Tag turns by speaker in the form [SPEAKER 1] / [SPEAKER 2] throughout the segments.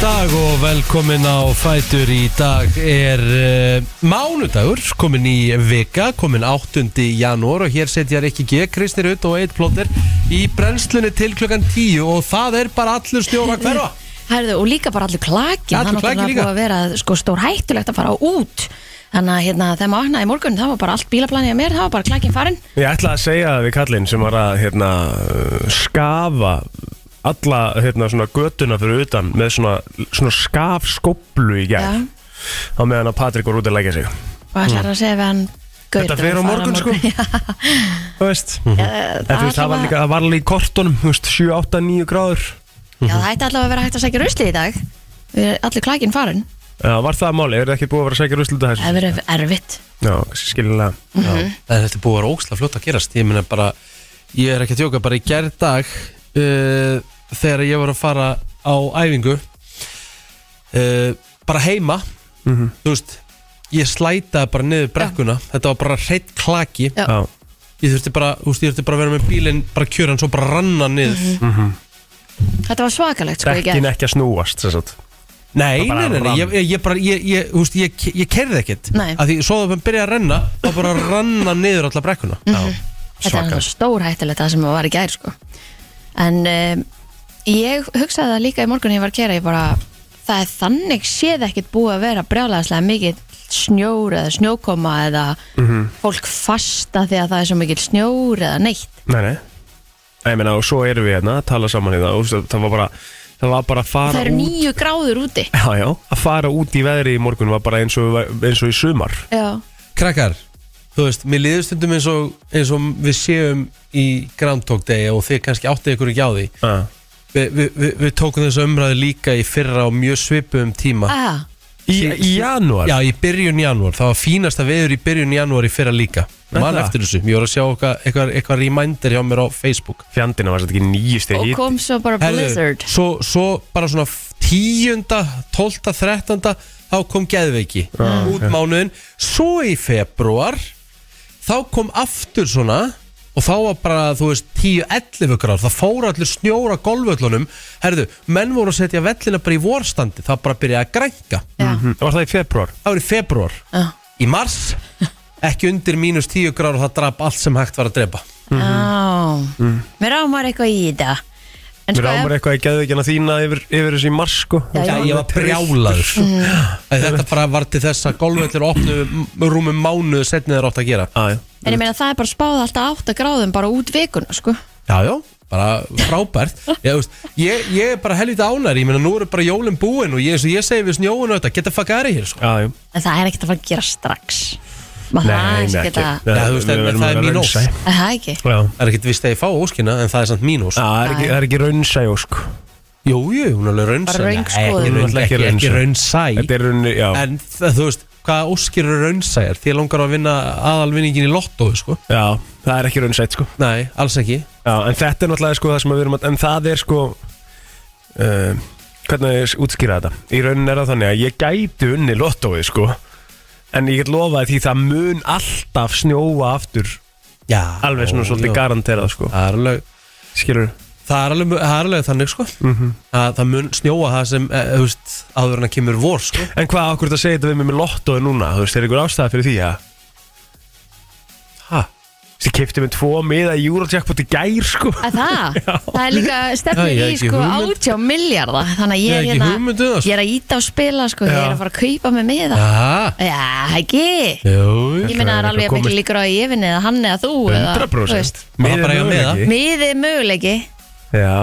[SPEAKER 1] dag og velkomin á Fætur í dag er uh, mánudagur, komin í vika, komin 8. janúar og hér setja Rikki G, Kristnir Ut og Eitt Plóter í brennslunni til klukkan 10 og það er bara allur snjóra hverfa.
[SPEAKER 2] Herðu, og líka bara allur klaki
[SPEAKER 1] Allur
[SPEAKER 2] Það er náttúrulega
[SPEAKER 1] klakinn líka.
[SPEAKER 2] búið að vera sko, stór hættulegt að fara út Þannig að hérna, þegar maður vaknaði í morgun Það var bara allt bílaplanið að mér, það var bara klakin farin
[SPEAKER 3] Ég ætla að segja það við kallinn sem var að hérna, uh, skafa alla hérna, svona götuna fyrir utan með svona, svona skafskoblu í gær
[SPEAKER 2] Já.
[SPEAKER 3] á meðan að Patrik var út að leggja sig
[SPEAKER 2] Og ætlar að segja við hann gaur
[SPEAKER 3] Mm. Þetta
[SPEAKER 2] að
[SPEAKER 3] fer á
[SPEAKER 2] fara
[SPEAKER 3] morgun, sko.
[SPEAKER 2] Já,
[SPEAKER 3] Þú veist, mm
[SPEAKER 2] það,
[SPEAKER 3] það, það var líka, það var líka í kortunum, þú veist, 7, 8, 9 gráður
[SPEAKER 2] já, það ætti allavega að vera hægt að sækja rusli í dag Við erum allir klakin farin
[SPEAKER 3] Já, var það máli, er það ekki búið að vera að segja rusluta þessu?
[SPEAKER 2] Það verður erfitt
[SPEAKER 3] Já, skiljanlega
[SPEAKER 2] Mhm.
[SPEAKER 1] En þetta er búið að vera óksla fljótt að gerast, ég meina bara, ég er ekki að tjóka, bara í gerð dag uh, þegar ég var að fara á æfingu, uh, bara heima,
[SPEAKER 2] Mhm.
[SPEAKER 1] þú veist, ég slætaði bara niður brekkuna, þetta var bara hreitt klaki.
[SPEAKER 2] Já.
[SPEAKER 3] Já,
[SPEAKER 1] ég þurfti bara, þú veist, ég þurfti bara að vera með bílinn bara kjöran svo bara ranna niður
[SPEAKER 2] Mhm.
[SPEAKER 3] Mhm.
[SPEAKER 2] Þetta var svakalegt sko, í gær.
[SPEAKER 3] dekkin ekki að snúast sem sagt.
[SPEAKER 1] nei,
[SPEAKER 3] Það bara
[SPEAKER 1] nei, nei, nei,
[SPEAKER 3] rann.
[SPEAKER 1] ég, ég bara ég, ég, þú veist, ég, ég kerði ekkert
[SPEAKER 2] Nei.
[SPEAKER 1] að því svo það byrjaði að renna þá bara ranna niður alla brekkuna
[SPEAKER 2] Mhm. Þetta er náttúrulega stór hættilegt það sem var í gær sko. En um, ég hugsaði það líka í morgun ég var að kera ég bara, það er þannig séð ekkert búið að vera brjálæðislega mikið snjór eða snjókoma eða
[SPEAKER 3] Mhm.
[SPEAKER 2] fólk fasta því að það er svo mikið snjór eða neitt
[SPEAKER 3] Nei, nei Nei, ég meina, og svo erum við hérna að tala saman í það og þú veist, það var bara, það var bara að fara
[SPEAKER 2] Það eru
[SPEAKER 3] út-
[SPEAKER 2] nýju gráður úti
[SPEAKER 3] Já, já, að fara út í veðri í morgun var bara eins og, eins og í sumar
[SPEAKER 2] Já,
[SPEAKER 1] krakkar, þú veist, mér liður stundum eins og, eins og við séum í Groundhog Day og þið kannski áttið ykkur ekki á því
[SPEAKER 3] ah.
[SPEAKER 1] Vi, vi, vi, við tókum þessu umræðu líka í fyrra á mjög svipum tíma
[SPEAKER 2] ah,
[SPEAKER 3] Í,
[SPEAKER 1] Í-
[SPEAKER 3] í janúar?
[SPEAKER 1] Já, í byrjun janúar, það var fínasta veður í byrjun janúar í fyrra líka
[SPEAKER 3] Er
[SPEAKER 1] Man
[SPEAKER 3] það?
[SPEAKER 1] eftir þessu, ég voru að sjá eitthvað- eitthvað eitthvað reminder hjá mér á Facebook
[SPEAKER 3] Fjandina var þetta ekki nýjist
[SPEAKER 2] og
[SPEAKER 3] í
[SPEAKER 2] kom svo bara blizzard
[SPEAKER 1] svo, svo bara svona tíunda, tólta, þrettanda þá kom geðveiki út mánuðin, svo í februar þá kom aftur svona og þá var bara, þú veist, 10-11 gráð, það fór allir snjóra golföllunum, herðu, menn voru að setja vellina bara í vorstandi, það bara byrjaði að grænka,
[SPEAKER 2] Já,
[SPEAKER 3] Var það í februar?
[SPEAKER 1] það var í februar
[SPEAKER 2] já,
[SPEAKER 1] í mars, ekki undir mínus 10 gráð og það drap allt sem hægt var að drepa
[SPEAKER 3] mhm,
[SPEAKER 2] já Mér rámar eitthvað í þetta En
[SPEAKER 3] Mm. Mér
[SPEAKER 2] sko, ef-
[SPEAKER 3] ámar eitthvað í geðveikina þína yfir, yfir þessi í mars sko
[SPEAKER 2] Já, Mm.
[SPEAKER 1] Já, ég var brjálaður sko. Að Þetta bara var til þess að golfvellir opnu m- rúmum mánuðu setni þeir átt að gera
[SPEAKER 3] ah, já.
[SPEAKER 2] En ég meina það er bara spáð alltaf 8 gráðum bara út vikuna sko
[SPEAKER 1] Já, já, bara frábært ég, veist, ég, ég er bara helvita ánæri Ég meina, nú eru bara jólin búin og ég, eins og ég segi við snjóun og þetta, geta fuck aðri hér sko.
[SPEAKER 3] Já, já.
[SPEAKER 2] En það er ekkert að fara að gera strax Maður Ah, það er
[SPEAKER 3] Nei, nei,
[SPEAKER 2] ekkert
[SPEAKER 3] ekki
[SPEAKER 2] að
[SPEAKER 1] Já, þú veist,
[SPEAKER 3] Við
[SPEAKER 1] en það
[SPEAKER 3] verðum að
[SPEAKER 1] er
[SPEAKER 3] vera
[SPEAKER 1] mín
[SPEAKER 3] raunsæ.
[SPEAKER 1] ós.
[SPEAKER 2] Er Það ekki
[SPEAKER 3] Já,
[SPEAKER 1] Það er ekkert vist að ég fá óskina en það er samt mín ós
[SPEAKER 3] Já, það er ekki- það er ekki raunsæ sko. ósk
[SPEAKER 1] Jú, jú, hún er alveg raunsa
[SPEAKER 2] Bara röng skoðun.
[SPEAKER 1] Ekki, ekki, ekki, ekki raunsa
[SPEAKER 3] Þetta er raun, já
[SPEAKER 1] En það, þú veist, hvaða óskir eru raunsa er Því langar að vinna aðalvinningin í lottó sko.
[SPEAKER 3] Já, það er ekki raunsætt sko
[SPEAKER 1] Nei, alls ekki
[SPEAKER 3] Já, en þetta er náttúrulega sko það sem við erum að En það er sko uh, Hvernig ég útskýra þetta Í raunin er það þannig að ég gæti unni lottóið sko En ég get lofaði því það mun alltaf snjóa aftur
[SPEAKER 1] já,
[SPEAKER 3] Alveg svona
[SPEAKER 1] ó,
[SPEAKER 3] svolítið
[SPEAKER 1] já.
[SPEAKER 3] garanterað sko
[SPEAKER 1] Það er alveg
[SPEAKER 3] Skilur
[SPEAKER 1] Það er alveg, það er alveg þannig sko að það mun snjóa það sem eh, þú veist, áður en að kemur vor sko
[SPEAKER 3] En hvað okkur þetta segir þetta við mig með lottóið núna Þú veist, er ykkur ástæða fyrir því að
[SPEAKER 1] ha,
[SPEAKER 3] Þessi kipti með tvo miða í Eurojackpot í gær sko
[SPEAKER 2] Að það, það er líka stefnir
[SPEAKER 1] Já, ég hef
[SPEAKER 2] í
[SPEAKER 1] ekki
[SPEAKER 2] sko
[SPEAKER 1] hugmynd.
[SPEAKER 2] 18 miljardar Þannig að
[SPEAKER 1] Ég
[SPEAKER 2] ég,
[SPEAKER 1] hef
[SPEAKER 2] er
[SPEAKER 1] ekki hugmynd um það, sko.
[SPEAKER 2] hérna- ég er að íta og spila sko, ég er
[SPEAKER 3] Já.
[SPEAKER 2] að fara að kaupa með miða Já,
[SPEAKER 1] ha,
[SPEAKER 2] ekki
[SPEAKER 1] jú
[SPEAKER 2] Ég meina það er alveg að mikil líkur á að ég vinni eða hann eða þú eða, þú
[SPEAKER 3] 100%
[SPEAKER 2] veist.
[SPEAKER 1] Miðið er möguleiki.
[SPEAKER 2] Miðið er möguleiki
[SPEAKER 3] Já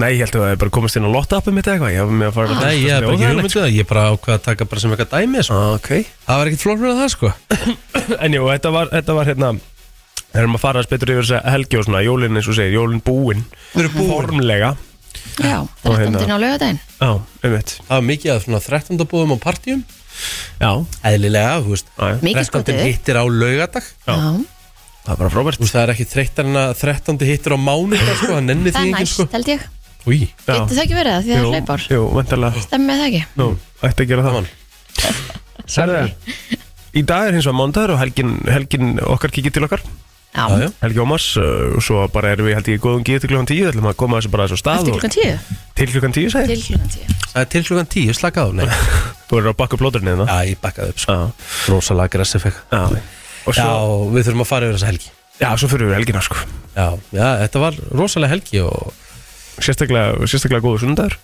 [SPEAKER 3] Nei, ég held að það er bara komast inn á lotta-appið mitt eða eitthvað Ég hef með að fara
[SPEAKER 1] Nei, ég er bara ekki hugmyndu það, ég er bara ákvað að taka bara sem eitthvað dæmi sko.
[SPEAKER 3] Ok
[SPEAKER 1] það var ekkert flóknir að það sko
[SPEAKER 3] En jú, þetta var, þetta var hérna Það erum að fara að spytur yfir þess að helgi og svona Jólin eins og segir, jólin búin
[SPEAKER 1] Þau eru búin.
[SPEAKER 3] Formlega Um
[SPEAKER 2] Já,
[SPEAKER 3] Og
[SPEAKER 2] 13.
[SPEAKER 3] hérna.
[SPEAKER 2] á lögadaginn
[SPEAKER 3] Já, einmitt
[SPEAKER 1] það var mikið að svona 13. búðum á partíum
[SPEAKER 3] Já,
[SPEAKER 1] eðlilega, þú veist
[SPEAKER 3] já, já.
[SPEAKER 1] 13.
[SPEAKER 2] Mikið skotið
[SPEAKER 1] hittir á laugardag
[SPEAKER 3] Já.
[SPEAKER 2] Já.
[SPEAKER 3] það var bara
[SPEAKER 1] þú
[SPEAKER 3] frábært
[SPEAKER 1] veist, það er ekki þreyttar en að 13. hittir á mánudag sko, það nenni
[SPEAKER 2] Það
[SPEAKER 1] því
[SPEAKER 2] er
[SPEAKER 1] ekki sko
[SPEAKER 2] næst, held ég
[SPEAKER 1] Új,
[SPEAKER 3] Já.
[SPEAKER 2] Getur það ekki verið það, því það
[SPEAKER 3] Jú,
[SPEAKER 2] er hlaupár
[SPEAKER 3] Jú, vantarlega
[SPEAKER 2] Stemmið það ekki
[SPEAKER 3] Nú, ætti að gera það
[SPEAKER 1] Gaman.
[SPEAKER 3] Særðu, í dag er hins vegar mándagur og helgin, helgin okkar kikið til okkar
[SPEAKER 1] já,
[SPEAKER 2] Já,
[SPEAKER 1] já.
[SPEAKER 3] Helgi Ómars, uh, og svo bara erum við held ég í góðum gíð til klukkan tíu ætlum að koma þessu bara þessu á stað
[SPEAKER 2] eftir
[SPEAKER 3] og-
[SPEAKER 2] klukkan tíu
[SPEAKER 3] til Til klukkan tíu segir?
[SPEAKER 2] til klukkan tíu
[SPEAKER 1] Það er til klukkan tíu, slaka á, nei
[SPEAKER 3] Þú verður að bakka upp hérna. lóturinn eða?
[SPEAKER 1] Já, ég bakkaði upp, sko,
[SPEAKER 3] Já
[SPEAKER 1] rosalega gressif eitthvað
[SPEAKER 3] Já Og
[SPEAKER 1] Já,
[SPEAKER 3] svo,
[SPEAKER 1] við þurfum að fara yfir þessa helgi
[SPEAKER 3] já, svo fyrir við helgina sko
[SPEAKER 1] Já, já, þetta var rosalega helgi og
[SPEAKER 3] Sérstaklega, sérstaklega góðu sunnudagur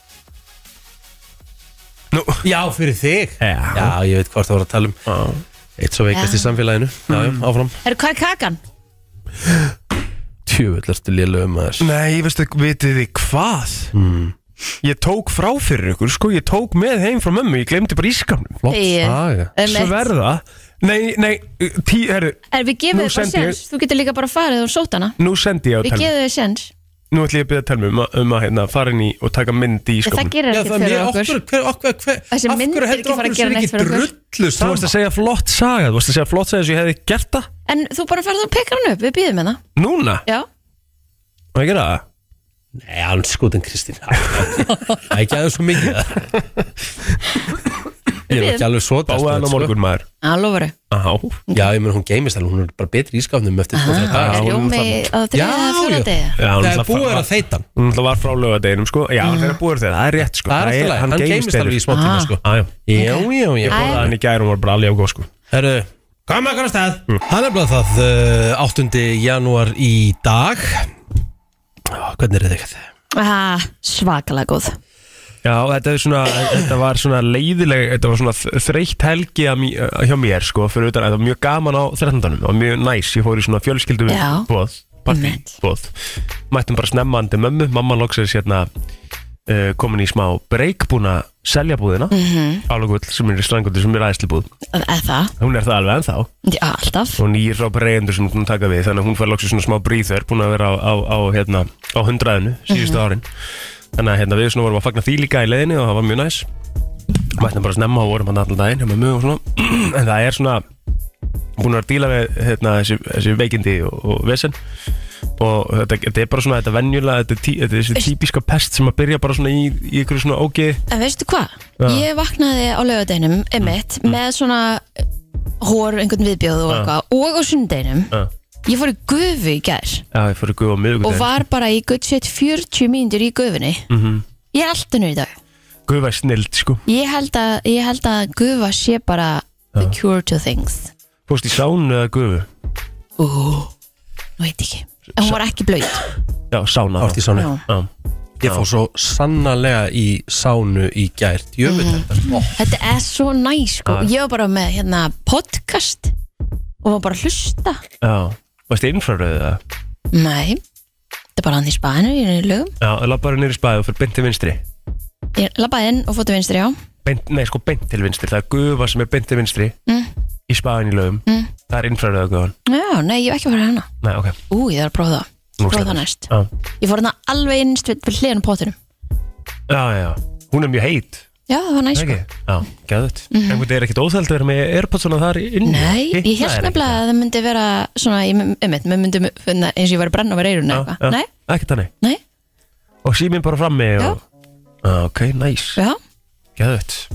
[SPEAKER 3] Nú
[SPEAKER 1] Já, fyrir þig
[SPEAKER 3] Já.
[SPEAKER 1] já ég veit hvort það var að tala um
[SPEAKER 3] Já
[SPEAKER 1] Eitt svo veikast
[SPEAKER 2] Já.
[SPEAKER 1] í samfélaginu Já, já, áfram
[SPEAKER 2] Herru, hvað er kakan?
[SPEAKER 1] Tjöfull ertu lélega um aðeins
[SPEAKER 3] Nei, veistu, vitið þið hvað? Hmm.
[SPEAKER 1] mm.
[SPEAKER 3] Ég tók frá fyrir ykkur, sko, ég tók með heim frá mömmu, ég glemdi bara ískamnum
[SPEAKER 1] Flott
[SPEAKER 2] Þegi.
[SPEAKER 1] saga
[SPEAKER 3] Svo verða Nei, nei, tí, herru,
[SPEAKER 2] Er við gefum þér
[SPEAKER 3] Nú
[SPEAKER 2] bara
[SPEAKER 3] sendi ég-
[SPEAKER 2] séns, þú getur líka bara farið og sótt hana
[SPEAKER 3] nú sendi ég á
[SPEAKER 2] Við
[SPEAKER 3] telmi
[SPEAKER 2] gefum þér séns,
[SPEAKER 3] Nú ætlum ég að byrja að telmi um, að- um að hérna, fara inn í og taka mynd í
[SPEAKER 2] Ég, það
[SPEAKER 3] ískamnum
[SPEAKER 2] gerir
[SPEAKER 1] Já,
[SPEAKER 2] ekkert
[SPEAKER 1] það er
[SPEAKER 2] fyrir
[SPEAKER 1] mjög
[SPEAKER 2] okkur
[SPEAKER 1] okkur Hver, okkur, hver
[SPEAKER 2] Þessi
[SPEAKER 1] af
[SPEAKER 2] mynd
[SPEAKER 1] hverju
[SPEAKER 2] er
[SPEAKER 1] heldur
[SPEAKER 2] ekki fara að
[SPEAKER 1] okkur
[SPEAKER 2] gera
[SPEAKER 1] sem
[SPEAKER 2] neitt fyrir okkur.
[SPEAKER 1] drullu
[SPEAKER 3] Þú varst
[SPEAKER 1] saman
[SPEAKER 3] að segja flott saga, þú varst að segja flott saga eins og ég hefði gert það
[SPEAKER 2] En þú bara ferð og pekar hann upp, við býðum hennar
[SPEAKER 3] Núna,
[SPEAKER 2] Já,
[SPEAKER 3] má ég gera það?
[SPEAKER 1] Nei, hann skotin Kristín Æ, Það er ekki aðeins svo mikið Ég er nú ekki alveg svo sko.
[SPEAKER 3] Báða hann á morgun maður
[SPEAKER 2] að lofari
[SPEAKER 3] Á,
[SPEAKER 1] Já, ég menn hún geymist alveg, hún er bara betri í skáfnum eftir tvo þrjá
[SPEAKER 2] Er
[SPEAKER 1] daga
[SPEAKER 3] hún er
[SPEAKER 2] Rjómi Ah.
[SPEAKER 3] þannig.
[SPEAKER 2] á
[SPEAKER 1] Já,
[SPEAKER 2] þriða
[SPEAKER 1] já.
[SPEAKER 2] fjóra degi
[SPEAKER 3] já,
[SPEAKER 1] Það
[SPEAKER 3] hún
[SPEAKER 1] er búið að
[SPEAKER 3] var,
[SPEAKER 1] þeita hann
[SPEAKER 3] hún alltaf var frá lögadeginum, sko Já, hann er að búið að þeirra, það er rétt, sko
[SPEAKER 1] Það er alltaf leið, hann geymist alveg í smá tíma
[SPEAKER 2] Ah.
[SPEAKER 1] sko
[SPEAKER 3] Já, já,
[SPEAKER 1] Já, já, já
[SPEAKER 2] Æ.
[SPEAKER 3] borðaði hann í gæri, hún var bara alveg á góð, sko
[SPEAKER 1] Herru, koma ykkur á stað Það er bara það uh, 8. janúar í dag Ó, Hvernig er þetta?
[SPEAKER 2] Ah, Svakalega góð
[SPEAKER 3] Já, þetta, er svona, þetta var svona leiðileg, þetta var svona þ- þreytt helgi að mí- að- hjá mér sko, fyrir utan að þetta var mjög gaman á 13. og mjög næs, ég fór í svona fjölskyldum
[SPEAKER 2] Já.
[SPEAKER 3] bóð, partybóð, mættum bara snemmandi mömmu, mamma loksins hérna uh, komin í smá breyk búin að selja búðina, mm -hmm. sem er í strangundi sem er aðslibúð,
[SPEAKER 2] Eða það,
[SPEAKER 3] hún er það alveg ennþá
[SPEAKER 2] já, alltaf
[SPEAKER 3] og nýr Rópa Reyndur sem hún taka við þannig að hún fær loksins svona smá bríður búin að vera á, á, á, hérna, á hundraðinu
[SPEAKER 2] Mhm.
[SPEAKER 3] síðustu árin þannig að hérna, við svona vorum að fagna því líka í leiðinni og það var mjög næs mættum bara snemma og vorum hann allan daginn hjá mömmu og svona. en það er svona búin að vera að díla við hérna, þessi, þessi veikindi og, og vesen og þetta, þetta er bara svona þetta venjulega, þetta, er tí, þetta er þessi típiska pest sem að byrja bara svona í, í ykkur svona ógeð
[SPEAKER 2] En veistu hvað?
[SPEAKER 3] Já.
[SPEAKER 2] Ég vaknaði á laugardeginum, emitt Með svona hór, einhvern viðbjóð og eitthvað Og á sundeginum
[SPEAKER 3] Já.
[SPEAKER 2] Ég fór í gufu í gær
[SPEAKER 3] Já, ég fór að guða á
[SPEAKER 2] Og
[SPEAKER 3] miðugudaginn
[SPEAKER 2] var bara í gutt set 40 mínútur í gufunni Ég er alltaf nýr í dag
[SPEAKER 3] Guða er snild, sko
[SPEAKER 2] Ég held að, ég held að gufa sé bara the cure to things
[SPEAKER 3] Fórst í sánu eða guðu?
[SPEAKER 2] Ú, nú veit ég ekki En hún var ekki blöyt
[SPEAKER 3] Já, sána
[SPEAKER 1] Árt í sánu
[SPEAKER 3] Já.
[SPEAKER 1] Ég fór svo sannarlega í sánu í gært Jöfnveld þetta oh.
[SPEAKER 2] Þetta er svo næs sko Ég var bara með hérna podcast Og var bara að hlusta
[SPEAKER 3] Já, varstu innfraröðið það?
[SPEAKER 2] Nei, þetta er bara hann í spæðinu Ég er í lögum
[SPEAKER 3] Já, það lapp bara niður í spæði og fyrir beint til vinstri
[SPEAKER 2] Ég labbaði inn og fóttu vinstri á
[SPEAKER 3] beint, Nei, sko beint til vinstri, það er gufa sem er beint til vinstri
[SPEAKER 2] Mm.
[SPEAKER 3] Í spæðin í lögum
[SPEAKER 2] Mm.
[SPEAKER 3] Það er innfraröðið guðan
[SPEAKER 2] Já, nei, ég hef ekki hérna. farið hana
[SPEAKER 3] Nei, ok
[SPEAKER 2] Ú, ég þarf að prófa það
[SPEAKER 3] Nú
[SPEAKER 2] Prófa
[SPEAKER 3] sleppur.
[SPEAKER 2] það næst
[SPEAKER 3] Já,
[SPEAKER 2] Ég fór hérna alveg innst við, við hliðan á pottinum
[SPEAKER 3] já, já, já. hún er mjög heit
[SPEAKER 2] Já, það var næs sko Mhm.
[SPEAKER 3] Ekki? Já, gæðut mm -hmm. En þetta er ekkit óþælt að vera með Airpods svona þar inn
[SPEAKER 2] Nei, ég held nefnilega að það myndi vera svona, ég um mynd, mér myndi finna eins og ég var að brenna á mér eirun eða eitthvað. Nei,
[SPEAKER 3] Ekki þannig
[SPEAKER 2] nei,
[SPEAKER 3] Og síminn bara frammi og... Já Ok, næs,
[SPEAKER 2] já,
[SPEAKER 3] gæðut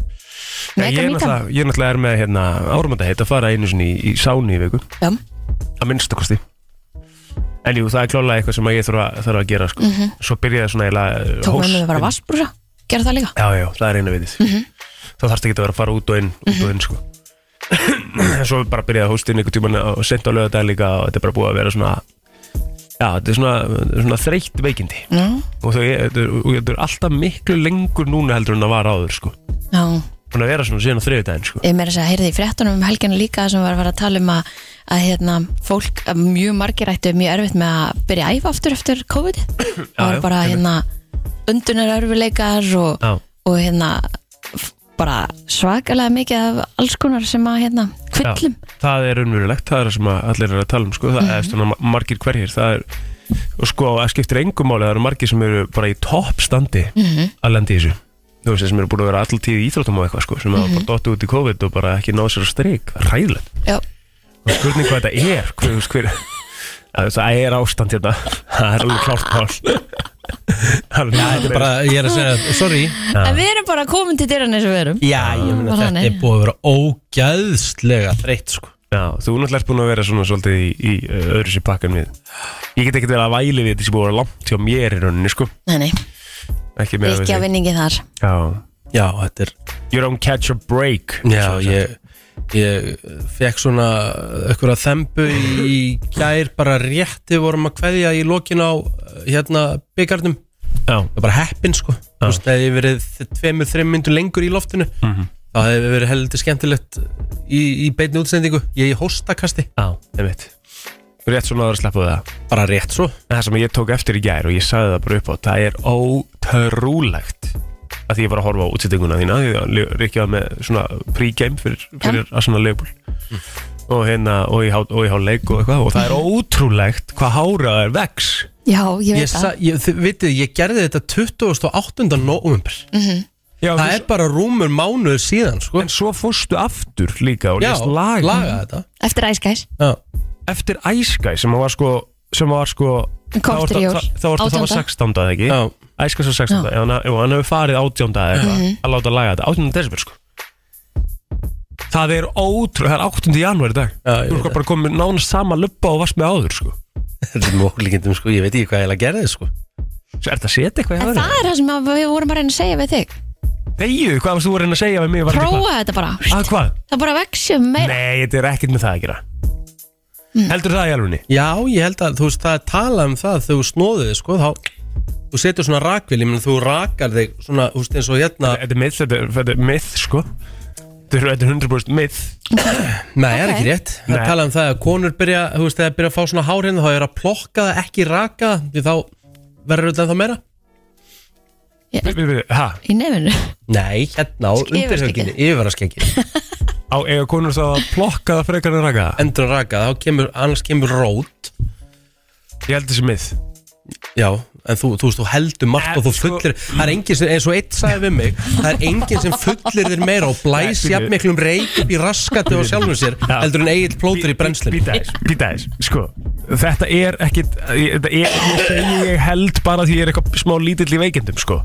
[SPEAKER 3] Já,
[SPEAKER 2] mega
[SPEAKER 3] ég, er
[SPEAKER 2] mýta.
[SPEAKER 3] náttúrulega- ég er náttúrulega er með hérna, áramöndaheit að fara einu sinni í, í sáni í viku
[SPEAKER 2] Já,
[SPEAKER 3] að minnstakosti en jú, það er klálega eitthvað sem að ég þarf að, þarf að gera sko. svo byrjaði svona eiginlega
[SPEAKER 2] Mhm.
[SPEAKER 3] eh,
[SPEAKER 2] tók með mig bara Mhm. vassbrúsa, gera það líka.
[SPEAKER 3] já, já, það er eina vitið þá þarfst ekki að vera að fara út og inn, út og
[SPEAKER 2] Mhm.
[SPEAKER 3] inn sko. en svo bara byrjaði hóstinn einhvern tíman og sent á lögadag líka og þetta er bara búið að vera svona já, þetta er svona, svona þreytt veikindi
[SPEAKER 2] Já,
[SPEAKER 3] og þau- þetta er, og þetta er alltaf miklu lengur núna heldur en það var áður sko.
[SPEAKER 2] já,
[SPEAKER 3] Búin að vera svona síðan á þriðudaginn sko.
[SPEAKER 2] ég meira að segja, heyrði í fréttunum um helginu líka sem var að fara að tala um að, að hérna, fólk, að mjög margir ættu mjög erfitt með að byrja að æfa aftur eftir COVID. Það var
[SPEAKER 3] já,
[SPEAKER 2] bara,
[SPEAKER 3] einmitt.
[SPEAKER 2] hérna, undunar örfuleikar og,
[SPEAKER 3] já,
[SPEAKER 2] og hérna, f- bara svakalega mikið af alls konar sem að, hérna,
[SPEAKER 3] Já,
[SPEAKER 2] kvillum.
[SPEAKER 3] það er unverulegt, það er það sem að allir er að tala um sko, það er svona ma- margir hverjir það er, og sko, það skiptir engum máli það eru margir sem eru bara í toppstandi að lenda í þessu þú veist, sem eru búin að vera alltaf tíð í íþróttum og eitthvað sko, sem hafa bara dottu út í COVID og bara ekki náð sér á streik, það er ræðilegt
[SPEAKER 2] Já,
[SPEAKER 3] og spurning hvað þetta er, hver, þú veist, hver að það er ástand hérna það er alveg klárt mál Alveg
[SPEAKER 1] Þetta er bara, ég er að segja, sorry
[SPEAKER 2] en við erum bara komin til dyrann eins og við erum.
[SPEAKER 1] Já, ég meina
[SPEAKER 2] Bara
[SPEAKER 1] þetta
[SPEAKER 2] þannig.
[SPEAKER 1] er búið að vera ógæðslega þreytt sko
[SPEAKER 3] Já, þú náttúrulega ert búin að vera svona svolítið í, í uh, öðru sér pakkan við Ég get ekkert verið að væli við þetta sem búið að vera langt hjá mér í rauninni, sko
[SPEAKER 2] Nei, nei.
[SPEAKER 3] ekki meira við
[SPEAKER 2] Rikki á
[SPEAKER 3] þig
[SPEAKER 2] vinningi þar
[SPEAKER 3] Já.
[SPEAKER 1] Já, þetta er
[SPEAKER 3] You don't catch a break
[SPEAKER 1] Já, ég, ég fekk svona einhverja þembu í gær bara rétti vorum að kveðja í lokin á hérna byggarnum
[SPEAKER 3] Já.
[SPEAKER 1] Það er bara heppin sko Þú veist, ef ég verið tveimur, þreim myndur lengur í loftinu þá hefði verið heldur skemmtilegt í, í beinni útsendingu Ég í hóstakasti,
[SPEAKER 3] Já, einmitt Rétt svona að vera að sleppa við það
[SPEAKER 1] bara rétt svo
[SPEAKER 3] En það sem ég tók eftir í gær og ég sagði það bara upp á Það er ótrúlegt að því ég var að horfa á útsettinguna þína því að Rikki var með svona pre-game fyrir, fyrir Arsenal Leopold og hérna og í, há, og í háleik og eitthvað og það er ótrúlegt hvað hárað er vex
[SPEAKER 2] Já, ég
[SPEAKER 1] Ég,
[SPEAKER 2] veit
[SPEAKER 1] sa,
[SPEAKER 2] það
[SPEAKER 1] ég, þið vitið, ég gerði þetta 28. november
[SPEAKER 3] Já,
[SPEAKER 1] Það er bara rúmur mánuður síðan sko
[SPEAKER 3] En svo fórstu aftur líka og
[SPEAKER 1] Já,
[SPEAKER 3] lést laga,
[SPEAKER 1] laga þetta
[SPEAKER 2] Eftir æskæs
[SPEAKER 1] Já
[SPEAKER 3] Eftir Æskæ sem var sko sem var sko
[SPEAKER 2] Kortir í jól.
[SPEAKER 3] þá var það var
[SPEAKER 2] 18..
[SPEAKER 3] 16. eða ekki
[SPEAKER 1] Já.
[SPEAKER 3] Æskæs var 16. Já. Hann, jú, hann hefur farið 18. eða eitthvað
[SPEAKER 2] Mhm.
[SPEAKER 3] að láta laga þetta 18. desember sko Það er ótrúlega, það er 8. janúar í dag
[SPEAKER 1] Já, ég
[SPEAKER 3] Þú
[SPEAKER 1] veit
[SPEAKER 3] sko bara komið nánast sama lubba og varst með áður sko
[SPEAKER 1] Þetta er mólíkindum sko, ég veit ekki hvað ég ætla að gera þið sko
[SPEAKER 3] Svo er þetta að setja eitthvað í
[SPEAKER 2] En
[SPEAKER 3] aðra?
[SPEAKER 2] það er það sem að við vorum að reyna að segja við þig
[SPEAKER 3] Þegiðu, hvað varst þú að reyna að segja við mig? Var þetta
[SPEAKER 2] Prófa þetta bara
[SPEAKER 3] Að hvað?
[SPEAKER 2] Það bara veksum meira
[SPEAKER 3] Nei, þetta er ekkert með það að gera
[SPEAKER 2] Mm.
[SPEAKER 3] Heldur það í alvunni?
[SPEAKER 1] Já, ég held að þú veist, það er talað um það þegar þú snóðu þig sko, þá þú setur svona rakvél, ég menn þú rakar þig svona, þú veist, eins og hérna
[SPEAKER 3] Þetta er myth, þetta er- þetta er myth sko Þetta er þetta er 100% myth
[SPEAKER 1] Nei, það er
[SPEAKER 2] Ok.
[SPEAKER 1] ekki rétt, það er
[SPEAKER 3] Nei.
[SPEAKER 1] talað um það að konur byrja, þú veist, þegar byrja að fá svona hár hérna þá er að plokka það, ekki raka það, því þá verður þetta ennþá meira
[SPEAKER 3] Við- við- við- Ha,
[SPEAKER 2] í nefinu
[SPEAKER 1] Nei, hérna á
[SPEAKER 2] Yfirskeggi.
[SPEAKER 1] undirhauginni, yfirvaraskengi
[SPEAKER 3] á eiga konur þá að plokka það frekar en raka það?
[SPEAKER 1] Endur að raka, það, þá kemur, annars kemur rót
[SPEAKER 3] Ég held þessi mið
[SPEAKER 1] Já, en þú, þú veist, þú heldur margt
[SPEAKER 3] Eh,
[SPEAKER 1] og þú
[SPEAKER 3] sko-
[SPEAKER 1] fullir Það er enginn sem, eins og eitt sagði við mig Það er enginn sem fullir þér meira og blæs
[SPEAKER 3] Nei, býtu.
[SPEAKER 1] jafn miklum reik upp í raskati og sjálfum sér
[SPEAKER 3] Já.
[SPEAKER 1] heldur en eigin plótur í brennslum
[SPEAKER 3] Býta þess, býta þess, sko Þetta er ekkit ég- Þetta er, ég segi ég held bara því ég er eitthvað smá lítill í veikindum, sko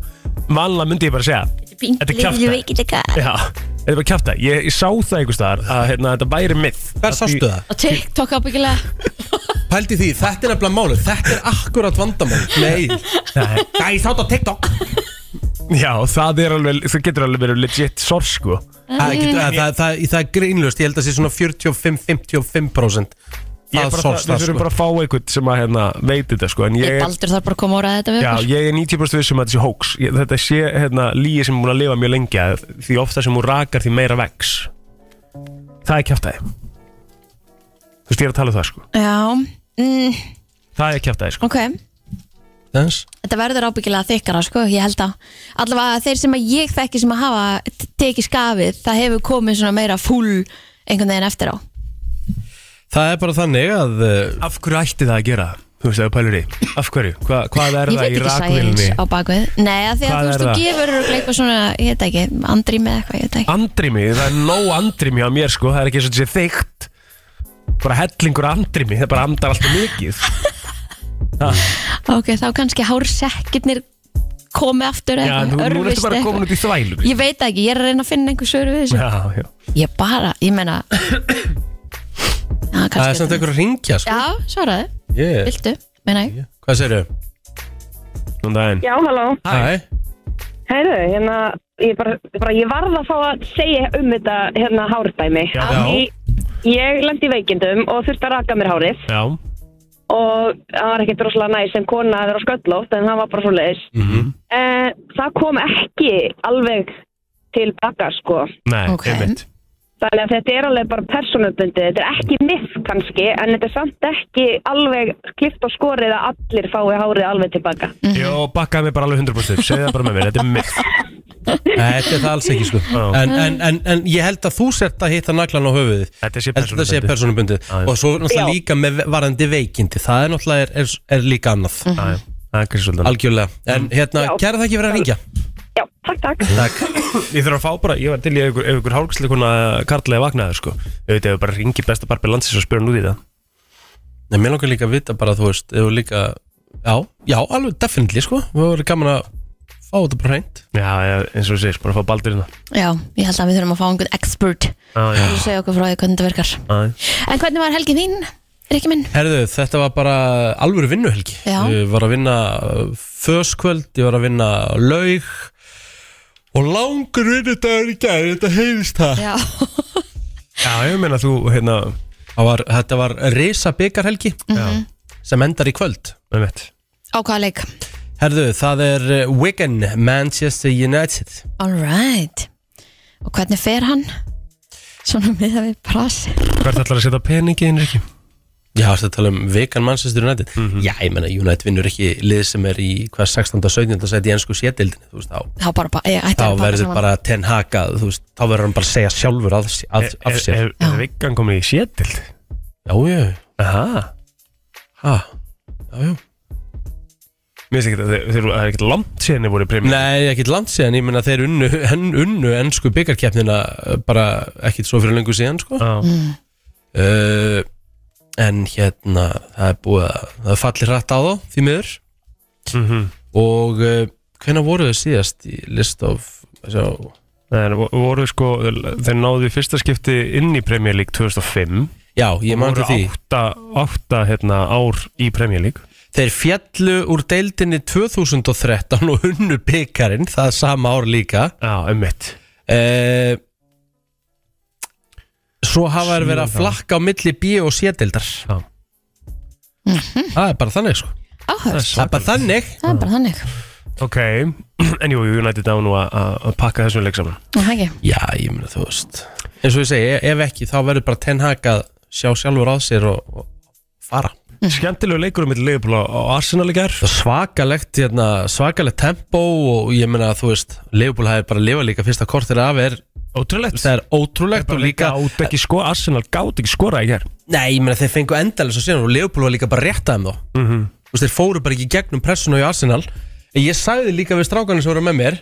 [SPEAKER 3] Vanlega myndi ég bara segja Þetta er kjafta
[SPEAKER 2] kjafta
[SPEAKER 3] Já, þetta er bara kjafta Ég, ég sá það einhvers staðar að hérna, þetta væri mið
[SPEAKER 1] Hver sástu það?
[SPEAKER 2] Og TikTok ábyggilega
[SPEAKER 1] Pældi því, þetta er nefnilega málið Þetta er akkurat vandamál Nei,
[SPEAKER 3] Nei,
[SPEAKER 1] það er sátt á TikTok
[SPEAKER 3] Já, það er alveg, það getur alveg verið legit sors, sko
[SPEAKER 1] Það, getur, það, það, það, það er grínlust, ég held að sé svona 45-55%
[SPEAKER 3] Ég er
[SPEAKER 1] Það
[SPEAKER 3] bara það,
[SPEAKER 1] sorgst
[SPEAKER 3] við
[SPEAKER 1] það
[SPEAKER 3] þurfum
[SPEAKER 1] sko
[SPEAKER 3] bara að fá einhvern sem að hérna, veit þetta, sko En ég er
[SPEAKER 2] Baldur þarf bara að koma úr að þetta við
[SPEAKER 3] Já,
[SPEAKER 2] okkur
[SPEAKER 3] ég er 90% vissum um að þetta sé hoax ég, Þetta sé hérna, líi sem er búin að lifa mjög lengi að Því ofta sem hún rakar því meira vex Það er kjæftæði Þú veist, ég er að tala um það sko
[SPEAKER 2] Já mm,
[SPEAKER 3] Það er kjæftæði sko
[SPEAKER 2] Ok
[SPEAKER 1] Dans.
[SPEAKER 2] Þetta verður ábyggilega þykkara sko, ég held að allavega þeir sem að ég þekki sem að hafa t- tekið skafið, það hefur komið svona meira full einhvern veginn eftir á
[SPEAKER 1] Það er bara þannig að uh,
[SPEAKER 3] Af hverju ætti það að gera? Þú veist, það er pælur í Af hverju? Hva, hvað er
[SPEAKER 2] Ég
[SPEAKER 3] það
[SPEAKER 2] veit
[SPEAKER 3] í
[SPEAKER 2] ekki
[SPEAKER 3] rakvilni?
[SPEAKER 2] sæðins á bakvið Nei, að því
[SPEAKER 3] Hvað
[SPEAKER 2] að þú veist,
[SPEAKER 3] er
[SPEAKER 2] þú
[SPEAKER 3] það?
[SPEAKER 2] gefur örugglega eitthvað svona, ég veit ekki, andrými eða eitthvað, ég veit ekki
[SPEAKER 3] Andrými, það er nóg andrými á mér sko Það er ekki eins og þetta sé þykkt Bara hellingur af andrými, það bara andar alltaf mikið
[SPEAKER 2] Ok, þá kannski hársekkirnir komi aftur
[SPEAKER 3] Já, nú, nú ertu
[SPEAKER 2] örvist
[SPEAKER 3] bara komin út í þvælu
[SPEAKER 2] Ég veit það ekki, ég er að reyna að finna einhver svör við þessu
[SPEAKER 3] Já, já
[SPEAKER 2] Ég bara, ég meina Já,
[SPEAKER 1] það er
[SPEAKER 2] kannski
[SPEAKER 1] samt einhver að ringja sko
[SPEAKER 2] Já, svaraði,
[SPEAKER 1] yeah.
[SPEAKER 2] viltu, meina ég
[SPEAKER 1] Hvað segirðu?
[SPEAKER 3] Nú, daginn.
[SPEAKER 4] Já, halló.
[SPEAKER 1] Hæ?
[SPEAKER 4] Heyrðu, hérna, ég bara, bara, ég varð að fá að segja um þetta, hérna, hárdæmi.
[SPEAKER 3] Já.
[SPEAKER 4] Því ég lendi í veikindum og þurfti að raka mér hárið
[SPEAKER 3] Já,
[SPEAKER 4] og það var ekkert rosalega næs sem kona að vera sköllótt en það var bara svo leiðis.
[SPEAKER 1] Mhm.
[SPEAKER 4] það kom ekki alveg til baka, sko.
[SPEAKER 3] nei,
[SPEAKER 2] Ok.
[SPEAKER 3] einmitt
[SPEAKER 4] Þannig að þetta er alveg bara personubundið. Þetta er ekki miff kannski, en þetta er samt ekki alveg klift og skorið að allir fái hárið alveg tilbaka.
[SPEAKER 3] Jó, bakkaði mig bara alveg 100% Segði það bara með mér, þetta er mitt
[SPEAKER 1] Nei, þetta er það alls ekki sko
[SPEAKER 3] Já.
[SPEAKER 1] en, en, en, en ég held að þú sért að hitta naglan á höfuðið
[SPEAKER 3] Þetta sé
[SPEAKER 1] Ég held að þetta sé persónubundið
[SPEAKER 3] Já, já.
[SPEAKER 1] og svo náttúrulega
[SPEAKER 4] Já.
[SPEAKER 1] líka með varandi veikindi það er náttúrulega er, er, er líka annað
[SPEAKER 3] Já, já, Það er kannski svolítið
[SPEAKER 1] algjörlega
[SPEAKER 3] Mm.
[SPEAKER 1] en hérna,
[SPEAKER 4] Mm. Já.
[SPEAKER 1] kæra það ekki verið að ringja
[SPEAKER 4] Já, takk, takk.
[SPEAKER 1] Takk.
[SPEAKER 3] Ég þarf að fá bara, ég var til í ef ykkur, ef ykkur hálgslega kuna karlæði vaknaði sko Auðvitað ef við bara ringir besta barbi landsins og spyrir hann út í það
[SPEAKER 1] Nei, mér langar líka að vita bara þú veist ef þú líka, já, já, alveg definitely sko, við vorum gaman að fá þetta bara hreint
[SPEAKER 3] Já, já, eins og þú segir, bara að fá baldur hérna. innan
[SPEAKER 2] Já, ég held að við þurfum að fá einhvern expert
[SPEAKER 3] Já, já,
[SPEAKER 2] og segja okkur frá því hvernig þetta virkar
[SPEAKER 3] já
[SPEAKER 2] En hvernig var helgin þín? Rikki minn
[SPEAKER 1] Herðu, þetta var bara alvöru vinnuhelgi
[SPEAKER 2] Já.
[SPEAKER 1] Ég var að vinna uh, föskvöld, ég var að vinna laug Og langur vinnudagur í gær, þetta heyrist það
[SPEAKER 2] Já,
[SPEAKER 3] Já, ég meina þú, hérna,
[SPEAKER 1] Það var, Þetta var risa byggarhelgi
[SPEAKER 3] Mhm.
[SPEAKER 1] Sem endar í kvöld
[SPEAKER 3] með mitt
[SPEAKER 2] á hvaða leik
[SPEAKER 1] Herðu, það er eh, Wigan, Manchester United
[SPEAKER 2] All right Og hvernig fer hann? Svona miða við prass
[SPEAKER 3] Hvert ætlar að setja peningi inn, Rikki?
[SPEAKER 1] Já, þetta tala um Vegan Manchester United Já, ég menna, United vinnur ekki lið sem er í hvað 16. og 17. sæti í ennsku sétildinni þú veist, þá,
[SPEAKER 2] Þá bara, bara ég ætti
[SPEAKER 1] þá
[SPEAKER 2] að
[SPEAKER 1] verður bara ten haka, þú veist, þá verður hann bara að segja sjálfur af, af, af sér
[SPEAKER 3] Eh, Er, er vikkan komið í sétild?
[SPEAKER 1] Já, já,
[SPEAKER 3] Aha
[SPEAKER 1] ha, já, já
[SPEAKER 3] Mér finnst ekki að þeir- þeir- það er ekkert langt síðan þeir voru í premjum
[SPEAKER 1] Nei, ekkit land síðan, ég menna þeir unnu, en, unnu ennsku byggarkeppnina eh, bara ekkit svo fyrir lengur síðan, sko
[SPEAKER 3] Nei
[SPEAKER 1] uh, En hérna, það er búið að það fallir hratt á þá, því miður Mhm. Og uh, hvenær voru þau síðast í list of sjá,
[SPEAKER 3] Þeir vo- voru sko, þeir náðu í fyrsta skipti inn í Premier League 2005
[SPEAKER 1] Já, ég man til því
[SPEAKER 3] Og voru átta, átta hérna, ár í Premier League
[SPEAKER 1] Þeir fjallu úr deildinni 2013 og unnu byggarinn það er sama ár líka
[SPEAKER 3] Já, um mitt
[SPEAKER 1] uh, Svo hafa þeir verið að
[SPEAKER 3] Sjö, já.
[SPEAKER 1] flakka á milli B og C-deildar
[SPEAKER 3] Já.
[SPEAKER 1] Það er bara þannig sko
[SPEAKER 2] Áhörst,
[SPEAKER 1] Það er bara þannig
[SPEAKER 2] það er bara þannig
[SPEAKER 3] Ok, en jú, United á nú að- að að pakka þessum leik saman
[SPEAKER 2] Það er ekki
[SPEAKER 1] Já, ég meina þú veist eins og ég segi, e- ef ekki þá verður bara Ten Hag að sjá sjálfur á sér og, og fara
[SPEAKER 3] Skemmtilegu leikur um mitt leikból á Arsenal í gær
[SPEAKER 1] Það er svakalegt, hérna, svakalegt tempo og ég meina þú veist Leifbúl hafi bara lifað líka fyrsta kortir af er
[SPEAKER 3] Ótrúlegt
[SPEAKER 1] það er ótrúlegt og líka
[SPEAKER 3] Gátt ekki sko, Arsenal gátt ekki skora í gær
[SPEAKER 1] Nei, ég meina þeir fengu endalega svo síðan og Leopold var líka bara rétt að þeim þó mm -hmm. Þeir fóru bara ekki í gegnum pressuna í Arsenal En ég sagði líka við strákarnir sem voru með mér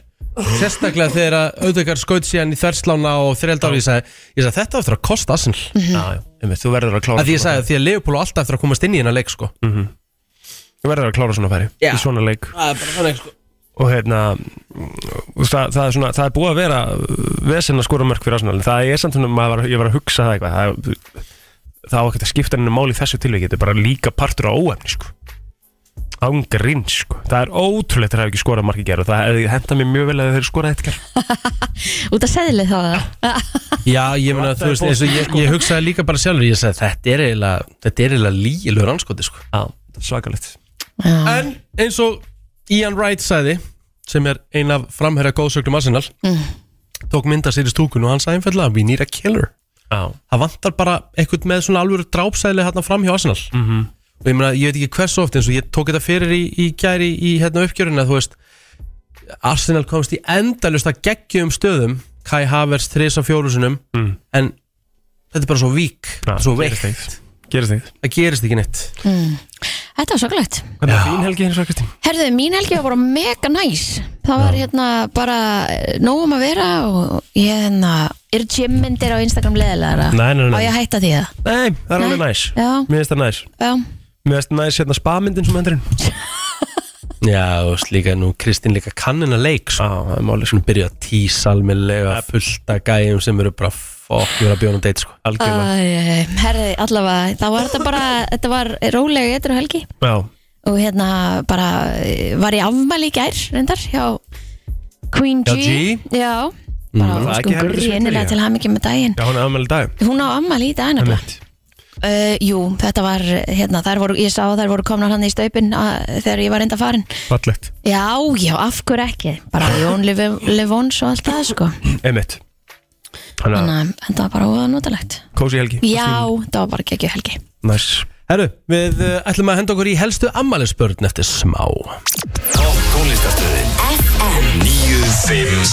[SPEAKER 1] Sérstaklega þegar að auðvitað skaut síðan í þverslána og þreildar Ég sagði, ég sagði þetta á eftir að kosta Arsenal
[SPEAKER 3] Já, já, um mitt, þú verður að klára
[SPEAKER 1] Að Mhm. því ég sagði að því að Leopold á alltaf eftir að komast inn í hennar leik sko
[SPEAKER 3] Þú verður að klára svona færi
[SPEAKER 1] Já.
[SPEAKER 3] Í svona leik
[SPEAKER 1] Það er bara þannig sko
[SPEAKER 3] og hérna mm, það, það, er svona, það er búið að vera vesen að skora mörg fyrir Arsenal en það er samt svona, maður var, ég var að hugsa það eitthvað það, það á ekkert að skipta henni máli í þessu tilviki þetta er bara líka partur á óefni sko. ángrinn sko. það er ótrúlegt að það hefur ekki skorað margi gerð og það hefði hentað mér mjög vel að þeir skorað eitt gerð
[SPEAKER 2] Út að seðlið þá eða?
[SPEAKER 1] Já, ég meina þú
[SPEAKER 3] Vantaði
[SPEAKER 1] veist, eins og ég, ég hugsaði líka bara sjálfur Ég sagði þetta er eiginlega, þetta er eiginlega líilur anskoti sko
[SPEAKER 3] Já, svakalegt
[SPEAKER 2] Já,
[SPEAKER 1] En eins og Ian Wright sagði sem er ein af framherja góðsögnum Arsenal tók mynda sér í stúkun og hann sagði einfallega we need a killer
[SPEAKER 3] Já,
[SPEAKER 1] það vantar bara eitthvað með svona alvöru drápsæðilega hérna fram hjá Arsenal -hmm. og ég meina, ég veit ekki hversu oft eins og ég tók þetta fyrir í, í gæri í hérna uppgjörinu að þú veist Arsenal komst í endalust að geggjum stöðum Kai Havers þrisa fjórusunum mm. en þetta er bara svo vík
[SPEAKER 3] Já,
[SPEAKER 1] svo
[SPEAKER 3] gerist
[SPEAKER 1] veikt,
[SPEAKER 3] gerist þig
[SPEAKER 1] það gerist ekki neitt
[SPEAKER 2] þetta var svakalegt
[SPEAKER 3] Hvernig er þín helgi hins vegar Kristín?
[SPEAKER 2] Herðu, mín helgi var bara mega næs Það var hérna bara eh, nóg um að vera og ég hérna eru gymmyndir á Instagram leðilega
[SPEAKER 3] Nei, nei, nei.
[SPEAKER 2] og ég að hætta því það
[SPEAKER 3] Nei, það er
[SPEAKER 2] Nei.
[SPEAKER 3] alveg næs
[SPEAKER 2] Já,
[SPEAKER 3] Mér finnst það næs
[SPEAKER 2] já,
[SPEAKER 3] Mér finnst næs hérna spamindin sem hendurinn Já,
[SPEAKER 1] Já, þú veist líka nú Kristín líka kannina leik sko.
[SPEAKER 3] það er máli sko
[SPEAKER 1] svona byrja að tísa almennilega fullt af gæjum sem eru bara fokk, ég er að bjóna date sko
[SPEAKER 2] Æ,
[SPEAKER 3] Algjörlega
[SPEAKER 2] herðu, allavega það var þetta bara, þetta var rólega eitru helgi
[SPEAKER 3] Já,
[SPEAKER 2] og hérna bara eh, var ég afmæli í gær reyndar hjá Queen
[SPEAKER 1] Hjá
[SPEAKER 2] G, Já, bara mm,
[SPEAKER 3] var það
[SPEAKER 2] sko
[SPEAKER 3] ekki helgi sem
[SPEAKER 2] greinilega
[SPEAKER 3] byrjaði?
[SPEAKER 2] til hamingi með daginn
[SPEAKER 3] Já, hún er afmæli í dag
[SPEAKER 2] Hún á afmæli í daginn nefnilega.
[SPEAKER 3] Einmitt.
[SPEAKER 2] Uh, jú, þetta var, hérna, þær voru, ég sá að þær voru komnar hann í staupin að, þegar ég var enda farin.
[SPEAKER 3] Fallegt
[SPEAKER 2] Já, já, af hverju ekki? Bara Jón Livons og allt það, sko.
[SPEAKER 3] Einmitt Þannig að
[SPEAKER 2] Þannig að þetta var bara óða notalegt.
[SPEAKER 3] kósi helgi
[SPEAKER 2] Já, það var bara geggju helgi.
[SPEAKER 3] Næs
[SPEAKER 1] Herru, við uh, ætlum að henda okkur í helstu ammælisbörn eftir smá
[SPEAKER 5] Topp tónlistarstöðin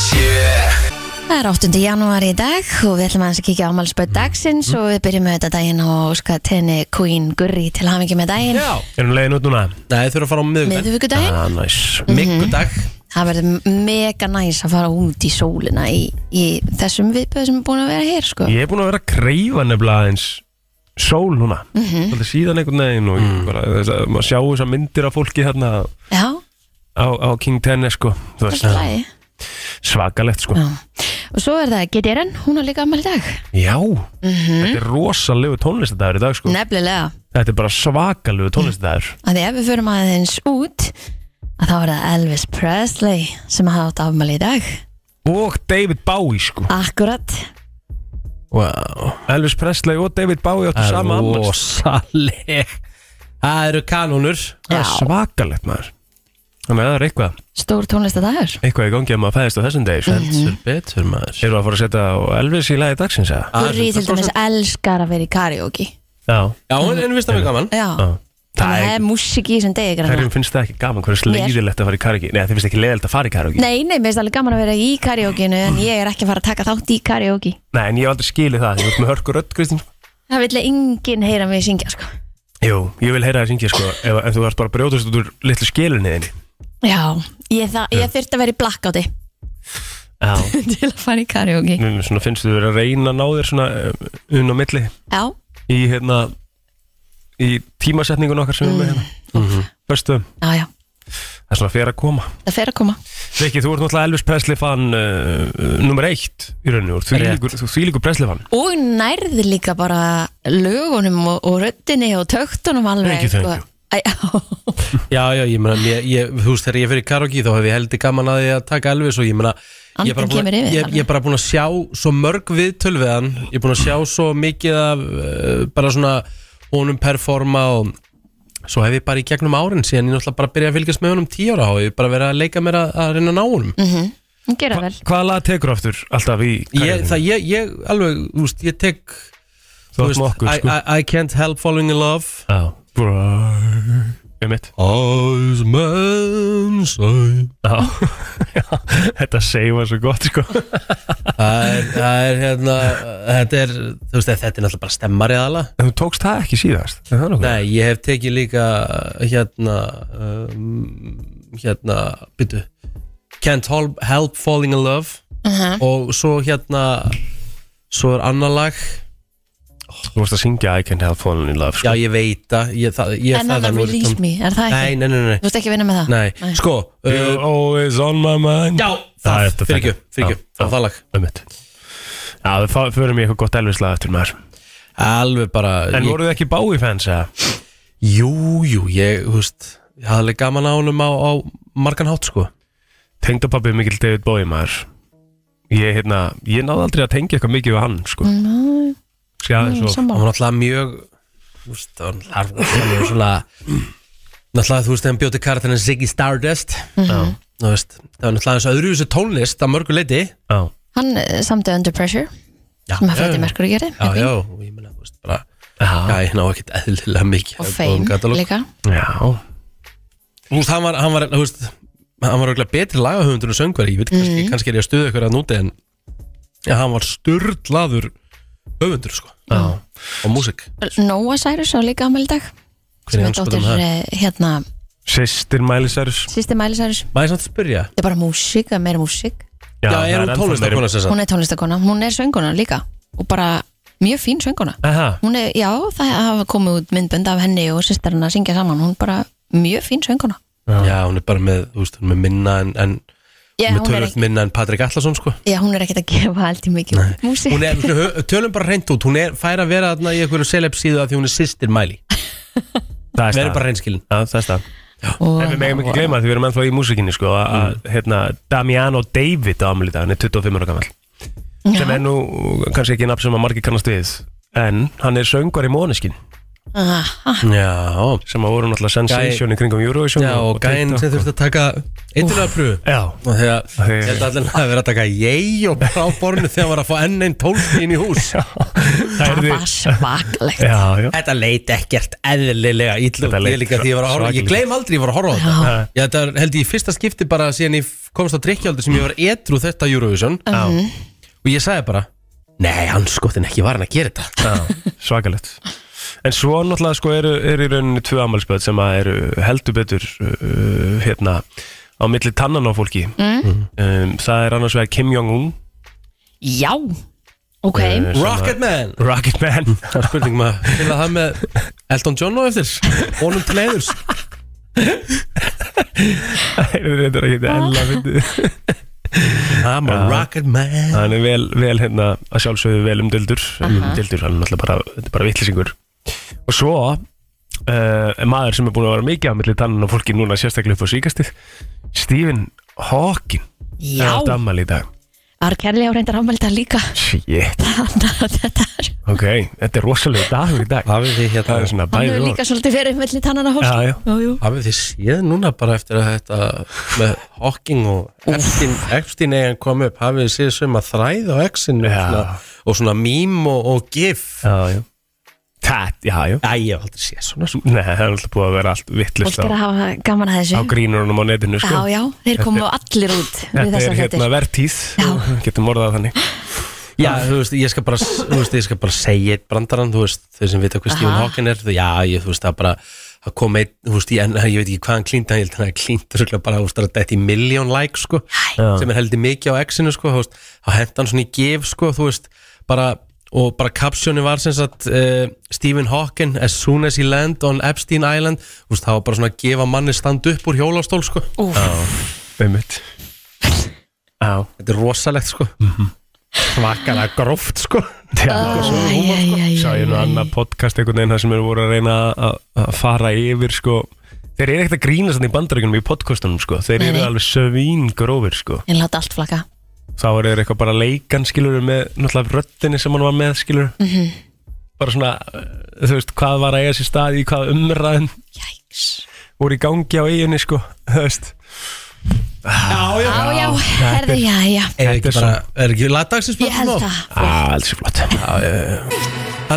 [SPEAKER 2] Það er 8. janúar í dag og við ætlum aðeins að kíkja á ámálspöð dagsins og við byrjum með þetta daginn og skat henni Queen Gurri til hafingi með daginn.
[SPEAKER 1] Já,
[SPEAKER 3] Er hún leiðin út núna?
[SPEAKER 1] nei þurfa að fara á miðugdag
[SPEAKER 2] Miðvíkudaginn.
[SPEAKER 3] Ah, næs
[SPEAKER 1] Miggudag,
[SPEAKER 2] Það verður mega næs að fara út í sólina í, í þessum viðböð sem er búin að vera hér, sko.
[SPEAKER 3] Ég er búin að vera að kreifa nefnilega eins Sól núna mm
[SPEAKER 2] Mhm.
[SPEAKER 3] síðan einhvern veginn Og mm. bara, þess að maður sjá þessar myndir af fólki hérna
[SPEAKER 2] Já,
[SPEAKER 3] Á, á King Tennis sko Þú veist
[SPEAKER 2] það er slæði.
[SPEAKER 3] Svakalegt sko
[SPEAKER 2] Já. og svo er það GDRN, hún á líka ammæli dag
[SPEAKER 3] Já,
[SPEAKER 2] Mhm.
[SPEAKER 3] þetta er rosalegu tónlistadagur í dag sko
[SPEAKER 2] nefnilega,
[SPEAKER 3] Þetta er bara svakalegu tónlistadagur
[SPEAKER 2] að því ef við förum aðeins út að þá er það Elvis Presley sem hafa átt afmæli í dag
[SPEAKER 3] Og David Bowie sko
[SPEAKER 2] akkurat,
[SPEAKER 1] wow.
[SPEAKER 3] Elvis Presley og David Bowie áttu
[SPEAKER 1] Það
[SPEAKER 3] sama
[SPEAKER 1] er
[SPEAKER 3] ammæli
[SPEAKER 1] rosaleg Það eru kanónur
[SPEAKER 3] Það er
[SPEAKER 2] Já.
[SPEAKER 3] svakalegt maður Þannig að það er eitthvað,
[SPEAKER 2] stór tónlistadagur
[SPEAKER 3] eitthvað í gangi að maður fæðist á þessum degi sko.
[SPEAKER 1] Heldur betur maður
[SPEAKER 3] Eru að fara að setja á Elvis í lagi dagsins eða?
[SPEAKER 2] Gurri til dæmis elskar að vera í karaoke
[SPEAKER 3] Já,
[SPEAKER 1] Já, en, en vist að við gaman
[SPEAKER 2] já,
[SPEAKER 3] já
[SPEAKER 2] þannig að það er músik í þessum degi greinilega.
[SPEAKER 3] Hverjum finnst það ekki gaman, hverjum
[SPEAKER 2] Mér.
[SPEAKER 3] finnst leiðilegt að fara í karaoke Nei, þið finnst ekki leiðilegt að fara í karaoke
[SPEAKER 2] Nei, nei, mér finnst alveg gaman að vera í karaokeinu en ég er ekki að fara að taka þátt í karaoke
[SPEAKER 3] Nei, en ég hef aldrei skilið það, þú ert með hörku rödd, Kristín sko.
[SPEAKER 2] Það vil enginn heyra mig syngja sko.
[SPEAKER 3] Jú, ég vil heyra það syngja, sko ef, ef þú ert bara að brjótast út úr litlu skilunniðinni
[SPEAKER 2] Já, ég, það- ég þurfti að vera í blackouti
[SPEAKER 3] Já
[SPEAKER 2] til að fara í karaoke
[SPEAKER 3] Nú, Svona finnst þú verið að reyna að ná þér svona um, un og milli
[SPEAKER 2] Já,
[SPEAKER 3] í hérna í tímasetningun okkar sem við erum með hérna mm Veistu,
[SPEAKER 2] já, já,
[SPEAKER 3] það er svona fyrir að koma
[SPEAKER 2] það fer að koma
[SPEAKER 3] Rikki, þú ert náttúrulega Elvis Presley fan uh, nummer eitt í rauninu, þú ert þvílíkur- þú þvílíkur Presley fan
[SPEAKER 2] Og nærði líka bara lögunum og, og röddinni og töktunum alveg sko.
[SPEAKER 3] Thank you, thank you.
[SPEAKER 2] Æ, já,
[SPEAKER 1] Já, já, ég meina, ég, ég, þú veist, þegar ég fyrir karaoke þá hef ég heldur gaman að því að taka Elvis og ég meina, ég er bara
[SPEAKER 2] Andinn
[SPEAKER 1] búin,
[SPEAKER 2] kemur yfir,
[SPEAKER 1] ég, ég er bara búin að sjá svo mörg viðtöl við hann, ég er búin að sjá svo mikið af uh, bara svona honum performa og svo hef ég bara í gegnum árin síðan ég náttúrulega bara byrjaði að fylgjast með honum tíu ára og ég hef bara verið að leika mér að, að reyna að ná honum
[SPEAKER 2] Mm. hún gera vel
[SPEAKER 3] Hvaða lag tekur aftur alltaf í
[SPEAKER 1] ég, það, ég, ég alveg, þú veist, ég tek
[SPEAKER 3] Þú ert með okkur,
[SPEAKER 1] I,
[SPEAKER 3] sko
[SPEAKER 1] I, I can't help falling in love
[SPEAKER 3] Já Bright Ég mitt
[SPEAKER 1] Eyes man say
[SPEAKER 3] Já Þetta segir maður svo gott, sko
[SPEAKER 1] Það er, það er hérna, þetta er, þú veist, þetta er náttúrulega bara stemmari aðala.
[SPEAKER 3] En þú tókst það ekki síðast Er það nokkuð?
[SPEAKER 1] Nei, ég hef tekið líka, hérna, um, hérna, byttu, Can't help, help Falling in Love
[SPEAKER 2] Uh-huh.
[SPEAKER 1] og svo hérna, svo er annar lag,
[SPEAKER 3] Þú varst að syngja I can't help falling in love, sko
[SPEAKER 1] já ég veit það, ég, það, ég
[SPEAKER 2] En það er
[SPEAKER 1] nú er
[SPEAKER 2] release
[SPEAKER 1] tóm-
[SPEAKER 2] me, er það
[SPEAKER 1] Nei,
[SPEAKER 2] ekki?
[SPEAKER 1] nei, nei, nei,
[SPEAKER 2] Þú ert ekki að vinna með það?
[SPEAKER 1] nei, sko,
[SPEAKER 3] You're
[SPEAKER 1] uh,
[SPEAKER 3] always on my mind
[SPEAKER 1] já,
[SPEAKER 3] Það er
[SPEAKER 1] það,
[SPEAKER 3] þetta
[SPEAKER 1] fyrir ekki,
[SPEAKER 3] þetta.
[SPEAKER 1] fyrir ekki,
[SPEAKER 3] Já,
[SPEAKER 1] það var
[SPEAKER 3] já.
[SPEAKER 1] það lag.
[SPEAKER 3] Ég mitt Já, við fá- förum í eitthvað gott Elvis-lag eftir maður
[SPEAKER 1] Alveg bara,
[SPEAKER 3] En
[SPEAKER 1] ég,
[SPEAKER 3] voruð þið ekki Bowie-fans, eða?
[SPEAKER 1] jú, jú, ég, þú veist, ég hafði alveg gaman á honum á, á margan hátt, sko.
[SPEAKER 3] Tengdapappi mikill David Bowie, maður Ég, hérna, ég náði aldrei að tengja eitthvað mikið við hann, sko
[SPEAKER 2] Ná,
[SPEAKER 3] Ska, svo,
[SPEAKER 1] það
[SPEAKER 2] sammála
[SPEAKER 1] var náttúrulega mjög þú veist, það var náttúrulega það var mjög svona náttúrulega þú veist þegar hann bjóti karakterin Ziggy Stardust þú veist, það var náttúrulega eins og öðruvísu tónlist að mörgu leiti já,
[SPEAKER 3] já
[SPEAKER 2] Hann eh, samdi Under Pressure sem að Freddy
[SPEAKER 1] já,
[SPEAKER 2] Mercury gerði
[SPEAKER 1] já, já, og ég meina, þú veist, bara
[SPEAKER 3] Já,
[SPEAKER 1] já, ég ná ekkert eðlilega mikið
[SPEAKER 2] og
[SPEAKER 1] af góðum
[SPEAKER 2] Fame
[SPEAKER 1] katalóg.
[SPEAKER 2] líka
[SPEAKER 3] já
[SPEAKER 1] þú veist, hann var, hann var, þú veist hann var auðvitað betri lagahöfundur en söngveri ég veit kannski, kannski er ég að stuða ykkur að núti en já, hann var sturdlaður höfundur, sko,
[SPEAKER 3] Já.
[SPEAKER 1] og músik
[SPEAKER 2] Noah Cyrus á líka ammæli í dag sem er dóttir
[SPEAKER 1] það?
[SPEAKER 2] eh, hérna,
[SPEAKER 3] Sýstir Miley Cyrus
[SPEAKER 2] sýsti Miley Cyrus
[SPEAKER 1] Má ég samt spyrja?
[SPEAKER 2] þetta er bara músík, það er meira músík
[SPEAKER 1] Já,
[SPEAKER 3] það
[SPEAKER 1] er hún
[SPEAKER 3] ennþá
[SPEAKER 1] tónlistakona
[SPEAKER 3] meiri-
[SPEAKER 1] sem sagt?
[SPEAKER 2] hún er tónlistakona, hún er sönguna líka og bara mjög fín sönguna
[SPEAKER 3] Aha,
[SPEAKER 2] hún er, já, það hafa komið út myndbönd af henni og sýstarinn að syngja saman hún er bara mjög fín sönguna
[SPEAKER 1] Já, hún er bara með, þú veist, hún er með minna en, en með
[SPEAKER 2] já, hún er,
[SPEAKER 1] tölvöld
[SPEAKER 2] ekki,
[SPEAKER 1] minna en Patrik Allarsson, sko
[SPEAKER 2] já, hún er ekkert að gefa allt í mikið út músík
[SPEAKER 1] Hún er, hö- tölum bara reynd út, hún er fær að vera þarna í einhverju celeb síðu að því hún er sýstir mæli
[SPEAKER 3] það er
[SPEAKER 1] Verður
[SPEAKER 3] stað
[SPEAKER 1] bara reynskilin
[SPEAKER 3] Já, það er stað
[SPEAKER 2] og,
[SPEAKER 3] En við megum ekki gleyma að við erum ennþá í músikinni sko að mm. hérna, Damiano David á Amelie dag, hann er 25 ára gammal sem er nú kannski ekki nafn sem að margir kannast við en hann er söngvar í Móneskin
[SPEAKER 2] aha,
[SPEAKER 1] Já,
[SPEAKER 3] sem að voru náttúrulega sensation í kringum Eurovision
[SPEAKER 1] já og gæinn sem
[SPEAKER 3] TikTok
[SPEAKER 1] þurfti að taka einnunarpröfu
[SPEAKER 3] og- Já,
[SPEAKER 1] og þegar,
[SPEAKER 3] Þegar-
[SPEAKER 1] ég held allir að það verið að taka ég og brá borinu þegar hann var að fá enn einn tólftíðin í hús
[SPEAKER 3] það
[SPEAKER 2] það
[SPEAKER 3] er
[SPEAKER 2] var svaklegt
[SPEAKER 3] Já, já
[SPEAKER 1] Þetta leit ekkert eðlilega ítlu
[SPEAKER 3] Þetta
[SPEAKER 1] Ég
[SPEAKER 3] leit
[SPEAKER 1] líka því ég var að horfa Ég
[SPEAKER 3] svakalega.
[SPEAKER 1] gleym aldrei ég var að horfa á þetta Ég þetta er, held ég í fyrsta skipti bara síðan ég komst á drikkjáldur sem ég var edru þetta Eurovision
[SPEAKER 3] Já.
[SPEAKER 1] og ég sagði bara Nei, hann skotin ekki var hann að gera þetta
[SPEAKER 3] Já, svakalegt En svo náttúrulega sko eru, eru í rauninni tvö ammælspöð sem að eru heldur betur uh, hérna á milli tannan á fólki
[SPEAKER 1] Mm.
[SPEAKER 3] um, Það er annars vegar Kim Jong-un
[SPEAKER 2] já, ok
[SPEAKER 3] uh, sem að-
[SPEAKER 1] Rocketman
[SPEAKER 3] Rocket Man
[SPEAKER 1] Spurning maður Til að það með Elton John og eftir Honum til leiðurs
[SPEAKER 3] Þetta er ekki ella fyndið
[SPEAKER 1] I'm a rocket man
[SPEAKER 3] hann er vel, vel hérna að sjálfsögðu vel um umdildur umdildur, hann er náttúrulega bara, þetta er bara vittlisingur og svo uh, er maður sem er búin að vera mikið á milli tannan og fólki núna sérstaklega upp á síkastið Stephen Hawking
[SPEAKER 2] Já.
[SPEAKER 3] er átt ammali í dag
[SPEAKER 2] Arkerli á reyndar ámælda líka
[SPEAKER 3] shit,
[SPEAKER 2] Þannig að þetta er
[SPEAKER 3] ok, þetta er rosalega dagur í dag
[SPEAKER 1] Hafið þið hérna
[SPEAKER 3] það er svona
[SPEAKER 2] Hann
[SPEAKER 3] bæði
[SPEAKER 2] hefur
[SPEAKER 3] og
[SPEAKER 2] líka svolítið verið mellir tannana hólk
[SPEAKER 3] Já, já.
[SPEAKER 2] Jú, jú.
[SPEAKER 1] Hafið þið séð núna bara eftir að þetta með Hawking og Epstein, Epstein eigin kom upp, hafið þið séð sem að þræð á X-inu
[SPEAKER 3] Já.
[SPEAKER 1] svona- og svona mím og, og gif
[SPEAKER 3] já, já. Það, já, já
[SPEAKER 1] Æ, ég hef aldrei séð svona
[SPEAKER 3] Nei, það er alltaf búið að vera allt vittlust
[SPEAKER 2] Fólk er
[SPEAKER 3] á,
[SPEAKER 2] að hafa gaman að
[SPEAKER 3] á
[SPEAKER 2] þessu
[SPEAKER 3] grínurunum á netinu sko.
[SPEAKER 2] Já, já, þeir komu allir út við
[SPEAKER 3] Þetta er
[SPEAKER 2] þessar
[SPEAKER 3] hérna
[SPEAKER 2] þettir
[SPEAKER 3] vertíð
[SPEAKER 2] Já.
[SPEAKER 3] Getum orðað þannig
[SPEAKER 1] Já, þú veist, ég skal bara, þú veist, ég skal bara segja eitt brandarann, þú veist, þau sem vita hvað Stephen
[SPEAKER 2] Aha.
[SPEAKER 1] Hawking er, þú, já, ég, þú veist, það bara að koma einn, þú veist, ég, en, ég veit ekki hvað hann klínt, hann ég held hann að klínt og bara, þú veist, það er þetta í miljón like, sko,
[SPEAKER 3] Já.
[SPEAKER 1] sem er heldur mikið á X-inu, sko, þú veist, þá hent hann svona í gef, sko, þú veist, bara, og bara kapsjónu var sem sagt uh, Stephen Hawking, as soon as he land on Epstein Island, þú veist, það var bara svona að gefa manni stand upp úr hjólastól, sko,
[SPEAKER 3] Einmitt Já,
[SPEAKER 1] þetta er rosalegt, sko,
[SPEAKER 3] Mm.
[SPEAKER 1] svakalega gróft, sko,
[SPEAKER 3] já sko. Sá ég nú annað podcast einhvern veginn Það sem eru voru að reyna að- að fara yfir sko Þeir eru ekkert að grínast þannig í bandaríkunum í podcastunum sko Þeir
[SPEAKER 2] Nei,
[SPEAKER 3] eru
[SPEAKER 2] nei.
[SPEAKER 3] alveg sövín grófir sko
[SPEAKER 2] En láta allt flaka
[SPEAKER 3] Þá eru þeir eitthvað bara leikan skilur með náttúrulega röddinni sem hann var með skilur -hmm. Bara svona, uh, þú veist, hvað var að eiga sér stað í hvað umræðum
[SPEAKER 2] Jæks
[SPEAKER 3] voru í gangi á eiginni sko Þú veist,
[SPEAKER 2] Já, já, herði, já, já
[SPEAKER 1] er
[SPEAKER 3] Þetta
[SPEAKER 1] ekki
[SPEAKER 3] er
[SPEAKER 1] bara, er ekki lagdagsins
[SPEAKER 2] Ég held það
[SPEAKER 3] að alls er Ah, flott
[SPEAKER 1] Það er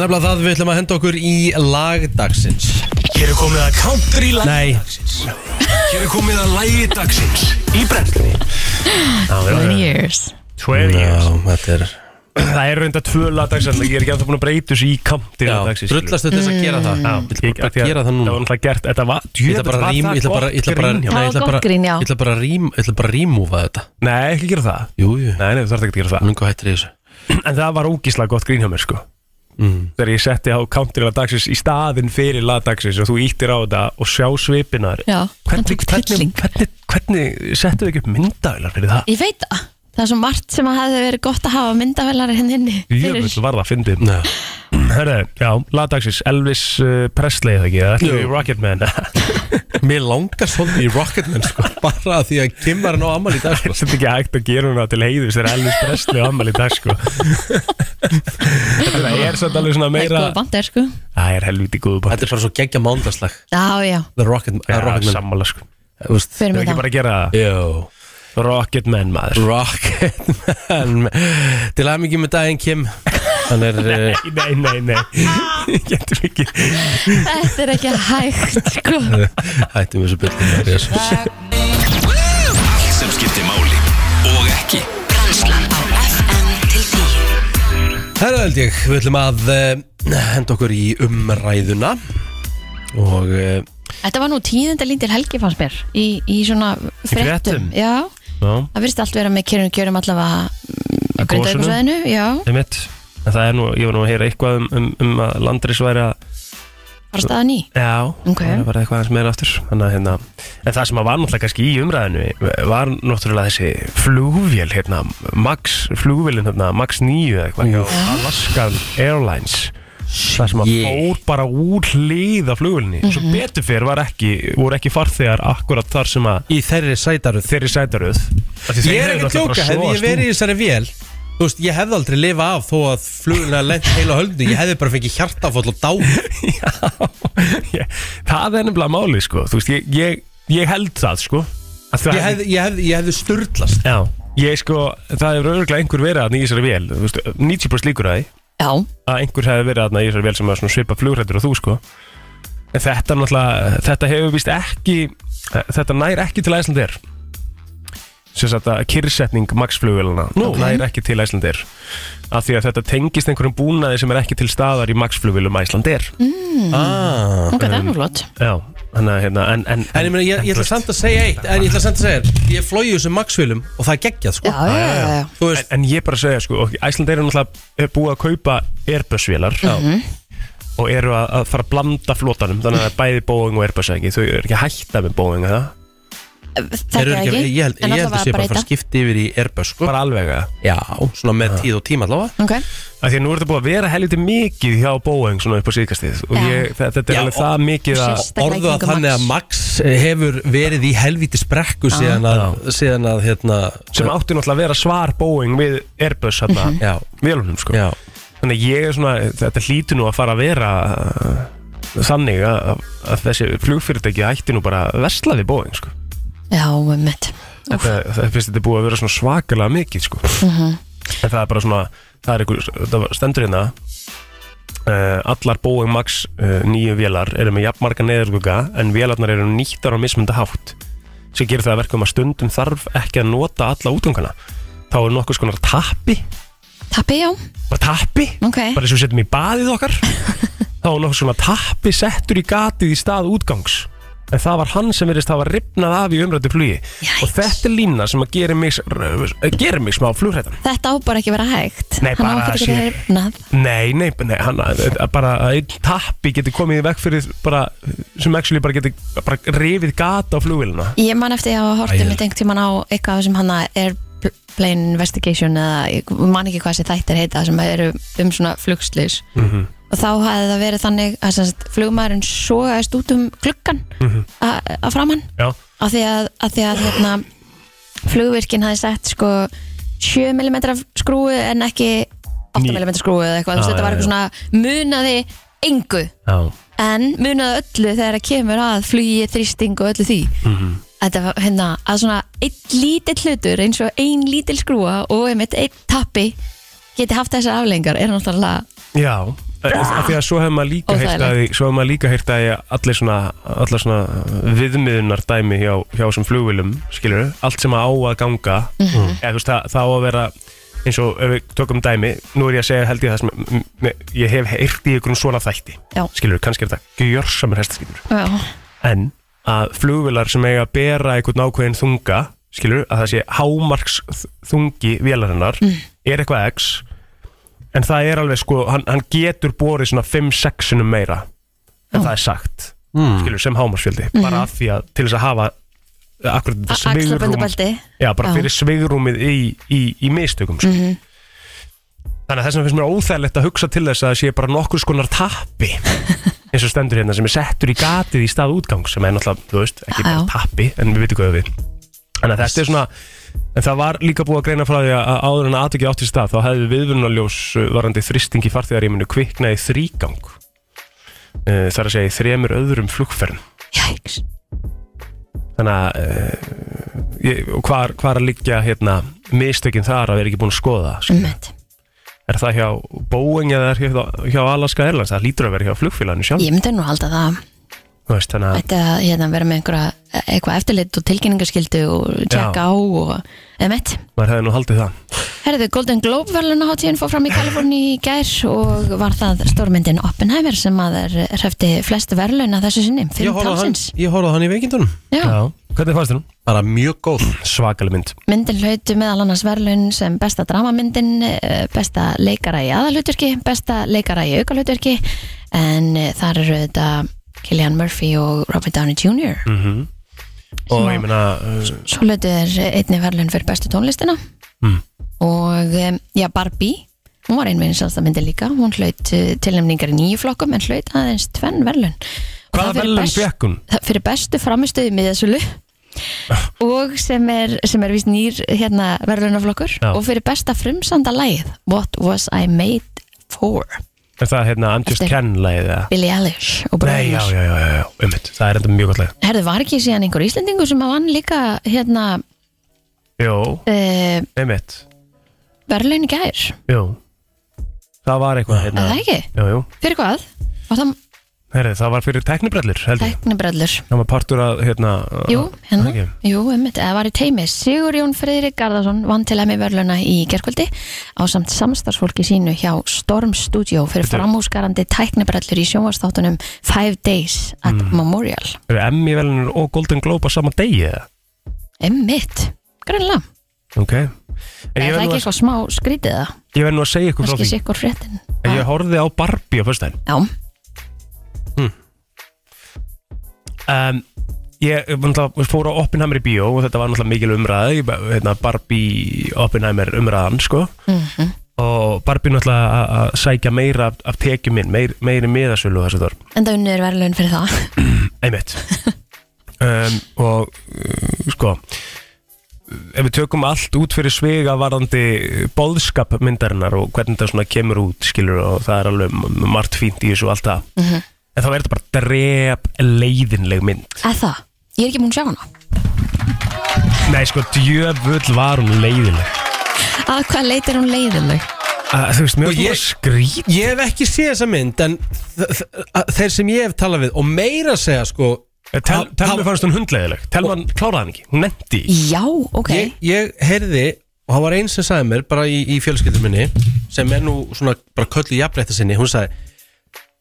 [SPEAKER 1] nefnilega það við ætlum að henda okkur í lagdagsins
[SPEAKER 5] Hér er komið að country lag
[SPEAKER 1] Nei,
[SPEAKER 5] Hér er komið að lægi dagsins Í brennslunni
[SPEAKER 3] Eh,
[SPEAKER 2] Years
[SPEAKER 3] 20
[SPEAKER 1] já,
[SPEAKER 3] years
[SPEAKER 1] þetta er
[SPEAKER 3] Það er raunda tvö lagdags en ég er ekki að það búin að breyta þessu í kantir
[SPEAKER 1] Já, drullastu til þess að gera það Ég ætla bara að gera það
[SPEAKER 3] Það var
[SPEAKER 1] núna
[SPEAKER 3] náttúrulega gert, þetta var
[SPEAKER 1] Ég
[SPEAKER 3] djöfull
[SPEAKER 1] ætla bara
[SPEAKER 3] var
[SPEAKER 1] að rím-
[SPEAKER 3] það
[SPEAKER 1] ég ætla bara-
[SPEAKER 3] gott
[SPEAKER 1] ég ætla bara-
[SPEAKER 3] grín hjá
[SPEAKER 1] nei,
[SPEAKER 2] mér.
[SPEAKER 1] ég ætla
[SPEAKER 2] Það var
[SPEAKER 1] bara-
[SPEAKER 2] gott grín, já.
[SPEAKER 1] Ég ætla bara að rím- ég ætla bara að rímúfa þetta
[SPEAKER 3] mér. Nei, ekki gera það
[SPEAKER 1] Jú, jú,
[SPEAKER 3] Nei, nei, þú þarf ekki að gera það
[SPEAKER 1] lungu hættir í þessu
[SPEAKER 3] En það var ógíslega gott grín hjá mér sko
[SPEAKER 1] Mm.
[SPEAKER 3] Þegar ég setti á kantir lagdagsins í staðinn fyrir lagdagsins og þú íttir á þetta og sjá svipinar
[SPEAKER 2] Já, hann
[SPEAKER 3] hvernig,
[SPEAKER 2] tók
[SPEAKER 3] hvernig,
[SPEAKER 2] trilling.
[SPEAKER 3] hvernig, hvernig settu þau ekki upp myndavilar fyrir það?
[SPEAKER 2] Ég veit það Það er svo margt sem að hefði verið gott að hafa myndavelar henni inni fyrir-
[SPEAKER 3] Jöfull var það, fyndið
[SPEAKER 1] Nei.
[SPEAKER 3] Herre, já, lagdagsins, Elvis uh, Presley eða ekki, eða ætlum við í Rocketman Þetta
[SPEAKER 1] Mér langar svolítið í Rocketman sko, bara af því að kimmar hann á ammal í dag sko.
[SPEAKER 3] er ekki hægt að gera hana til heiðis þegar Elvis Presley á ammali í dag sko Þetta er samt alveg svona
[SPEAKER 2] Það er
[SPEAKER 3] meira
[SPEAKER 2] góð bandar, sko
[SPEAKER 3] Það er helviti góðu bótt
[SPEAKER 1] Þetta er bara svo geggja mándaslag
[SPEAKER 2] Já, já,
[SPEAKER 1] The Rocketman,
[SPEAKER 3] Já,
[SPEAKER 1] ja, Rocketman.
[SPEAKER 3] sammála sko
[SPEAKER 1] Þú veist,
[SPEAKER 2] fyrir mig
[SPEAKER 3] Þetta er ekki
[SPEAKER 2] þá
[SPEAKER 3] bara að gera það
[SPEAKER 1] Jó
[SPEAKER 3] Rocketman maður
[SPEAKER 1] Rocketman Til aðmyggjum með daginn Kim Hann er eh,
[SPEAKER 3] Nei, nei, nei Getum ekki
[SPEAKER 2] Þetta er ekki hægt, sko
[SPEAKER 1] Hættum þessu byllum
[SPEAKER 5] Allt sem skiptir máli Og ekki
[SPEAKER 6] Brennslan á FM til 10
[SPEAKER 1] Herra held ég, við ætlum að uh, henda okkur í umræðuna og uh,
[SPEAKER 2] Þetta var nú tíðenda lítil helgi fannst mér í, í svona fréttum
[SPEAKER 3] fréttum?
[SPEAKER 2] Já,
[SPEAKER 3] Já,
[SPEAKER 2] það virðist allt vera með kjörum kjörum allavega
[SPEAKER 3] Að gosinu?
[SPEAKER 2] Grindavíkursvæðinu, já,
[SPEAKER 3] einmitt En það er nú, ég var nú að heyra eitthvað um, um, um að landris væri að
[SPEAKER 2] bara staðan í
[SPEAKER 3] Já,
[SPEAKER 2] Ok.
[SPEAKER 3] það er bara eitthvað aðeins meira aftur Þannig að hérna, en það sem að var náttúrulega kannski í umræðinu var náttúrulega þessi flugvél hérna, Max, flugvélin hérna, Max 9 eða eitthvað, hjá Alaskan Airlines Það sem að
[SPEAKER 1] Shit.
[SPEAKER 3] fór bara úr hlið af flugvélinni Svo betur fyrir var ekki, voru ekki farþegar akkurat þar sem að
[SPEAKER 1] í þeirri sætaruð
[SPEAKER 3] þeirri sætaruð
[SPEAKER 1] Ég er ekki að tjóka, hefði ég verið í þessari vél Þú veist, ég hefði aldrei lifa af þó að fluguna lent heila höldu, ég hefði bara fengið hjartafóll og dá
[SPEAKER 3] Já, það er nefnilega máli sko Þú veist, ég, ég, ég held það sko Að það
[SPEAKER 1] Ég
[SPEAKER 3] hefði-
[SPEAKER 1] hefði, ég hefði, ég hefði sturdlast
[SPEAKER 3] Já, ég sko, það hefur örgulega einhver verið aðna í þessari vél þú veist, 90% líkur að því
[SPEAKER 2] Já,
[SPEAKER 3] að einhver hefði verið aðna í þessari vél sem var svona svipa flugrættur og þú sko en þetta náttúrulega, þetta hefur vist ekki þetta nær ekki til Æslandir sem sagt að kyrrsetning Max-flugvélana okay. nær ekki til Æslandir af því að þetta tengist einhverjum búnaði sem er ekki til staðar í Max-flugvélum Æslandir
[SPEAKER 1] ah.
[SPEAKER 2] ok, það er
[SPEAKER 3] eh.
[SPEAKER 2] nú flott
[SPEAKER 3] Já, þannig að hérna en, en,
[SPEAKER 1] En ég, meina, ég, ég ætla samt að segja eitt En ég ætla samt að segja þér, Ég flói þessum Maxvillum og það geggjað
[SPEAKER 2] Já,
[SPEAKER 3] Ah,
[SPEAKER 1] sko
[SPEAKER 2] já, já, já.
[SPEAKER 1] Þú
[SPEAKER 3] en,
[SPEAKER 1] veist,
[SPEAKER 3] en ég bara segja sko, Æslandeir er náttúrulega búið að kaupa Airbus-vélar
[SPEAKER 1] Mhm.
[SPEAKER 3] og eru að, að fara að blanda flotanum þannig að það er bæði Boeing og Airbus eða ekki, þau eru ekki að hætta með Boeing eða
[SPEAKER 2] þekkja það ekki,
[SPEAKER 1] Ég held,
[SPEAKER 2] en
[SPEAKER 1] ég held að
[SPEAKER 2] allavega
[SPEAKER 1] sé bara að fara
[SPEAKER 2] breyta
[SPEAKER 1] að skipta yfir í Airbus sko.
[SPEAKER 3] bara alveg að
[SPEAKER 1] Já, svona með tíð og tíma allavega
[SPEAKER 2] Ok,
[SPEAKER 3] Af Því að nú er þetta búið að vera helviti mikið hjá Boeing svona upp á síðkastið og
[SPEAKER 2] Já.
[SPEAKER 3] ég, þetta, þetta er
[SPEAKER 1] Já,
[SPEAKER 3] alveg það mikið að
[SPEAKER 2] Sérst- Staklega í
[SPEAKER 1] Orðu að
[SPEAKER 2] kringum
[SPEAKER 1] þannig að Max hefur verið í helvíti sprekku
[SPEAKER 2] Ah.
[SPEAKER 1] síðan að, síðan að hérna,
[SPEAKER 3] sem átti náttúrulega að vera svar Boeing við Airbus hérna, mm
[SPEAKER 1] Já.
[SPEAKER 3] vélunum sko.
[SPEAKER 1] Já.
[SPEAKER 3] þannig að ég er svona, þetta hlýtu nú að fara að vera uh, þannig að, að þessi flugfyrirtæki hætti nú bara að versla við Boeing sko.
[SPEAKER 2] já, ummitt
[SPEAKER 3] þetta, það finnst þetta búið að vera svona svakalega mikið sko. en það er bara svona það er einhver, það stendur hérna Uh, allar Boeing Max uh, nýju vélar eru með jafnmarga neðurguga en vélarnar eru nýttar á mismunda hátt sem gerir það að verka um að stundum þarf ekki að nota alla útgangana þá er nokkuð skonar tappi
[SPEAKER 2] Tappi, já,
[SPEAKER 3] bara tappi,
[SPEAKER 2] ok
[SPEAKER 3] bara eins og við setjum í baðið okkar þá var nokkuð svona tappi settur í gatið í stað útgangs en það var hann sem verðist hafa ripnað af í umrættu flugi
[SPEAKER 2] Jæks.
[SPEAKER 3] og þetta er lína sem að gera mig, gera mig smá flughrættan
[SPEAKER 2] Þetta á bara ekki að vera hægt
[SPEAKER 3] Nei,
[SPEAKER 2] Hann á ekki
[SPEAKER 3] bara
[SPEAKER 2] að
[SPEAKER 3] að
[SPEAKER 2] vera
[SPEAKER 3] sé-
[SPEAKER 2] rifnað
[SPEAKER 3] nei, nei, nei hann, að- að bara að einn tappi getur komið í vekk fyrir bara, sem actually bara getur bara rifið gata á flugvélina
[SPEAKER 2] Ég man eftir að hortum
[SPEAKER 1] Æ,
[SPEAKER 2] mitt einhvern tíman á eitthvað sem hann að Airplane Investigation eða ég man ekki hvað þessi þættir heita sem eru um svona flugslis
[SPEAKER 3] Mhm.
[SPEAKER 2] og þá hafði það verið þannig að sem sagt, flugmaðurinn sogaðist út um klukkan mm að framann
[SPEAKER 3] Mhm. já,
[SPEAKER 2] af því að, af því að hérna, flugvirkinn hafði sett sko 7mm skrúu en ekki 8mm skrúu eða eitthvað, þú veist,
[SPEAKER 3] Ah,
[SPEAKER 2] þetta var
[SPEAKER 3] já,
[SPEAKER 2] eitthvað svona munaði engu
[SPEAKER 3] já,
[SPEAKER 2] en munaði öllu þegar það kemur að flugi, þrýsting og öllu því
[SPEAKER 1] Mhm.
[SPEAKER 2] þetta var hérna að svona einn lítill hlutur eins og einn lítill skrúa og einmitt einn tappi geti haft þessar aflengar er náttúrulega
[SPEAKER 3] já eh, af því að svo hefur maður líka heyrt að því- svo hefur maður líka heyrt að því að allir svona, allir svona viðmiðunar dæmi hjá, hjá sem flugvilum, skilur allt sem að á að ganga eða, þú veist, það, það á að vera eins og ef við tökum dæmi, nú er ég að segja held ég það sem m- m- ég hef heyrt í einhverjum svona þætti,
[SPEAKER 2] Já.
[SPEAKER 3] skilur, kannski er þetta gjörsamur hestaskilur,
[SPEAKER 2] já,
[SPEAKER 3] en að flugvilar sem eiga að bera einhvern ákveðin þunga, skilur, að það sé hámarks þungi vélarinnar er eitthvað x en það er alveg sko, hann, hann getur borið svona 5-6 sinum meira en það er sagt, skilur, sem hámarsfjöldi bara af því að til þess að hafa eh, akkurat þetta svigrúm
[SPEAKER 2] axlaböndubælti
[SPEAKER 3] já, bara
[SPEAKER 2] Já.
[SPEAKER 3] fyrir svigrúmið í, í, í mistökum sko. þannig að þess vegna finnst mér óþægilegt að hugsa til þess að það sé bara nokkur skonar tappi eins og stendur hérna sem er settur í gatið í stað útgang sem er náttúrulega, þú veist, ekki bara
[SPEAKER 2] Já.
[SPEAKER 3] tappi en við veitum hvað við þannig að þetta er svona en það var líka búið að greina frá því að áður en að aðtöki átti stað þá hefði viðvunarljós uh, varandi þristing í farþegaríminu kviknaði þrígang uh, þar að segja í þremur öðrum flugferðum
[SPEAKER 2] Jæks.
[SPEAKER 3] þannig að eh, ég- og hvar, hvar að liggja hérna, mistökin þar að við erum ekki búin að skoða skilur?
[SPEAKER 2] Einmitt.
[SPEAKER 3] er það hjá Boeing eða er hjá, hjá Alaska Airlines það lítur að vera hjá flugfélaginu sjálf
[SPEAKER 2] ég myndi nú halda það
[SPEAKER 3] Þú veist, þannig að
[SPEAKER 2] ætti að hérna, vera með einhverja eitthvað eftirlit og tilkynningaskildu og tjekka á og emitt
[SPEAKER 3] maður hefði nú haldið það
[SPEAKER 2] Herðu, Golden Globe verðlunaháttíðin fór fram í Kaliforni í gær og var það stórmyndin Oppenheimer sem að er hrefti flest verðluna þessu sinni,
[SPEAKER 1] Ég
[SPEAKER 2] fimm
[SPEAKER 1] horfði á hann,
[SPEAKER 2] talsins.
[SPEAKER 1] ég horfði á hann í veikindunum
[SPEAKER 2] Já,
[SPEAKER 3] hvernig fannst þér nú?
[SPEAKER 1] Bara mjög góð
[SPEAKER 3] svakaleg mynd
[SPEAKER 2] myndin hlautu meðal annars verðlun sem besta dramamyndin, eh, besta leikara í aðalhutverki, besta leikara í aukalhutverki en eh, þar eru þetta Killian Murphy og Robert Downey Jr.
[SPEAKER 3] Mhm. og ég meina uh,
[SPEAKER 2] Svo hlutu er einni verðlun fyrir bestu tónlistina
[SPEAKER 3] Hmm.
[SPEAKER 2] og um, já, Barbie hún var einveginn sjálfstamindi líka hún hlaut eh, tilnefningar í nýju flokkum en hlaut aðeins tvenn verðlun Og það
[SPEAKER 3] hvaða
[SPEAKER 2] fyrir
[SPEAKER 3] velum
[SPEAKER 2] best-
[SPEAKER 3] fekk hún?
[SPEAKER 2] það- fyrir bestu framistöðu miðasölu og sem er, sem er víst nýr hérna verðlunaflokkur
[SPEAKER 3] Já.
[SPEAKER 2] og fyrir besta frumsanda lagið What Was I Made For
[SPEAKER 3] er það hérna I'm Just
[SPEAKER 2] Eftir-
[SPEAKER 3] Ken lagið eða?
[SPEAKER 2] Billie Eilish og
[SPEAKER 3] nei, já,
[SPEAKER 2] Bróðunars
[SPEAKER 3] já, já, já, já, ummitt það er enda mjög gott lagið
[SPEAKER 2] Herðu, var ekki síðan einhver Íslendingur sem að vann líka hérna
[SPEAKER 3] jú,
[SPEAKER 2] uh,
[SPEAKER 3] ummitt,
[SPEAKER 2] verðlun í gær
[SPEAKER 3] jú það var eitthvað hérna
[SPEAKER 2] Er það ekki?
[SPEAKER 3] jú, jú,
[SPEAKER 2] Fyrir hvað? Og það
[SPEAKER 3] Heri, það var fyrir teknibrellur held ég
[SPEAKER 2] tæknibrellur
[SPEAKER 3] Það var partur að, hérna
[SPEAKER 2] Jú,
[SPEAKER 3] það
[SPEAKER 2] hérna,
[SPEAKER 3] ekki?
[SPEAKER 2] jú, emmitt, eða var í teimi Sigur Jón Freyðrik Garðarsson vann til emmi verðluna í gerkvöldi á samt samstarfsfólki sínu hjá Storm Studio fyrir
[SPEAKER 3] Bíddu.
[SPEAKER 2] framhúsgarandi tæknibrellur í sjónvarsþáttunum Five Days at
[SPEAKER 3] Mm.
[SPEAKER 2] Memorial
[SPEAKER 3] Eru Emmy velunir og Golden Globe á sama degi eða?
[SPEAKER 2] Emmitt, grunlega
[SPEAKER 3] Ok En
[SPEAKER 2] Er það ekki
[SPEAKER 3] ég verð nú, að-
[SPEAKER 2] eitthvað smá skrítið það?
[SPEAKER 3] ég verð nú að segja ykkur frá
[SPEAKER 2] Kannski
[SPEAKER 3] því
[SPEAKER 2] sikkur fréttin
[SPEAKER 3] En ég horfði á Barbie á föstudaginn
[SPEAKER 2] Já,
[SPEAKER 3] um, ég um, náttúrulega fór á Oppenheimer í bíó og þetta var náttúrulega mikil umræði ég bara, hérna, Barbie Oppenheimer umræðan sko. og Barbie náttúrulega að- að sækja meira af, af tekjum minn meir, meiri miðasölu og þessu þar
[SPEAKER 2] En það unnur verðlaun fyrir það
[SPEAKER 3] einmitt um, og uh, sko ef við tökum allt út fyrir svega varðandi boðskap myndarinnar og hvernig það svona kemur út skilur og það er alveg m- margt fínt í þessu og allt það en þá er þetta bara drep leiðinleg mynd
[SPEAKER 2] Eða það, ég er ekki múin að sjá hana
[SPEAKER 3] Nei sko, djöfull var hún leiðileg
[SPEAKER 2] Að hvað leit er hún um leiðinleg?
[SPEAKER 3] uh, Þú veist, mér
[SPEAKER 1] Og
[SPEAKER 3] finnst
[SPEAKER 1] ég-
[SPEAKER 3] bara skrít
[SPEAKER 1] Ég hef ekki séð þessa mynd En þ- þ- að- þeir sem ég hef talað við Og meira segja sko
[SPEAKER 3] Eh, Tel,
[SPEAKER 1] Ha-
[SPEAKER 3] Telma
[SPEAKER 1] ha-
[SPEAKER 3] fannst hún hundleiðileg Telma kláraði hann ekki, hún nefndi
[SPEAKER 2] Já, ok
[SPEAKER 1] ég, ég heyrði Og það var eins sem sagði mér Bara í, í fjölskyldum minni Sem er nú svona bara köllu jafnrétti sinni Hún sagði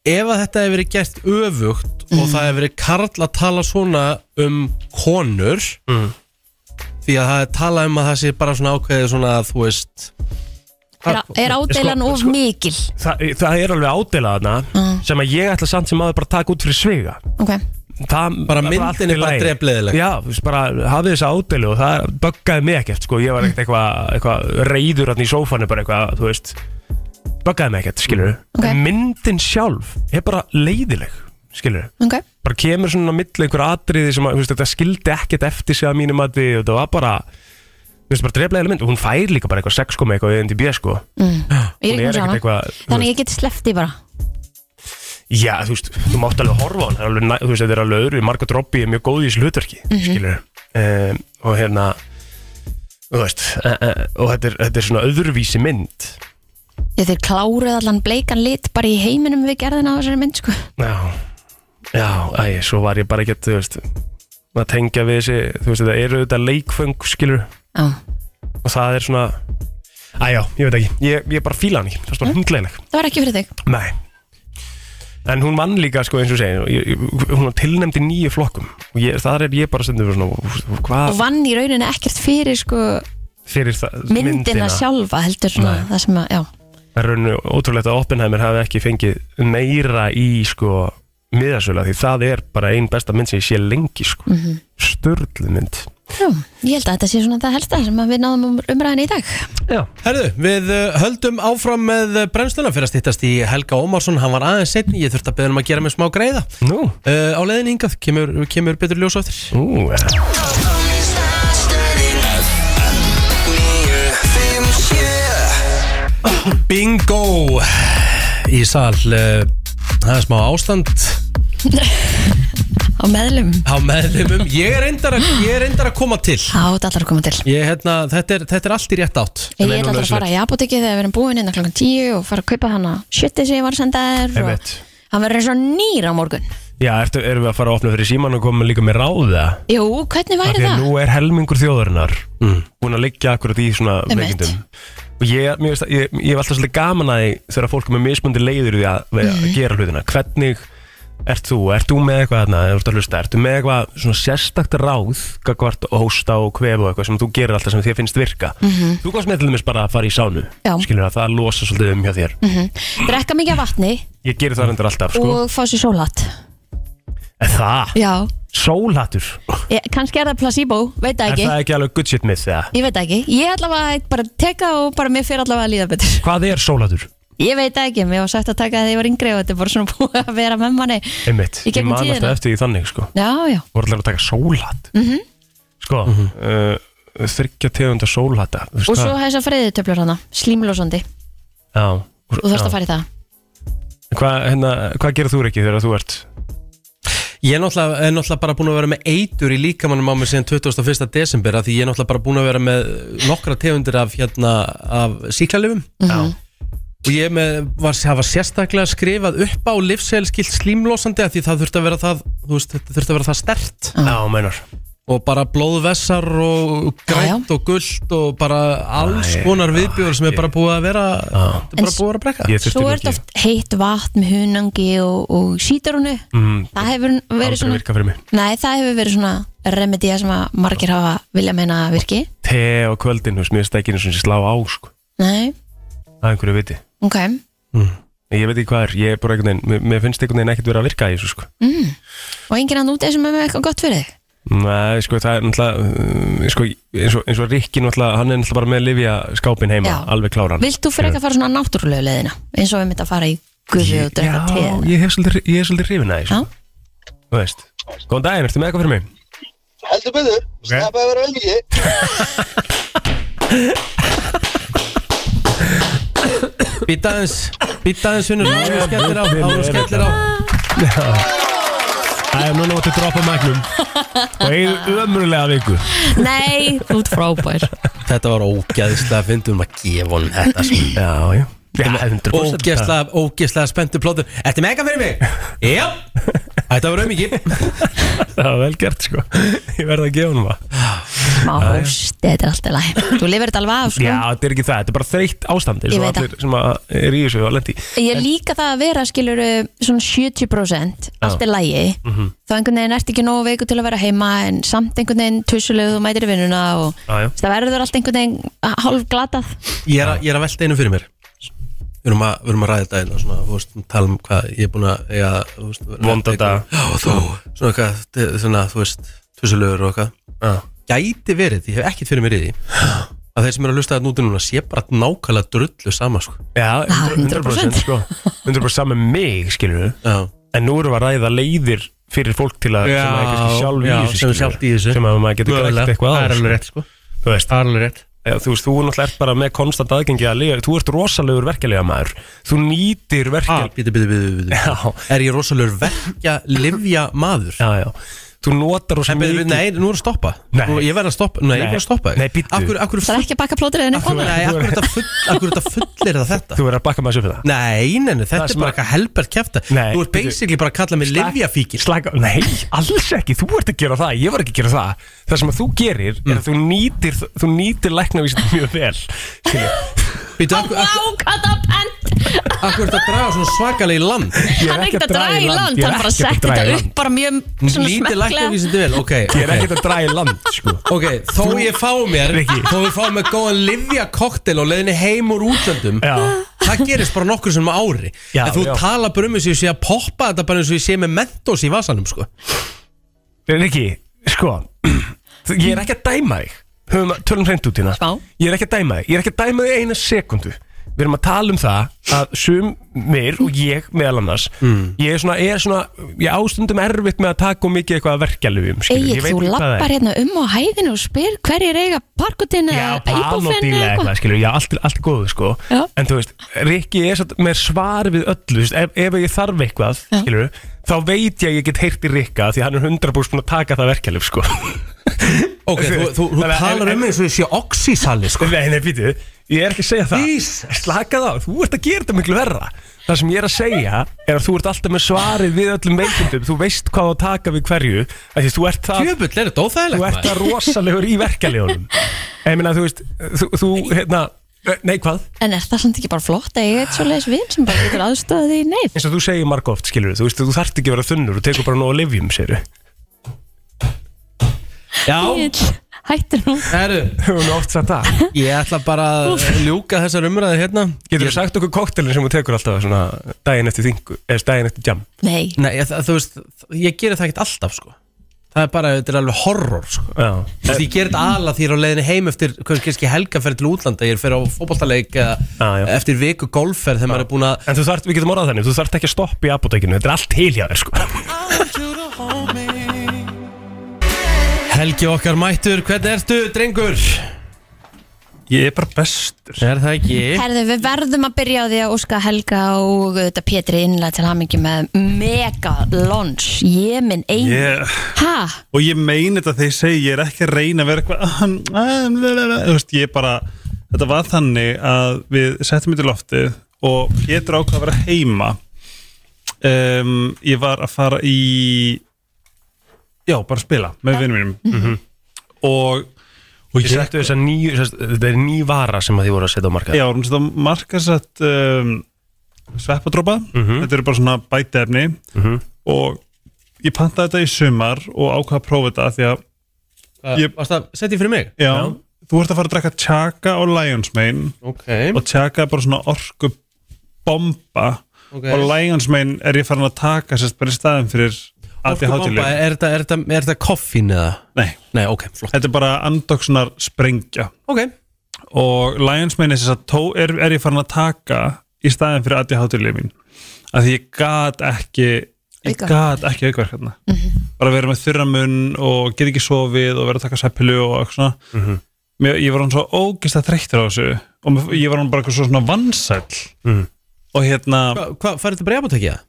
[SPEAKER 1] Ef að þetta hefur verið gert öfugt Og það hefur verið karl að tala svona um konur Því að það er talað um að það sé bara svona ákveðið svona að þú veist
[SPEAKER 2] Er, er ádeilan
[SPEAKER 3] Sko,
[SPEAKER 2] of
[SPEAKER 3] sko-
[SPEAKER 2] mikil?
[SPEAKER 3] Þa, eh, Það er alveg ádeila þarna
[SPEAKER 1] Mm.
[SPEAKER 3] sem að ég ætla samt sem aður bara að taka út fyrir sviga
[SPEAKER 2] Ok,
[SPEAKER 3] það,
[SPEAKER 1] Bara
[SPEAKER 3] það
[SPEAKER 1] myndin
[SPEAKER 3] allt í
[SPEAKER 1] er bara
[SPEAKER 3] lagi.
[SPEAKER 1] drepleiðileg.
[SPEAKER 3] Já, þú veist, bara hafið þessa ádeli og það böggaði mig ekkert sko. Ég var ekkert eitthvað eitthva reyður hann í sófanu bara eitthvað, þú veist böggaði mig ekkert, skilur
[SPEAKER 2] Ok.
[SPEAKER 3] En myndin sjálf er bara leiðileg skilur
[SPEAKER 2] ok
[SPEAKER 3] bara kemur svona á milli einhver atriði sem að, þú veist, þetta skildi ekkert eftir sig að mínum að því og það var bara þú veist, bara dreflega element og hún fær líka bara eitthvað sex koma eitthvað í NDB sko
[SPEAKER 2] Mm. Ég er
[SPEAKER 3] Hún
[SPEAKER 2] ekki múin að
[SPEAKER 3] er
[SPEAKER 2] sjá
[SPEAKER 3] ekkert
[SPEAKER 2] hana
[SPEAKER 3] eitthvað, þú
[SPEAKER 2] Þannig ég geti sleppti bara
[SPEAKER 3] já, þú veist, þú mátt alveg horfa á hann það er alveg, næ- þú veist, þetta er alveg öðru, Margot Robbie er mjög góð í þessu hlutverki, skilur um, og hérna þú veist, uh, uh, og þetta er, þetta er svona öðruvísi mynd
[SPEAKER 2] Ég þeir kláruð allan bleikan lit bara í heiminum við gerðina á þessari mynd sko
[SPEAKER 3] já, já, æ, svo var ég bara ekkert, þú veist að tengja við þessi, þú veist, þetta eru þetta leikföng, skilur
[SPEAKER 2] Já,
[SPEAKER 3] og það er svona Æjá, ég veit ekki, ég, ég bara fíla hann ekki Það er svona hundleileg
[SPEAKER 2] það var ekki fyrir þig
[SPEAKER 3] Nei En hún vann líka, sko, eins og segja ég, ég- Hún var tilnæmd í nýju flokkum Og ég, þar er ég bara stundum svona "Úff,
[SPEAKER 2] Og
[SPEAKER 3] Hvað
[SPEAKER 2] vann í rauninni ekkert fyrir sko
[SPEAKER 3] fyrir það,
[SPEAKER 2] myndina, sjálfa heldur svona
[SPEAKER 3] Nei.
[SPEAKER 2] það sem að, já,
[SPEAKER 3] Það er rauninu ótrúlegt að Oppenheimer hafi ekki fengið meira í, sko miðasöla, því það er bara ein besta mynd sem ég sé lengi, sko mm
[SPEAKER 2] Mhm.
[SPEAKER 3] -hmm. mynd
[SPEAKER 2] já, ég held að þetta sé svona það helsta sem að við náðum um umræðin í dag
[SPEAKER 3] Já,
[SPEAKER 1] Herðu, við uh, höldum áfram með uh, brennsluna fyrir að stýttast í Helga Ómarsson hann var aðeins setni, ég þurfti að beða um að gera mig smá greiða
[SPEAKER 3] nú
[SPEAKER 1] uh, á leiðin hingað, kemur, kemur betur ljós á eftir
[SPEAKER 3] Ú, ja.
[SPEAKER 1] Bingo í sal uh, það er smá ástand
[SPEAKER 2] á meðlum,
[SPEAKER 1] á meðlumum, ég er reyndar að, ég er reyndar að koma til
[SPEAKER 2] þá er þetta allar að koma til
[SPEAKER 1] ég, hérna, þetta, er, þetta er allt í rétt átt
[SPEAKER 2] Ég ætla alltaf að fara í apotekið þegar við erum búin inn að klokkan 10 og fara að kaupa hana shitið sem ég var að senda þér og
[SPEAKER 3] Einmitt.
[SPEAKER 2] hann verður eins og nýr á morgun
[SPEAKER 3] Já, ertu, erum við að fara að opna fyrir síman og koma líka með ráða?
[SPEAKER 2] Jú, hvernig
[SPEAKER 3] Af
[SPEAKER 2] væri
[SPEAKER 3] því að
[SPEAKER 2] það?
[SPEAKER 3] nú er helmingur þjóðarinnar búin að liggja akkurat í svona
[SPEAKER 2] Einmitt.
[SPEAKER 3] veikindum og ég, mér veist, að- ég, ég hef alltaf svolítið gaman að því þegar fólk er með mismundi leiður við að, við
[SPEAKER 2] Mhm.
[SPEAKER 3] að gera hlutina hvernig ert þú, ert þú með eitthvað þarna, ef þú ert að hlusta, ertu með eitthvað svona sérstakt ráð, gagvart og hósta og kvef og eitthvað sem þú gerir alltaf sem þér finnst virka þú komst með til dæmis bara að fara í sánu
[SPEAKER 2] Mhm. Já.
[SPEAKER 3] skilur að það losa svolítið um hjá þér
[SPEAKER 2] Drekka mikið af vatni
[SPEAKER 3] ég gerir það endur alltaf, sko
[SPEAKER 2] og fá sér sólhatt
[SPEAKER 3] en það,
[SPEAKER 2] Já,
[SPEAKER 3] sólhattur
[SPEAKER 2] ég, E, kannski er það placebo, veit það
[SPEAKER 3] er
[SPEAKER 2] ekki
[SPEAKER 3] það ekki alveg good shit myth, eða?
[SPEAKER 2] Ég veit það ekki, ég allavega bara teka og bara mér fyrir allavega að líða betur
[SPEAKER 3] hvað er sólhattur?
[SPEAKER 2] Ég veit það ekki, mér var sagt að taka það þegar ég var yngri og þetta er bara svona búið að vera með manni
[SPEAKER 3] Einmitt,
[SPEAKER 2] Í
[SPEAKER 3] ég
[SPEAKER 2] gegnum
[SPEAKER 3] man alltaf
[SPEAKER 2] tíðina. Mhm.
[SPEAKER 3] eftir því þannig sko
[SPEAKER 2] Já, já,
[SPEAKER 3] voru allir að taka sólhatt -hmm. sko mm -hmm. uh, þryggja tegunda sólhatta þú veist
[SPEAKER 2] og svo
[SPEAKER 3] það?
[SPEAKER 2] þess að freyðutöflur hana, slímlósandi
[SPEAKER 3] já,
[SPEAKER 2] og þarfst að fara í það
[SPEAKER 3] hvað hérna, hva gerir þú ekki þegar þú ert
[SPEAKER 1] ég er náttúrulega, er náttúrulega bara búin að vera með eitur í líkamannum á mig síðan 21. desember af því ég er náttúrulega bara búin að vera með nokkra tegundir af, hérna, af síklarlifum
[SPEAKER 3] já,
[SPEAKER 1] og ég með, var, það var sérstaklega skrifað upp á livsælskilt slímlósandi af því það þurfti að vera það þú veist, þetta þurfti að vera það stert
[SPEAKER 3] já meinar
[SPEAKER 1] og bara blóðvessar og grænt og gullt og bara alls
[SPEAKER 3] Æ,
[SPEAKER 1] konar viðbjörn sem er bara búið að vera þetta er
[SPEAKER 2] En
[SPEAKER 1] bara
[SPEAKER 2] s-
[SPEAKER 1] búið að vera að brekka
[SPEAKER 3] ég þurfti
[SPEAKER 2] Svo
[SPEAKER 3] nú
[SPEAKER 2] er þetta
[SPEAKER 3] ekki
[SPEAKER 2] oft heitt vatn með hunangi og, og sítarunu
[SPEAKER 3] Mm,
[SPEAKER 2] Það hefur
[SPEAKER 3] aldrei
[SPEAKER 2] verið svona
[SPEAKER 3] virka fyrir mig
[SPEAKER 2] Nei, það hefur verið svona remedía sem að margir hafa vilja meina að virki
[SPEAKER 3] te og kvöldin, þú veist, mér stækir eins og ég slá á sko
[SPEAKER 2] Nei,
[SPEAKER 3] að einhverju viti
[SPEAKER 2] ok
[SPEAKER 3] En ég veit ekki hvað er, ég er bara einhvern veginn mér- mér finnst einhvern veginn ekkert vera að virka í þessu sko
[SPEAKER 2] Og enginn að núti sem er með eitthvað gott fyrir þig
[SPEAKER 3] Nei, sko, það er náttúrulega uh, sko, eins, og, eins og Rikki náttúrulega hann er náttúrulega bara með Livia skápin heima
[SPEAKER 2] Já.
[SPEAKER 3] alveg kláran
[SPEAKER 2] Vilt þú fyrir ekki að fara svona náttúrulegu leiðina eins og við mitt að fara í guði og drekka
[SPEAKER 3] Já,
[SPEAKER 2] teð
[SPEAKER 3] ég hef svolítið, ég hef svolítið hrifin að
[SPEAKER 2] Já.
[SPEAKER 3] þessu Þú veist Góðan daginn, ertu með eitthvað fyrir mig?
[SPEAKER 7] Heldur byggður, okay. snappaði vera auðviki
[SPEAKER 1] Býta aðeins, býta aðeins vinnur Áður en þú skellir á, áður en þú skellir á
[SPEAKER 3] Æ, núna máttu droppa magnum og eigið ömurlega viku
[SPEAKER 2] Nei, þú ert frábær
[SPEAKER 1] Þetta var ógæðislega fyndum að gefa honum þetta sko.
[SPEAKER 3] Já, já Já, 100%
[SPEAKER 1] Ógæðslega, ógæðslega spenntu plótur Ertu með eitthvað fyrir mig? Já Þetta var auðmiki
[SPEAKER 3] Það var vel gert, sko Ég verði að gefa hún það
[SPEAKER 2] Má hóst, þetta er alltaf læg Þú lifir þetta alveg af
[SPEAKER 3] Já,
[SPEAKER 2] sko
[SPEAKER 3] þetta er ekki það, þetta er bara þreytt ástandi
[SPEAKER 2] Ég
[SPEAKER 3] svo
[SPEAKER 2] veit það.
[SPEAKER 3] allir sem að er í þessu og lendi
[SPEAKER 2] Ég líka það að vera skilur svona 70% allt er lægi
[SPEAKER 3] Mhm.
[SPEAKER 2] þá einhvern veginn ert ekki nógu veiku til að vera heima en samt einhvern veginn tussulegu þú mætir í vinnuna og
[SPEAKER 3] Já, já.
[SPEAKER 2] það verður allt einhvern veginn hálf glatað
[SPEAKER 1] Ég er, að- ég er að velta einu fyrir mér Við erum að, við erum að ræða þetta einu svona, þú veist, tala um hvað ég er búin að eiga, þú veist,
[SPEAKER 3] Vonda daga.
[SPEAKER 1] Já, þú, svona eitthvað, þe- svona, þú veist, tvissulegur og eitthvað Gæti verið, ég hef ekkert fyrir mér í því að þeir sem eru að lusta þetta núti núna sé bara nákvæmlega drullu sama, sko
[SPEAKER 3] Já,
[SPEAKER 2] 100%.
[SPEAKER 3] 100% sko 100% saman mig, skilur við
[SPEAKER 1] Já,
[SPEAKER 3] En nú erum við að ræða leiðir fyrir fólk til að sem að kannski sjálf í
[SPEAKER 1] já,
[SPEAKER 3] þessu
[SPEAKER 1] sem er
[SPEAKER 3] skilurðu.
[SPEAKER 1] sjálft í þessu.
[SPEAKER 3] Sem að maður getur grætt eitthvað á
[SPEAKER 1] Það er
[SPEAKER 3] sko.
[SPEAKER 1] alveg rétt, sko
[SPEAKER 3] Þú veist,
[SPEAKER 1] Það er alveg rétt
[SPEAKER 3] Já, þú veist, þú náttúrulega ert bara með konstant aðgengi að lega, þú ert rosalegur verkelega maður þú nýtir
[SPEAKER 1] Ah,
[SPEAKER 3] verkelega
[SPEAKER 1] bíti, bíti, bíti, bíti
[SPEAKER 3] já,
[SPEAKER 1] Er ég rosalur verkja, livja maður?
[SPEAKER 3] já, já, þú notar rosa
[SPEAKER 1] En betur við,
[SPEAKER 3] mikið
[SPEAKER 1] nei, nú er að stoppa
[SPEAKER 3] Nei.
[SPEAKER 1] Nú, Ég verð að stoppa, nei, ég verð að stoppa
[SPEAKER 3] Nei, bíddu.
[SPEAKER 1] Akkur, akkur,
[SPEAKER 2] það er ekki að baka plótur eða neitt
[SPEAKER 1] akkur,
[SPEAKER 2] annað.
[SPEAKER 1] nei, akkur, þetta full, akkur þetta fullir það þetta
[SPEAKER 3] þú verður að bakka maður sér fyrir það
[SPEAKER 1] Nei, nei, nei, þetta
[SPEAKER 3] Það
[SPEAKER 1] er
[SPEAKER 3] sem
[SPEAKER 1] bara
[SPEAKER 3] að-
[SPEAKER 1] eitthvað helbert kæfta
[SPEAKER 3] Nei,
[SPEAKER 1] Þú ert
[SPEAKER 3] bíddu.
[SPEAKER 1] basically bara að kalla mig livjafíkil
[SPEAKER 3] Slaka, nei, alls ekki, þú ert að gera það, ég var ekki að gera það Það sem að þú gerir er að þú nýtir, þú nýtir læknavísin mjög vel Skilju,
[SPEAKER 1] Býtu, akkur,
[SPEAKER 2] Vá,
[SPEAKER 1] akkur,
[SPEAKER 2] hvað það pent
[SPEAKER 1] akkur þetta draga svona svakalega í land
[SPEAKER 3] ég
[SPEAKER 2] Hann er ekkert að draga í land,
[SPEAKER 3] ég er
[SPEAKER 2] hann bara
[SPEAKER 3] ekkert að
[SPEAKER 2] setti
[SPEAKER 3] draga í
[SPEAKER 2] þetta
[SPEAKER 3] land.
[SPEAKER 2] upp bara mjög svona
[SPEAKER 1] Lítið
[SPEAKER 2] smekklega
[SPEAKER 1] læknavísindi vel, ok
[SPEAKER 3] Ég er
[SPEAKER 1] ok.
[SPEAKER 3] ekkert að draga í land, sko
[SPEAKER 1] Ok, þó ég fá mér
[SPEAKER 3] Rikki.
[SPEAKER 1] Þó ég fá mér góðan livjakoktel og leiðinni heim úr útlöndum
[SPEAKER 3] Já.
[SPEAKER 1] Það gerist bara nokkur sem á ári
[SPEAKER 3] Já,
[SPEAKER 1] En þú
[SPEAKER 3] já.
[SPEAKER 1] tala bara um þessu ég sé að poppa þetta bara eins og ég sé með mentos í vasanum sko.
[SPEAKER 3] Riki, sko Ég er ekki að dæma þig Höfum að tölum hreint út hérna
[SPEAKER 2] Smá.
[SPEAKER 3] Ég er ekki að dæma þig, ég er ekki að dæma þig eina sekundu Við erum að tala um það að sumir og ég meðal annars Ég er svona, ég er svona, ég ástundum erfitt með að taka og mikið eitthvað að verkja lögum
[SPEAKER 2] Egil, þú lappar hérna um á hæðinu og spyr hverjir eiga parkotinn
[SPEAKER 3] Já,
[SPEAKER 2] eða íbúfinn eða
[SPEAKER 3] panodíla eitthvað, sko.
[SPEAKER 2] eitthvað
[SPEAKER 3] skilur, já, allt, allt er góðu, sko
[SPEAKER 2] Já.
[SPEAKER 3] En þú veist, Rikki er satt með svar við öllu, þú veist, ef, ef ég þarf eitthvað,
[SPEAKER 2] Já.
[SPEAKER 3] skilur Þá veit ég að ég get heyrt í Rikka því að hann er 100% búinn að taka það verkjalið, sko
[SPEAKER 1] Ok, þú, þú, þú
[SPEAKER 3] Þannig að-
[SPEAKER 1] talar um eins og ég sé oxysali sko.
[SPEAKER 3] Nei, nei, býtu, ég er ekki að segja það
[SPEAKER 1] Jesus.
[SPEAKER 3] Slaka þá, þú ert að gera þetta miklu verra Það sem ég er að segja er að þú ert alltaf með svarið við öllum veikundum Þú veist hvað þú taka við hverju af Því þú ert það,
[SPEAKER 1] Jöfull, er þetta
[SPEAKER 3] þú ert
[SPEAKER 1] óþægilegt
[SPEAKER 3] það rosalegur í verkalegunum Ég meina, þú veist, þú, þú hérna Nei, hvað?
[SPEAKER 2] En er það samt ekki bara flott að eiga eitt svoleiðis vin sem bara getur aðstöðið í neyð?
[SPEAKER 3] Eins og þú segir margóft, skilur þú veist, þú þarft ekki að vera þunnur og tekur bara nóg að livjum, segir
[SPEAKER 1] Já,
[SPEAKER 2] Egill, Hættu nú
[SPEAKER 1] herru,
[SPEAKER 3] Þú hefur nú oft sagt það
[SPEAKER 1] ég ætla bara að ljúka þessar umræði hérna
[SPEAKER 3] Getur þú sagt okkur koktelin sem þú tekur alltaf svona daginn eftir þingu, eða daginn eftir jam
[SPEAKER 2] Nei,
[SPEAKER 1] Nei, ég, það- þú veist, ég gerir það ekkert alltaf sko. Það er bara, þetta er alveg horror sko.
[SPEAKER 3] Já,
[SPEAKER 1] Þú veist, ég ger þetta ala því ég er á leiðinni heim eftir kannski helgaferð til útlanda, ég er fyrir á fótballtaleik
[SPEAKER 3] Já, já.
[SPEAKER 1] eftir viku golfferð þegar maður er búin að
[SPEAKER 3] En þú þarft, við getum orðað þannig, þú þarft ekki að stoppa í apotekinu, þetta er allt til hjá þér sko
[SPEAKER 1] helgi okkar mættur, hvernig ertu, drengur?
[SPEAKER 5] Ég er bara bestur
[SPEAKER 1] Er það ekki?
[SPEAKER 2] herðu, við verðum að byrja á því að óska Helga og þetta Pétri innlega til hamingi með mega launch Ég minn einu
[SPEAKER 5] Ég,
[SPEAKER 2] Ha?
[SPEAKER 5] og ég meina þetta þegar ég segi ég er ekki að reyna að vera eitthvað "Ah, hann, ah, blablabla." Þú veist, ég bara, þetta var þannig að við settum þetta í loftið og Pétur ákvað að vera heima um, ég var að fara í já, bara að spila með vinnum mínum Mhm. og, og
[SPEAKER 3] Þið settu þess að nýju, þess, þetta er ný vara sem að þið voru að setja á markað
[SPEAKER 5] Já, hún setja markasett um, sveppadrópa Þetta eru bara svona bætefni og ég pantaði þetta í sumar og ákvað að prófa þetta af því að
[SPEAKER 1] Ég...
[SPEAKER 5] Ég-
[SPEAKER 1] Varst það, sett ég fyrir mig?
[SPEAKER 5] já, þú ert að fara að drekka tjaka og Lions Mane
[SPEAKER 1] Ok,
[SPEAKER 5] og tjaka er bara svona orku bomba
[SPEAKER 1] ok
[SPEAKER 5] og Lions Mane er ég farin að taka sérst bara í staðin fyrir ADHD-lyf.
[SPEAKER 1] Orkubomba, er- er þetta- er þetta- er þetta koffín eða?
[SPEAKER 5] Nei,
[SPEAKER 1] Nei, ok, flott
[SPEAKER 5] þetta er bara andoksunar sprengja
[SPEAKER 1] Ok,
[SPEAKER 5] og Lions meina þess að tó er, er ég farin að taka í staðin fyrir ADHD-lyfin að því ég gat ekki ég
[SPEAKER 2] Aukaverkanir.
[SPEAKER 5] gat ekki aukverkarna bara að vera með þurramun og get ekki sofið og vera að taka sæpilu og eitthvað svona Mér, ég var hann svo ógist að þreyttur á þessu og mér- ég var hann bara eitthvað svo svona vansæll og hérna
[SPEAKER 1] hvað, hva, farið þetta bara í apotekið?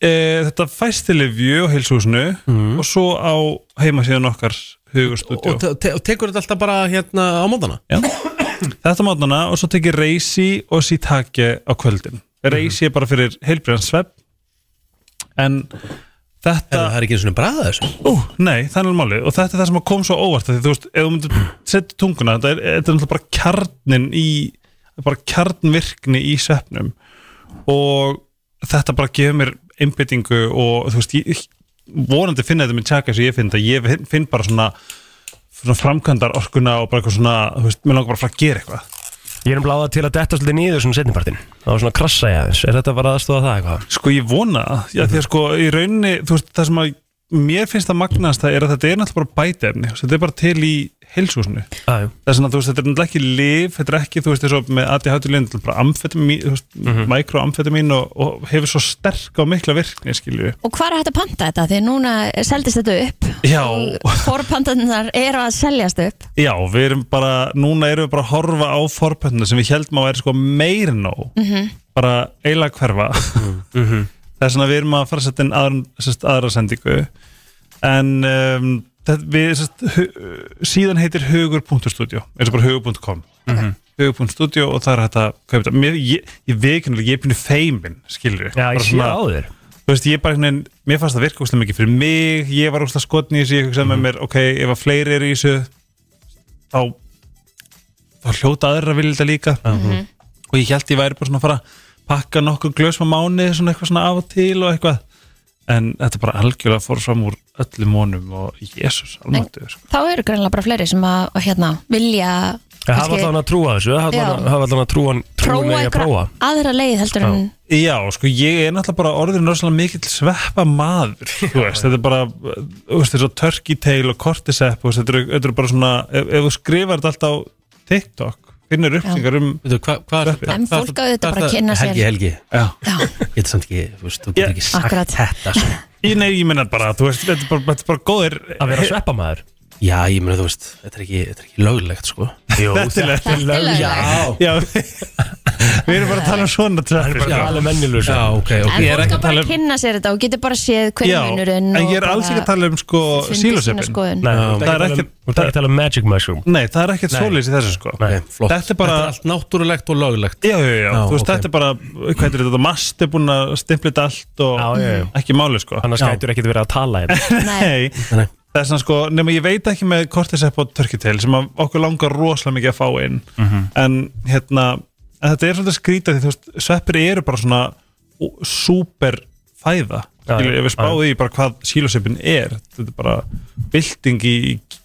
[SPEAKER 5] e, þetta fæstilifju á heilshúsinu og svo á heimasíðan okkar hugustúdjó
[SPEAKER 1] Og, te, te, og tekur þetta alltaf bara hérna á mótana?
[SPEAKER 5] Já. Þetta mátnana og svo tekið reysi og sítake á kvöldin Reysi er bara fyrir heilbriðan svepp En
[SPEAKER 1] Það, það
[SPEAKER 5] þetta
[SPEAKER 1] er ekki eins og bræða þessu
[SPEAKER 5] Ú, nei, það er alveg málið Og þetta er það sem að kom svo óvart af Því þú veist, ef þú myndir setja tunguna Þetta er, þetta er náttúrulega bara kjarnin í Bara kjarnvirkni í sveppnum Og þetta bara gefur mér einbyttingu Og þú veist, ég, vonandi finna þetta með tjaka Svo ég finn þetta, ég finn- finn bara svona svona framkvæmdar orkuna og bara eitthvað svona, þú veist, mér langar bara að fara að gera eitthvað
[SPEAKER 3] Ég er um bláða til að detta svolítið niður svona setnipartin Það var svona að krassa ég aðeins Er þetta bara aðstofa það eitthvað?
[SPEAKER 5] Sko ég vona það, já því að sko í rauninni, þú veist, það sem að mér finnst að magnast það er að þetta er náttúrulega bara bætefni þetta er bara til í heilsúsinu
[SPEAKER 3] Ah, jú.
[SPEAKER 5] það er svona, þú veist, þetta er náttúrulega ekki lif þetta er ekki, þú veist, eins og með ADHD linn bara amfetamin, þú veist, mm og, og hefur svo sterk og mikla virkni skilju,
[SPEAKER 2] Og hvað er hægt að panta þetta? Því núna seldist þetta upp
[SPEAKER 5] já
[SPEAKER 2] Forpantarnar eru að seljast upp
[SPEAKER 5] já, við erum bara, núna erum við bara að horfa á forpöndinu sem við heldum að væri sko meir nóg, -hmm. bara eiginlega hverfa
[SPEAKER 3] Mhm.
[SPEAKER 5] það er svona við erum að fara að setja inn aðra, sest, aðra sendingu en um, það, við, sest, hu, síðan heitir hugur.studio eins og bara hugur.com
[SPEAKER 3] Mhm.
[SPEAKER 5] okay. hugur.studio og það er hægt að kaupa þetta Mér- ég, ég veiknulega, ég er pínu feimin skilur,
[SPEAKER 3] Já, ég sé á þér
[SPEAKER 5] þú veist, ég bara einhvern veginn, mér fannst það virka úrslega mikið fyrir mig, ég var úrslega skotni í þessu, ég hugsaði með mér, ok, ef að fleiri eru í þessu, þá þá hljóta aðra vilja þetta líka og ég held ég væri bara svona að fara að pakka nokkur glös með mánu, svona eitthvað svona af og til og eitthvað, en þetta bara algjörlega fór fram úr öllum honum og jésus, almáttu, sko.
[SPEAKER 2] Þá eru greinlega bara fleiri sem að og hérna, vilja
[SPEAKER 3] Ég hafa
[SPEAKER 2] kannski
[SPEAKER 3] allan að trúa þessu Hafa
[SPEAKER 2] Já.
[SPEAKER 3] allan- hafa allan að trúa Trúin að ég að
[SPEAKER 2] einhverja
[SPEAKER 3] prófa
[SPEAKER 2] aðra leið heldur en
[SPEAKER 5] Já, sko, ég er náttúrulega bara orðin rosalega mikill sveppa maður þú veist, þetta er bara, þú veist, þess að turkey tail og cordyceps, þú veist, þetta eru- þetta eru bara svona, ef, ef þú skrifar þetta alltaf á TikTok, finnur upplýsingar um
[SPEAKER 1] Veitu, hva, hva, hva,
[SPEAKER 2] En fólk á auðvitað bara að kynna sér.
[SPEAKER 1] Helgi, Helgi,
[SPEAKER 5] Já.
[SPEAKER 1] ég get samt ekki, þú veist, þú get
[SPEAKER 5] Já,
[SPEAKER 1] ekki sagt
[SPEAKER 2] akkurat.
[SPEAKER 1] þetta sko.
[SPEAKER 5] Ég, nei, ég meina bara, þú veist, þetta er bara, þetta er bara góðir
[SPEAKER 3] Að vera sveppamaður
[SPEAKER 1] Já, ég meina, þú veist, þetta er ekki, þetta er ekki löglegt, sko
[SPEAKER 3] Jú, það
[SPEAKER 5] Þetta er
[SPEAKER 2] Þetta er
[SPEAKER 5] lög-
[SPEAKER 2] löglegt.
[SPEAKER 5] Já, við erum bara að tala um svona trefnir
[SPEAKER 3] er alveg mennilegur
[SPEAKER 1] Já,
[SPEAKER 3] sveppur.
[SPEAKER 1] ok, ok
[SPEAKER 2] En fólk
[SPEAKER 5] er ekki
[SPEAKER 2] á
[SPEAKER 5] að
[SPEAKER 2] bara
[SPEAKER 5] tala
[SPEAKER 2] að
[SPEAKER 5] um-
[SPEAKER 2] kynna sér þetta og getur bara séð
[SPEAKER 5] Já,
[SPEAKER 2] hverjunurinn
[SPEAKER 5] en ég er alls ekki að tala um sko sílosepin
[SPEAKER 2] skoðun.
[SPEAKER 3] Nei, þú
[SPEAKER 5] Það
[SPEAKER 3] ert ekki að
[SPEAKER 5] er
[SPEAKER 3] tala um-
[SPEAKER 5] ekkert-
[SPEAKER 3] þú ert ekki að tala um magic mushroom
[SPEAKER 5] Nei, það er ekkert
[SPEAKER 1] Nei.
[SPEAKER 5] svolítið í þessu sko
[SPEAKER 1] Nei, flott.
[SPEAKER 5] Þetta er bara-
[SPEAKER 1] allt náttúrulegt og löglegt
[SPEAKER 5] Já, já, já,
[SPEAKER 1] Já,
[SPEAKER 5] þú veist,
[SPEAKER 1] ok.
[SPEAKER 5] þetta er bara, hvað er þetta, mast er búin að stimpla þetta allt og
[SPEAKER 3] Já, já, já.
[SPEAKER 5] ekki máli, sko.
[SPEAKER 3] Annars
[SPEAKER 5] Já.
[SPEAKER 3] gætur ekki að vera að tala hérna
[SPEAKER 2] Nei,
[SPEAKER 5] Nei,
[SPEAKER 1] Nei.
[SPEAKER 5] það er svona sko, nema ég veit ekki með Cordyceps og Turkeytail sem að okkur langar rosalega mikið að fá inn
[SPEAKER 3] Mhm.
[SPEAKER 5] en hérna, en þetta er svolítið skrítið því þú veist, sveppir eru bara svona ó- super fæða
[SPEAKER 3] Já,
[SPEAKER 5] Skilur,
[SPEAKER 3] já,
[SPEAKER 5] ef við spáðu í bara hvað sílosepin er þetta er bara bylting í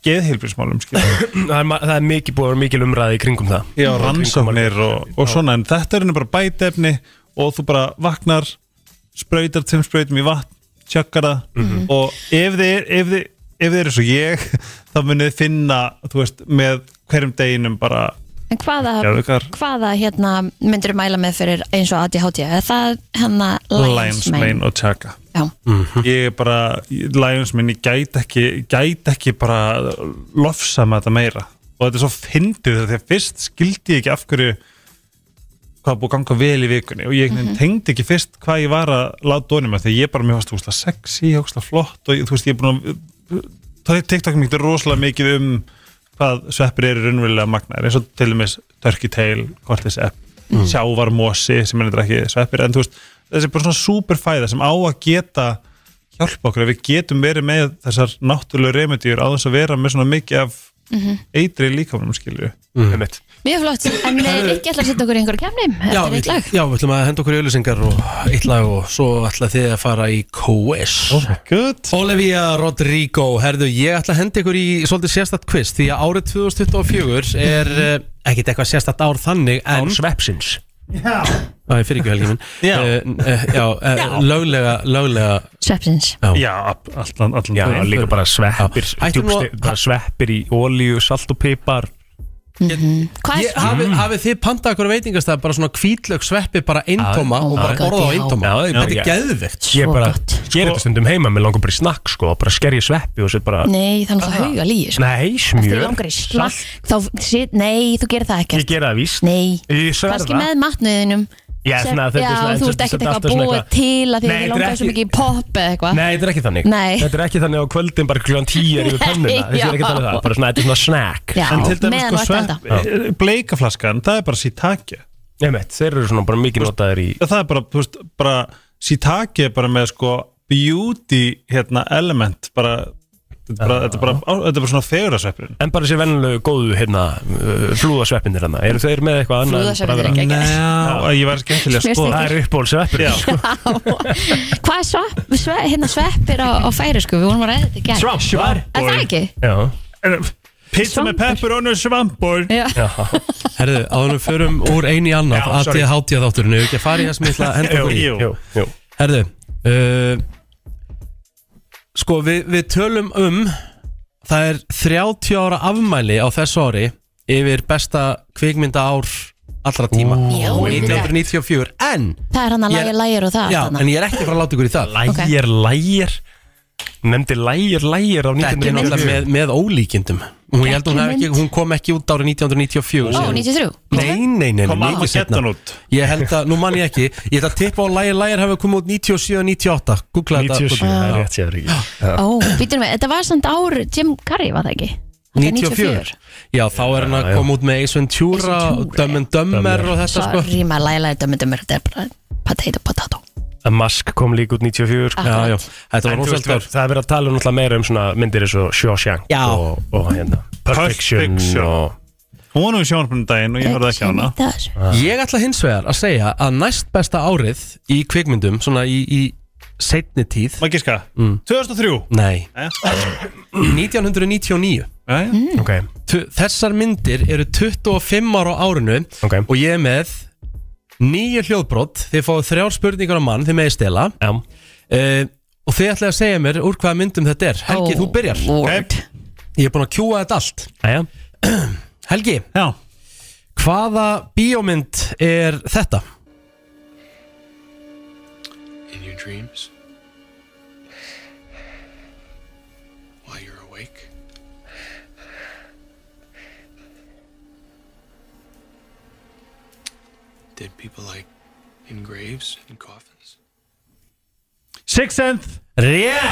[SPEAKER 5] geðheilbrísmálum
[SPEAKER 3] Það er ma- það er mikið búið að vera mikil umræði í kringum það
[SPEAKER 5] Já, rannsóknir og, og svona en þetta er henni bara bætefni og þú bara vaknar sprautar tveim sprautum í vatn, tjökkar það og ef þið, er, ef, þið, ef þið er eins og ég þá munið þið finna þú veist, með hverjum deginum bara
[SPEAKER 2] en hvaða,
[SPEAKER 5] Geðveikar.
[SPEAKER 2] hvaða hérna, myndir mæla með fyrir eins og ADHD er það hérna
[SPEAKER 5] Lions Mane og tjökka
[SPEAKER 2] Já,
[SPEAKER 5] ég er bara, Lions Mane ég gæti ekki, gæti ekki bara lofsa með þetta meira og þetta er svo fyndið þegar því að fyrst skildi ég ekki af hverju hvað búið að ganga vel í vikunni og ég mm tengdi ekki fyrst hvað ég var að láta honum að því að ég bara mér varst úsla sexy, úsla flott og ég- þú veist ég er búin að það er TikTok mikið rosalega mikið um hvað sveppir eru raunverulega magnaðir eins og til dæmis Turkey Tail, Cortis App sjávarmosi sem er þetta ekki sveppir en þú veist þessi er bara svona superfæða sem á að geta hjálpa okkur að við getum verið með þessar náttúrulega remedýr á þess að vera með svona mikið af eitri líkamanum skilju
[SPEAKER 3] Einmitt.
[SPEAKER 2] mjög flott En eh, Rikki ætlar að setja okkur í einhverju kemni
[SPEAKER 1] Já,
[SPEAKER 2] eftir
[SPEAKER 1] við,
[SPEAKER 2] eitt lag
[SPEAKER 1] já, við ætlum að henda okkur í auðlýsingar og eitt lag og svo ætla þið að fara í quiz
[SPEAKER 5] Good
[SPEAKER 1] Olivia Rodrigo, herðu, ég ætla að henda ykkur í svolítið sérstætt quiz því að árið 2024 er eh, ekkit eitthvað sérstætt ár þannig
[SPEAKER 3] Án
[SPEAKER 1] en
[SPEAKER 3] sveppsins
[SPEAKER 1] Það er fyrir ekki helgi minn
[SPEAKER 5] Já.
[SPEAKER 1] uh, uh, já, uh, löglega, löglega
[SPEAKER 2] Sveppsins
[SPEAKER 5] Já, ab- allan, allan
[SPEAKER 3] Já,
[SPEAKER 5] daginn.
[SPEAKER 3] líka bara sveppir,
[SPEAKER 1] Já. Ættum nú að-
[SPEAKER 3] djúpste- bara sveppir í ólíu, salt og pipar
[SPEAKER 2] Hvað
[SPEAKER 1] Ég-
[SPEAKER 2] er það?
[SPEAKER 1] Hafið hafi þið pantað okkur veitingastæð bara svona kvítlög sveppi bara eintóma
[SPEAKER 2] Já,
[SPEAKER 1] og
[SPEAKER 2] já.
[SPEAKER 1] bara
[SPEAKER 2] Já,
[SPEAKER 1] borða á
[SPEAKER 2] já.
[SPEAKER 1] eintóma
[SPEAKER 3] Já, já,
[SPEAKER 1] Þetta
[SPEAKER 3] já.
[SPEAKER 1] er geðvegt
[SPEAKER 3] Ég
[SPEAKER 2] Svo
[SPEAKER 3] bara
[SPEAKER 2] gott.
[SPEAKER 3] ger
[SPEAKER 5] Sko-
[SPEAKER 3] þetta stundum heima Mér langar bara í snakk sko Bara sker ég sveppi og sér bara
[SPEAKER 2] Nei, það er náttúrulega hauga líi sko.
[SPEAKER 3] Nei,
[SPEAKER 2] Eftir
[SPEAKER 3] smjör
[SPEAKER 2] langar í slag þá, sit, Nei, þú gerir það
[SPEAKER 3] Ég
[SPEAKER 2] ekkert
[SPEAKER 3] gera það víst
[SPEAKER 2] Nei,
[SPEAKER 3] Ég sverða
[SPEAKER 2] kannski með matnöðinum
[SPEAKER 3] Já, svona, þetta er
[SPEAKER 2] já þú
[SPEAKER 3] svona-
[SPEAKER 2] ert
[SPEAKER 3] þetta er
[SPEAKER 2] ekkert
[SPEAKER 3] svona
[SPEAKER 2] eitthvað
[SPEAKER 3] alltaf svona
[SPEAKER 2] búið
[SPEAKER 3] eitthvað-
[SPEAKER 2] til að því
[SPEAKER 3] Nei,
[SPEAKER 2] þið
[SPEAKER 3] þetta er
[SPEAKER 2] langar svo
[SPEAKER 3] ekki-
[SPEAKER 2] mikið í pop eða eitthvað
[SPEAKER 3] Nei, þetta er ekki þannig
[SPEAKER 2] Nei.
[SPEAKER 3] Þetta er ekki þannig á kvöldin bara kljóðan tíu er yfir pönnuna
[SPEAKER 2] Nei,
[SPEAKER 3] Þetta er ekki
[SPEAKER 2] já.
[SPEAKER 3] þannig það Bara svona, þetta er svona snack
[SPEAKER 2] Já,
[SPEAKER 5] En til dæmis
[SPEAKER 2] meðan
[SPEAKER 5] sko
[SPEAKER 2] þú ert enda
[SPEAKER 5] svepp, bleikaflaskan, það er bara sítaki
[SPEAKER 3] Nefnt, þeir eru svona bara mikið notaðir í
[SPEAKER 5] Það er bara, þú veist, bara sítaki er bara með sko beauty hérna, element bara, þetta, er bara, þetta, er bara, á- þetta er bara svona fegurasveppurinn
[SPEAKER 3] En bara sér vennilegu góðu hérna uh, Flúðasveppinir hérna Eru þeir með eitthvað annað en
[SPEAKER 2] Flúðasveppirnir
[SPEAKER 3] bara
[SPEAKER 2] ekki.
[SPEAKER 3] vera-
[SPEAKER 5] Já, ég væri skemmtilega
[SPEAKER 2] Smjörsteikir.
[SPEAKER 5] sko
[SPEAKER 3] Það eru uppbólsveppir
[SPEAKER 5] Já,
[SPEAKER 2] Hvað er svepp, svepp, hérna sveppir á, á færi sko, við vorum að reyða þetta í gær
[SPEAKER 3] Svampar
[SPEAKER 2] Er það ekki?
[SPEAKER 3] Já
[SPEAKER 5] eh, pizza
[SPEAKER 2] Svampur.
[SPEAKER 5] með
[SPEAKER 2] Eh.
[SPEAKER 5] pepperoni og svampur
[SPEAKER 2] Já,
[SPEAKER 1] Herðu, áðurum förum úr einu í annað
[SPEAKER 3] Já,
[SPEAKER 1] að
[SPEAKER 3] sorry.
[SPEAKER 1] ég hátíða þátturinu, ekki að fara í það sem ég ætla að henda okkur í
[SPEAKER 5] Jú.
[SPEAKER 3] Jú, jú
[SPEAKER 1] Herðu uh, Sko, við, við tölum um það er 30 ára afmæli á þessu ári yfir besta kvikmynda ár allra tíma
[SPEAKER 2] Já, auðvitað.
[SPEAKER 1] 1994 en,
[SPEAKER 2] það er hann að
[SPEAKER 1] Ég-
[SPEAKER 2] lægja lægir og það
[SPEAKER 1] já,
[SPEAKER 2] þarna.
[SPEAKER 1] en ég er ekki að fara að láta ykkur í það
[SPEAKER 2] Ok.
[SPEAKER 3] Lægir, lægir Nefndi lægir, lægir á
[SPEAKER 1] Þetta er
[SPEAKER 3] 1994
[SPEAKER 1] náttúrulega með, með ólíkindum Hún, ég held að hún, hafi ekki, hún kom ekki út árið 1994
[SPEAKER 2] Ó,
[SPEAKER 1] segir hún.
[SPEAKER 2] 93
[SPEAKER 1] Nei, nei, nei, nei
[SPEAKER 5] Kom alveg
[SPEAKER 1] mikið seinna.
[SPEAKER 5] getan út.
[SPEAKER 1] Ég held að, nú mann ég ekki Ég held að tippa á að lægir lægir hafi komið út 97-98 Google þetta
[SPEAKER 3] 97, það er
[SPEAKER 1] Já.
[SPEAKER 3] rétt séður ekki
[SPEAKER 2] Ó, býtum við, þetta var samt ár Jim Carrey var það ekki? Þetta er
[SPEAKER 1] 94 Já, þá er hann að
[SPEAKER 3] já.
[SPEAKER 1] koma út með Ace Ventura
[SPEAKER 2] Ace Ventura,
[SPEAKER 1] og Dumb and Dumber og þetta sko
[SPEAKER 2] Sorry, maður lægja lægir dömur dömur Þetta er bara potato potato
[SPEAKER 3] Að Mask kom líka út 94 sko.
[SPEAKER 1] Já, já,
[SPEAKER 2] Akkurat.
[SPEAKER 1] þetta var
[SPEAKER 3] En þú veist,
[SPEAKER 1] rosalega
[SPEAKER 3] það
[SPEAKER 1] stór
[SPEAKER 3] það er verið að tala um náttúrulega meira um svona myndir eins og Shawshank
[SPEAKER 1] Já.
[SPEAKER 3] og, og hérna Perfection,
[SPEAKER 5] Perfection.
[SPEAKER 3] og
[SPEAKER 5] Hún var nú í sjónarbrunum daginn og ég horfði ekki á hana
[SPEAKER 2] Ekki neitt að þessu.
[SPEAKER 1] Ég ætla hins vegar að segja að næst besta árið í kvikmyndum, svona í, í seinni tíð
[SPEAKER 5] Maður gíska, 2003
[SPEAKER 1] Nei,
[SPEAKER 5] Eh?
[SPEAKER 1] 1999
[SPEAKER 5] Jæja.
[SPEAKER 2] Mm.
[SPEAKER 3] Ok,
[SPEAKER 1] Tu- Þessar myndir eru 25 ára á árinu
[SPEAKER 3] ok
[SPEAKER 1] og ég er með nýju hljóðbrot, þið fáið þrjár spurningar á mann, þið meði stela
[SPEAKER 3] Já,
[SPEAKER 1] uh, og þið ætlaði að segja mér úr hvaða myndum þetta er Helgi,
[SPEAKER 2] Ó,
[SPEAKER 1] þú byrjar
[SPEAKER 2] Lord.
[SPEAKER 1] Ég er búin að kjúa þetta allt
[SPEAKER 3] aðja
[SPEAKER 1] Helgi,
[SPEAKER 5] Já,
[SPEAKER 1] hvaða bíómynd er þetta?
[SPEAKER 8] in your dreams, while you're awake. Dead people like in graves and coffins.
[SPEAKER 5] Sixth
[SPEAKER 1] Rétt!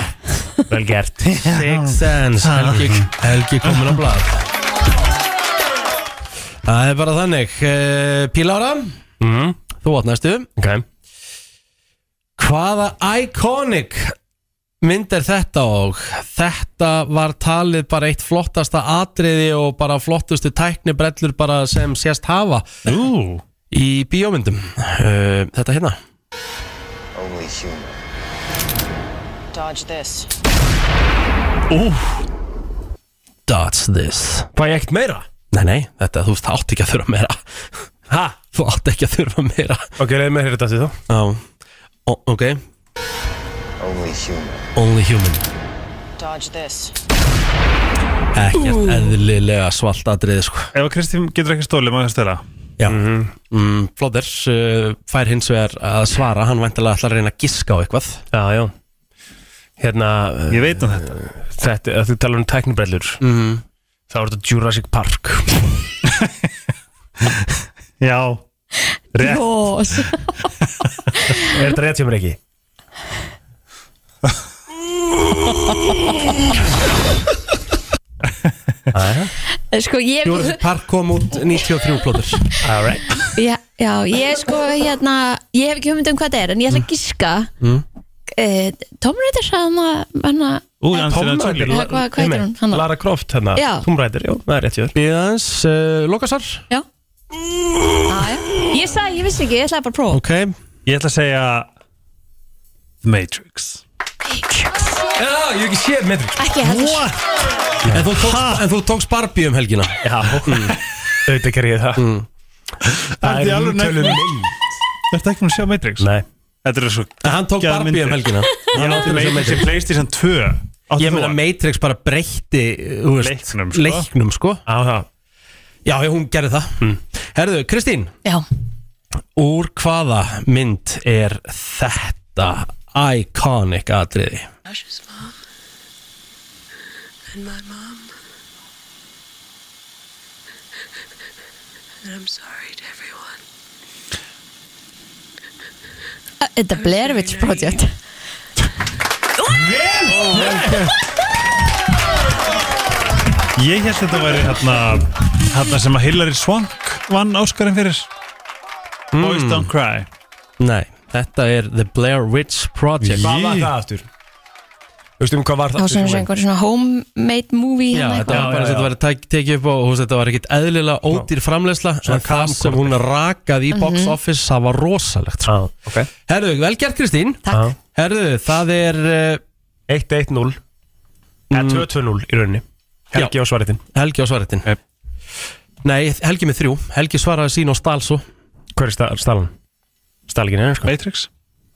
[SPEAKER 3] Vel gert Ah.
[SPEAKER 1] Six Sense Helgi, Helgi komin á blad Það er bara þannig Eh, Pílára,
[SPEAKER 3] mm,
[SPEAKER 1] þú átt næstu
[SPEAKER 3] Ok,
[SPEAKER 1] Hvaða iconic mynd er þetta og þetta var talið bara eitt flottasta atriði og bara flottustu tæknibrellur bara sem sést hafa
[SPEAKER 5] Ú,
[SPEAKER 1] í bíómyndum uh, Þetta hérna
[SPEAKER 9] Only human.
[SPEAKER 10] Dodge this.
[SPEAKER 1] Dodge this
[SPEAKER 3] fæ ég ekkert meira?
[SPEAKER 1] Nei, nei, þetta, þú veist, það átti ekki að þurfa meira Ha? Þú átti ekki að þurfa meira
[SPEAKER 3] Ok, reyðum við hérna þetta þá
[SPEAKER 1] Já, Ó, ok
[SPEAKER 9] Only human.
[SPEAKER 1] Only human
[SPEAKER 10] Dodge this.
[SPEAKER 1] Ekkert eðlilega svalt atriði, sko
[SPEAKER 5] ef að Kristín getur ekki stólið, maður stela
[SPEAKER 1] Já mm, Flóðir uh, fær hins vegar að svara Hann væntalega ætlar að reyna að giska á eitthvað
[SPEAKER 3] Já, já Hérna,
[SPEAKER 5] Ég veit um þetta
[SPEAKER 3] þetta, að þú talar um tæknibrellur
[SPEAKER 1] mm.
[SPEAKER 3] Þá er þetta Jurassic Park
[SPEAKER 5] Já, rétt
[SPEAKER 2] Lord.
[SPEAKER 3] Er þetta rétt hjá mér ekki? Aðja
[SPEAKER 2] Sko ég
[SPEAKER 1] Jurassic Park kom út 93 Flóðir
[SPEAKER 3] Alright
[SPEAKER 2] já, já, ég sko hérna Ég hef ekki hugmynd um hvað það er En ég ætla að giska mm. Tom Ritter sagði hann að hana,
[SPEAKER 5] Ú, Angelina Jolie.
[SPEAKER 2] Eða hvað- hvað heitir hún? Hanna?
[SPEAKER 3] Lara Croft hérna
[SPEAKER 2] Já.
[SPEAKER 3] Tomb Raider, jú, það er rétt hjá þér
[SPEAKER 1] Bíðans, uh, Lokasar
[SPEAKER 2] Já ah, já. Ég sagði, ég vissi ekki, ég ætlaði bara að prófa
[SPEAKER 1] Ok
[SPEAKER 5] Ég ætla að segja The Matrix
[SPEAKER 3] Já, ég hef ekki séð Matrix
[SPEAKER 2] Ekki heldur
[SPEAKER 1] en þú, tókst, en þú tókst Barbie um helgina
[SPEAKER 3] Já, Mm. auðvitað ger ég það Það
[SPEAKER 5] Þetta er
[SPEAKER 3] er
[SPEAKER 5] alveg
[SPEAKER 3] umtölun mynd
[SPEAKER 5] Ertu ekki búin að sjá Matrix?
[SPEAKER 3] Nei
[SPEAKER 5] Þetta er svo
[SPEAKER 1] Hann tók
[SPEAKER 5] geggjaðar
[SPEAKER 1] Barbie um
[SPEAKER 5] myndir.
[SPEAKER 1] helgina. Hann
[SPEAKER 5] Ég
[SPEAKER 1] átti
[SPEAKER 5] átti
[SPEAKER 1] þessa
[SPEAKER 5] Matrix í
[SPEAKER 1] Matrix.
[SPEAKER 5] Playstation 2
[SPEAKER 1] Ég
[SPEAKER 5] Áttu þú
[SPEAKER 1] meina
[SPEAKER 5] hann?
[SPEAKER 1] Matrix bara breytti eh, þú veist,
[SPEAKER 5] Leiknum, sko.
[SPEAKER 1] leiknum, sko.
[SPEAKER 3] Á það
[SPEAKER 1] Já, Hmm. já, hún gerði það Herðu, Kristín,
[SPEAKER 2] Já,
[SPEAKER 1] úr hvaða mynd er þetta iconic atriði?
[SPEAKER 6] Ash's mom and my mom. And I'm sorry to everyone.
[SPEAKER 2] The Uh, Blair Witch Project
[SPEAKER 5] Ég held þetta væri hérna Hérna sem að Hillary Swank vann Óskarinn fyrir
[SPEAKER 1] Hmm.
[SPEAKER 5] Boys Don't Cry
[SPEAKER 1] Nei, þetta er The Blair Witch Project
[SPEAKER 3] Hvað var það aftur? Veistu um hvað var
[SPEAKER 2] og
[SPEAKER 3] það?
[SPEAKER 2] sem einhver svona homemade movie
[SPEAKER 1] Já,
[SPEAKER 2] hérna
[SPEAKER 1] þetta
[SPEAKER 2] eitthvað.
[SPEAKER 1] var bara eins og þetta var tek, tekið upp og þú veist, þetta var ekkit eðlilega ódýr framleysla en það sem hún rakaði í box office það var rosalegt sko.
[SPEAKER 3] Já, ok
[SPEAKER 1] Herðu, velgjart Kristín
[SPEAKER 2] Takk,
[SPEAKER 1] Herðu, það er uh,
[SPEAKER 3] 1-1-0 Eða 2-2-0 í rauninni Helgi á svaritinn
[SPEAKER 1] Helgi á svaretin
[SPEAKER 3] Yep.
[SPEAKER 1] Nei, Helgi með þrjú Helgi svaraði sín og stál svo
[SPEAKER 3] Hver er sta- stalan? Stalgin er sko
[SPEAKER 5] Matrix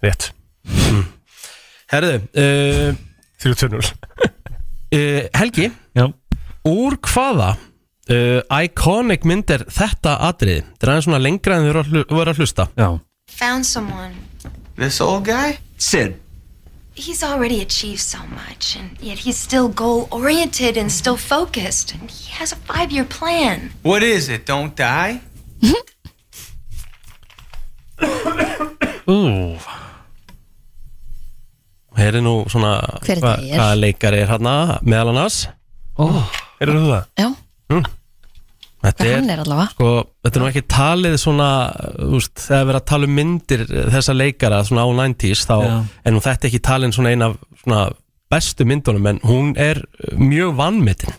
[SPEAKER 3] Rétt
[SPEAKER 1] Herðu, uh,
[SPEAKER 3] 3-2-0
[SPEAKER 1] uh, Helgi
[SPEAKER 5] Já
[SPEAKER 1] Úr hvaða uh, iconic mynd er þetta atriði? Þetta er aðeins svona lengra en þau voru að hlu- voru að hlusta
[SPEAKER 5] Já
[SPEAKER 11] Found someone.
[SPEAKER 9] This old guy? Sid.
[SPEAKER 11] He's already achieved so much, and yet he's still goal oriented and still focused. And he has a five year plan.
[SPEAKER 9] What is it? Don't die?
[SPEAKER 5] Ú
[SPEAKER 1] Hér er nú svona
[SPEAKER 2] Hver þetta er?
[SPEAKER 1] hvaða leikari er hérna meðal annars
[SPEAKER 3] Eru þú það?
[SPEAKER 2] já,
[SPEAKER 1] Þetta
[SPEAKER 2] hvað
[SPEAKER 1] er,
[SPEAKER 2] hann er allavega
[SPEAKER 1] sko, þetta er nú ekki talið svona, þú veist, þegar verið að tala um myndir þessa leikara svona á 90s þá,
[SPEAKER 5] Já.
[SPEAKER 1] en nú þetta er ekki talin svona eina af svona bestu myndunum en hún er uh, mjög vannmittin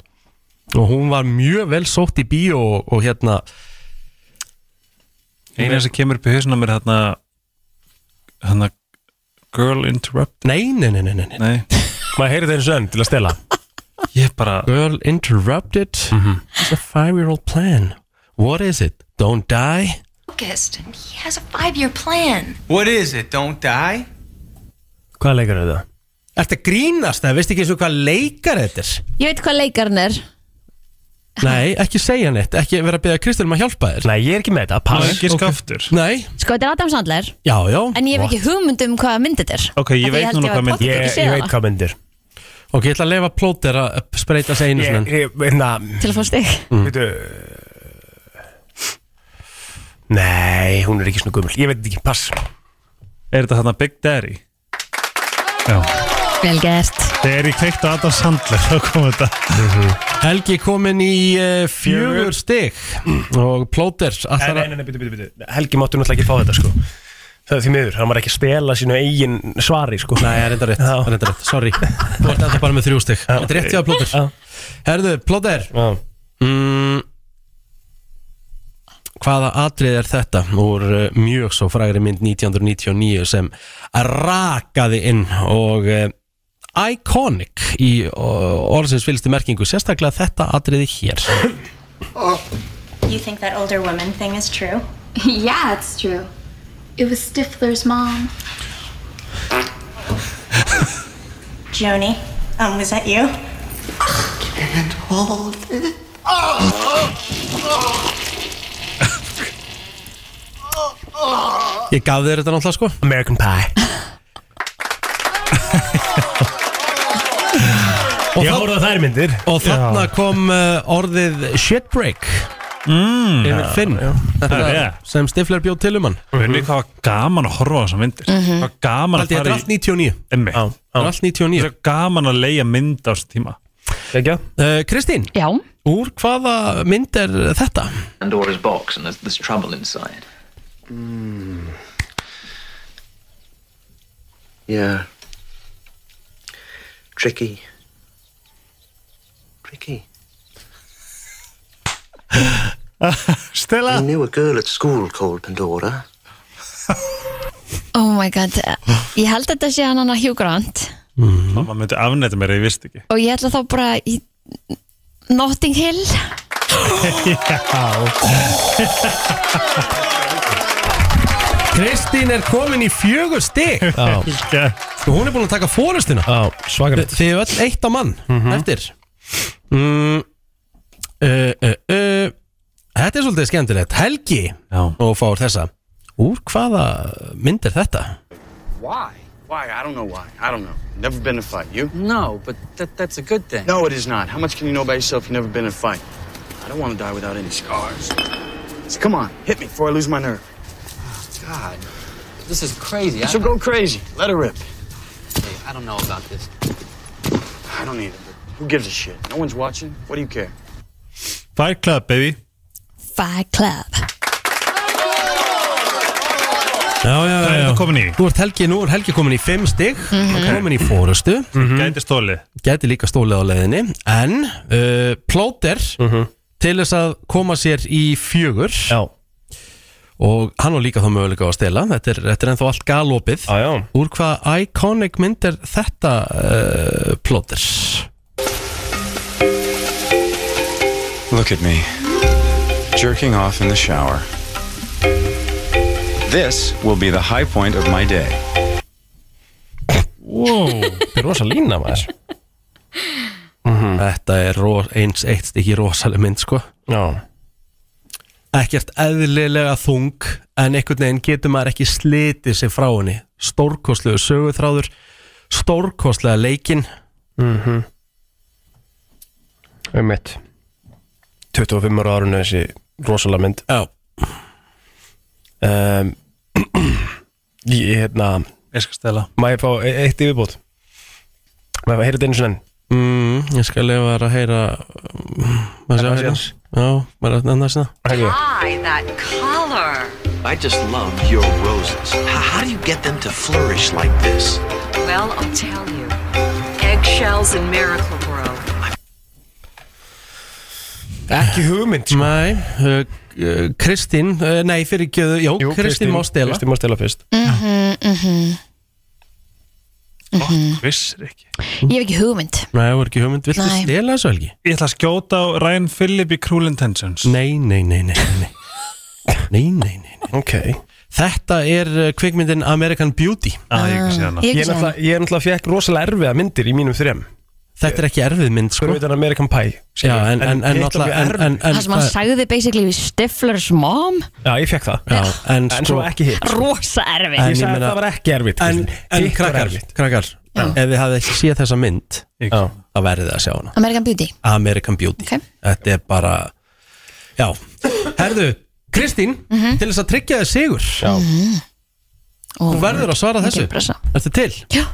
[SPEAKER 1] og hún var mjög vel sótt í bíó og, og hérna
[SPEAKER 5] Eina sem kemur upp í hausuna mér hérna Hérna Girl Interrupt
[SPEAKER 1] nei, nei, nei, nei, nei, nei.
[SPEAKER 5] Nei
[SPEAKER 3] Maður heyri þetta eins og enn til að stela
[SPEAKER 5] Ég bara
[SPEAKER 1] Girl interrupted It's a five year old plan What is it? Don't die?
[SPEAKER 11] Focused, and he has a five year plan.
[SPEAKER 9] What is it? Don't die?
[SPEAKER 3] Hvaða leikar eru það?
[SPEAKER 1] Ertu að grínast það? Veist ekki eins og hvað leikar þetta er?
[SPEAKER 2] Ég veit hvað leikarn er
[SPEAKER 1] Nei, ekki segja neitt Ekki vera að beða Kristel um að hjálpa þér
[SPEAKER 3] Nei, ég er ekki með þetta
[SPEAKER 5] Má
[SPEAKER 3] Pass
[SPEAKER 5] ekki skaftur
[SPEAKER 1] Nei,
[SPEAKER 2] Sko, þetta er Adam Sandler
[SPEAKER 1] já, já
[SPEAKER 2] En ég hef ekki hugmynd um hvaða mynd þetta er
[SPEAKER 5] Ok,
[SPEAKER 2] Af
[SPEAKER 5] ég
[SPEAKER 2] því
[SPEAKER 5] veit
[SPEAKER 2] held
[SPEAKER 5] núna
[SPEAKER 2] ég
[SPEAKER 5] hvað mynd-
[SPEAKER 2] ég
[SPEAKER 3] Ég,
[SPEAKER 2] hef
[SPEAKER 3] ég veit
[SPEAKER 2] hvað
[SPEAKER 3] hvað myndir
[SPEAKER 1] Ok, ég ætla að lefa plóter að spreita sig einu
[SPEAKER 3] Ég,
[SPEAKER 1] sinni
[SPEAKER 3] ég, hérna,
[SPEAKER 2] Til að fá stig
[SPEAKER 1] Mm.
[SPEAKER 3] veitu Nei, hún er ekki svona gummul Ég veit ekki, pass
[SPEAKER 5] Er þetta hérna Big Daddy?
[SPEAKER 2] Vel gert
[SPEAKER 5] Þegar ég kveikt á Adam Sandler þá kom þetta
[SPEAKER 1] Helgi komin í uh, fjögur stig Og plóter
[SPEAKER 3] Nei,
[SPEAKER 1] ætlar
[SPEAKER 3] nei,
[SPEAKER 1] að-
[SPEAKER 3] nei, nei, bitu, bitu, bitu Helgi máttu náttúrulega ekki fá þetta, sko Það er því miður, hann var ekki að stela sínu eigin svari, sko
[SPEAKER 1] Nei, það er enda rétt,
[SPEAKER 3] Já.
[SPEAKER 1] það er enda rétt, sorry Þú ert enda bara með þrjú stig Þetta er rétt hjá plóter
[SPEAKER 3] Já.
[SPEAKER 1] Herðu, plóter
[SPEAKER 3] Já.
[SPEAKER 1] Mm, hvaða atrið er þetta úr eh, mjög svo frægri mynd 1999 sem rakaði inn og uh, iconic í eh, orðsins fylgstu merkingu sérstaklega þetta atriði hér
[SPEAKER 11] You think that older woman thing is true?
[SPEAKER 12] Yeah, it's true. It was Stifler's mom.
[SPEAKER 11] Joni, um, was that you?
[SPEAKER 1] ég gaf þér þetta náttúrulega sko
[SPEAKER 3] American Pie
[SPEAKER 1] og,
[SPEAKER 3] Ég
[SPEAKER 1] þa
[SPEAKER 3] horfði á þær myndir
[SPEAKER 1] og þarna kom uh, orðið shit break mm, yfir Finn Þetta
[SPEAKER 5] Það er
[SPEAKER 1] var
[SPEAKER 5] rétt.
[SPEAKER 1] sem Stifler bjóð til um hann
[SPEAKER 5] Veitu hvað var gaman að horfa á þessar myndir
[SPEAKER 1] Mhm.
[SPEAKER 5] Hvað var gaman að
[SPEAKER 1] Þetta er
[SPEAKER 5] fara
[SPEAKER 1] allt 99
[SPEAKER 5] Emmi Þetta
[SPEAKER 1] Þetta er allt 99
[SPEAKER 5] er gaman að leia mynd á þessum tíma
[SPEAKER 3] Ekki?
[SPEAKER 1] Eh, Kristín,
[SPEAKER 2] Já,
[SPEAKER 1] úr hvaða mynd er þetta?
[SPEAKER 9] Pandora's box, and there's, there's trouble inside. Yeah. Tricky. Tricky.
[SPEAKER 5] Stella
[SPEAKER 9] I knew a girl at school called Pandora.
[SPEAKER 2] oh my god Ég held þetta sé hann hann að Hugh Grant
[SPEAKER 5] Mamma Mhm. myndi afnæta mér, ég vist ekki
[SPEAKER 2] Og ég ætla þá bara í Notting Hill
[SPEAKER 1] Kristín er komin í fjögur stig
[SPEAKER 5] Já.
[SPEAKER 1] Sko hún er búin að taka fórustina Já, Mhm. svakarlegt Þið er öll eitt á mann eftir mm, uh, uh, uh, Þetta er svolítið skemmtilegt Helgi Já. og fár þessa Úr hvaða mynd er þetta?
[SPEAKER 13] Why? Why? I don't know why. I don't know. Never been in a fight. You? No, but that, that's a good thing. No, it is not. How much can you know by yourself if you've never been in a fight? I don't want to die without any scars. So come on, hit me before I lose my nerve. God. This is crazy.
[SPEAKER 14] I
[SPEAKER 13] So go crazy. Let her rip.
[SPEAKER 14] Hey, I don't know about this.
[SPEAKER 13] I don't need it. but Who gives a shit? No one's watching. What do you care?
[SPEAKER 5] Fight Club, baby
[SPEAKER 2] Fight Club
[SPEAKER 1] Já, já, já, já.
[SPEAKER 5] Komin í
[SPEAKER 1] Nú er Helgi, nú er Helgi komin í fimm stig
[SPEAKER 2] Mhm.
[SPEAKER 1] Komin í fórustu
[SPEAKER 5] Gæti stóli
[SPEAKER 1] Gæti líka stólið á leiðinni En uh, plóter Til þess að koma sér í fjögur Mhm. Já Og hann var líka þá möguleika á að stela Þetta er, þetta er ennþá allt galopið já, já. Úr hvaða iconic mynd er þetta uh, plóter?
[SPEAKER 15] Look at me, jerking off in the shower. This will be the high point of my day.
[SPEAKER 1] Wow, þetta er rosa lína maður Mhm. Þetta er ro- eins eitt stikki rosaleg mynd sko Já Ekkert eðlilega þung En einhvern veginn getur maður ekki slitið sig frá henni Stórkostlegu söguþráður Stórkostlega leikinn
[SPEAKER 3] Mhm Um mitt 25 ára árinu þessi rosalega mynd
[SPEAKER 1] Já
[SPEAKER 3] um, Ég hérna
[SPEAKER 5] Ég skal stela
[SPEAKER 3] Má ég fá e- eitt yfirbót Má ég fá að heyra þetta einu sinni
[SPEAKER 1] mm, Ég skal lefa þær að heyra mm, Maður sé að heyra Já, maður að nefna þessna
[SPEAKER 16] Why that color?
[SPEAKER 17] I just love your roses. H- how do you get them to flourish like this?
[SPEAKER 16] Well, I'll tell you. Eggshells in Miracle Grow.
[SPEAKER 1] Ekki hugmynd sko. Nei, uh, uh, Kristín uh, Nei, fyrir ekki, jú, Kristín, Kristín má stela
[SPEAKER 3] Kristín má stela fyrst
[SPEAKER 2] Mhm, mhm. Mhm.
[SPEAKER 5] Vissir ekki
[SPEAKER 2] Ég hef ekki hugmynd
[SPEAKER 1] Nei, það var ekki hugmynd Viltu
[SPEAKER 2] Nei.
[SPEAKER 1] stela þessu helgi?
[SPEAKER 5] Ég ætla að skjóta á Ryan Phillip í Cruel Intentions
[SPEAKER 1] Nei, nei, nei, nei Nei, nei, nei, nei.
[SPEAKER 3] Okay.
[SPEAKER 1] Þetta er uh, kvikmyndin American Beauty
[SPEAKER 5] ah, Ég
[SPEAKER 3] Ég
[SPEAKER 1] hana. Ég ekki
[SPEAKER 3] er
[SPEAKER 1] séð hana.
[SPEAKER 3] náttúrulega- ég er náttúrulega fekk rosalega erfiða myndir í mínum þrem
[SPEAKER 1] Þetta er ekki erfið mynd sko
[SPEAKER 3] Fyrir utan American Pie skilur
[SPEAKER 1] Já,
[SPEAKER 3] við.
[SPEAKER 1] en- en- en
[SPEAKER 3] hitt er
[SPEAKER 1] náttúrulega-
[SPEAKER 3] mjög
[SPEAKER 1] en-
[SPEAKER 3] erfið.
[SPEAKER 1] en-
[SPEAKER 2] Það sem hann sagði basically við Stifler's mom
[SPEAKER 3] Já, ég fekk það
[SPEAKER 1] Já, en, sko,
[SPEAKER 3] En svo ekki hitt
[SPEAKER 2] Rosa erfið
[SPEAKER 1] En
[SPEAKER 3] Ég sagði
[SPEAKER 1] ég
[SPEAKER 3] að
[SPEAKER 1] meina-
[SPEAKER 3] það var ekki erfitt
[SPEAKER 1] En,
[SPEAKER 3] Kristín.
[SPEAKER 1] en
[SPEAKER 3] Hitt var
[SPEAKER 1] krakkar,
[SPEAKER 3] erfitt.
[SPEAKER 1] krakkar Ef þið hafið ekki séð þessa mynd Já. þá verðið þið að sjá hana
[SPEAKER 2] American Beauty
[SPEAKER 1] American Beauty
[SPEAKER 2] Ok.
[SPEAKER 1] Þetta er bara Já, herðu, Kristín til þess að tryggja þið sigur Já. Þú verður að svara þessu
[SPEAKER 2] Mikil pressa.
[SPEAKER 1] Ertu til?
[SPEAKER 2] Já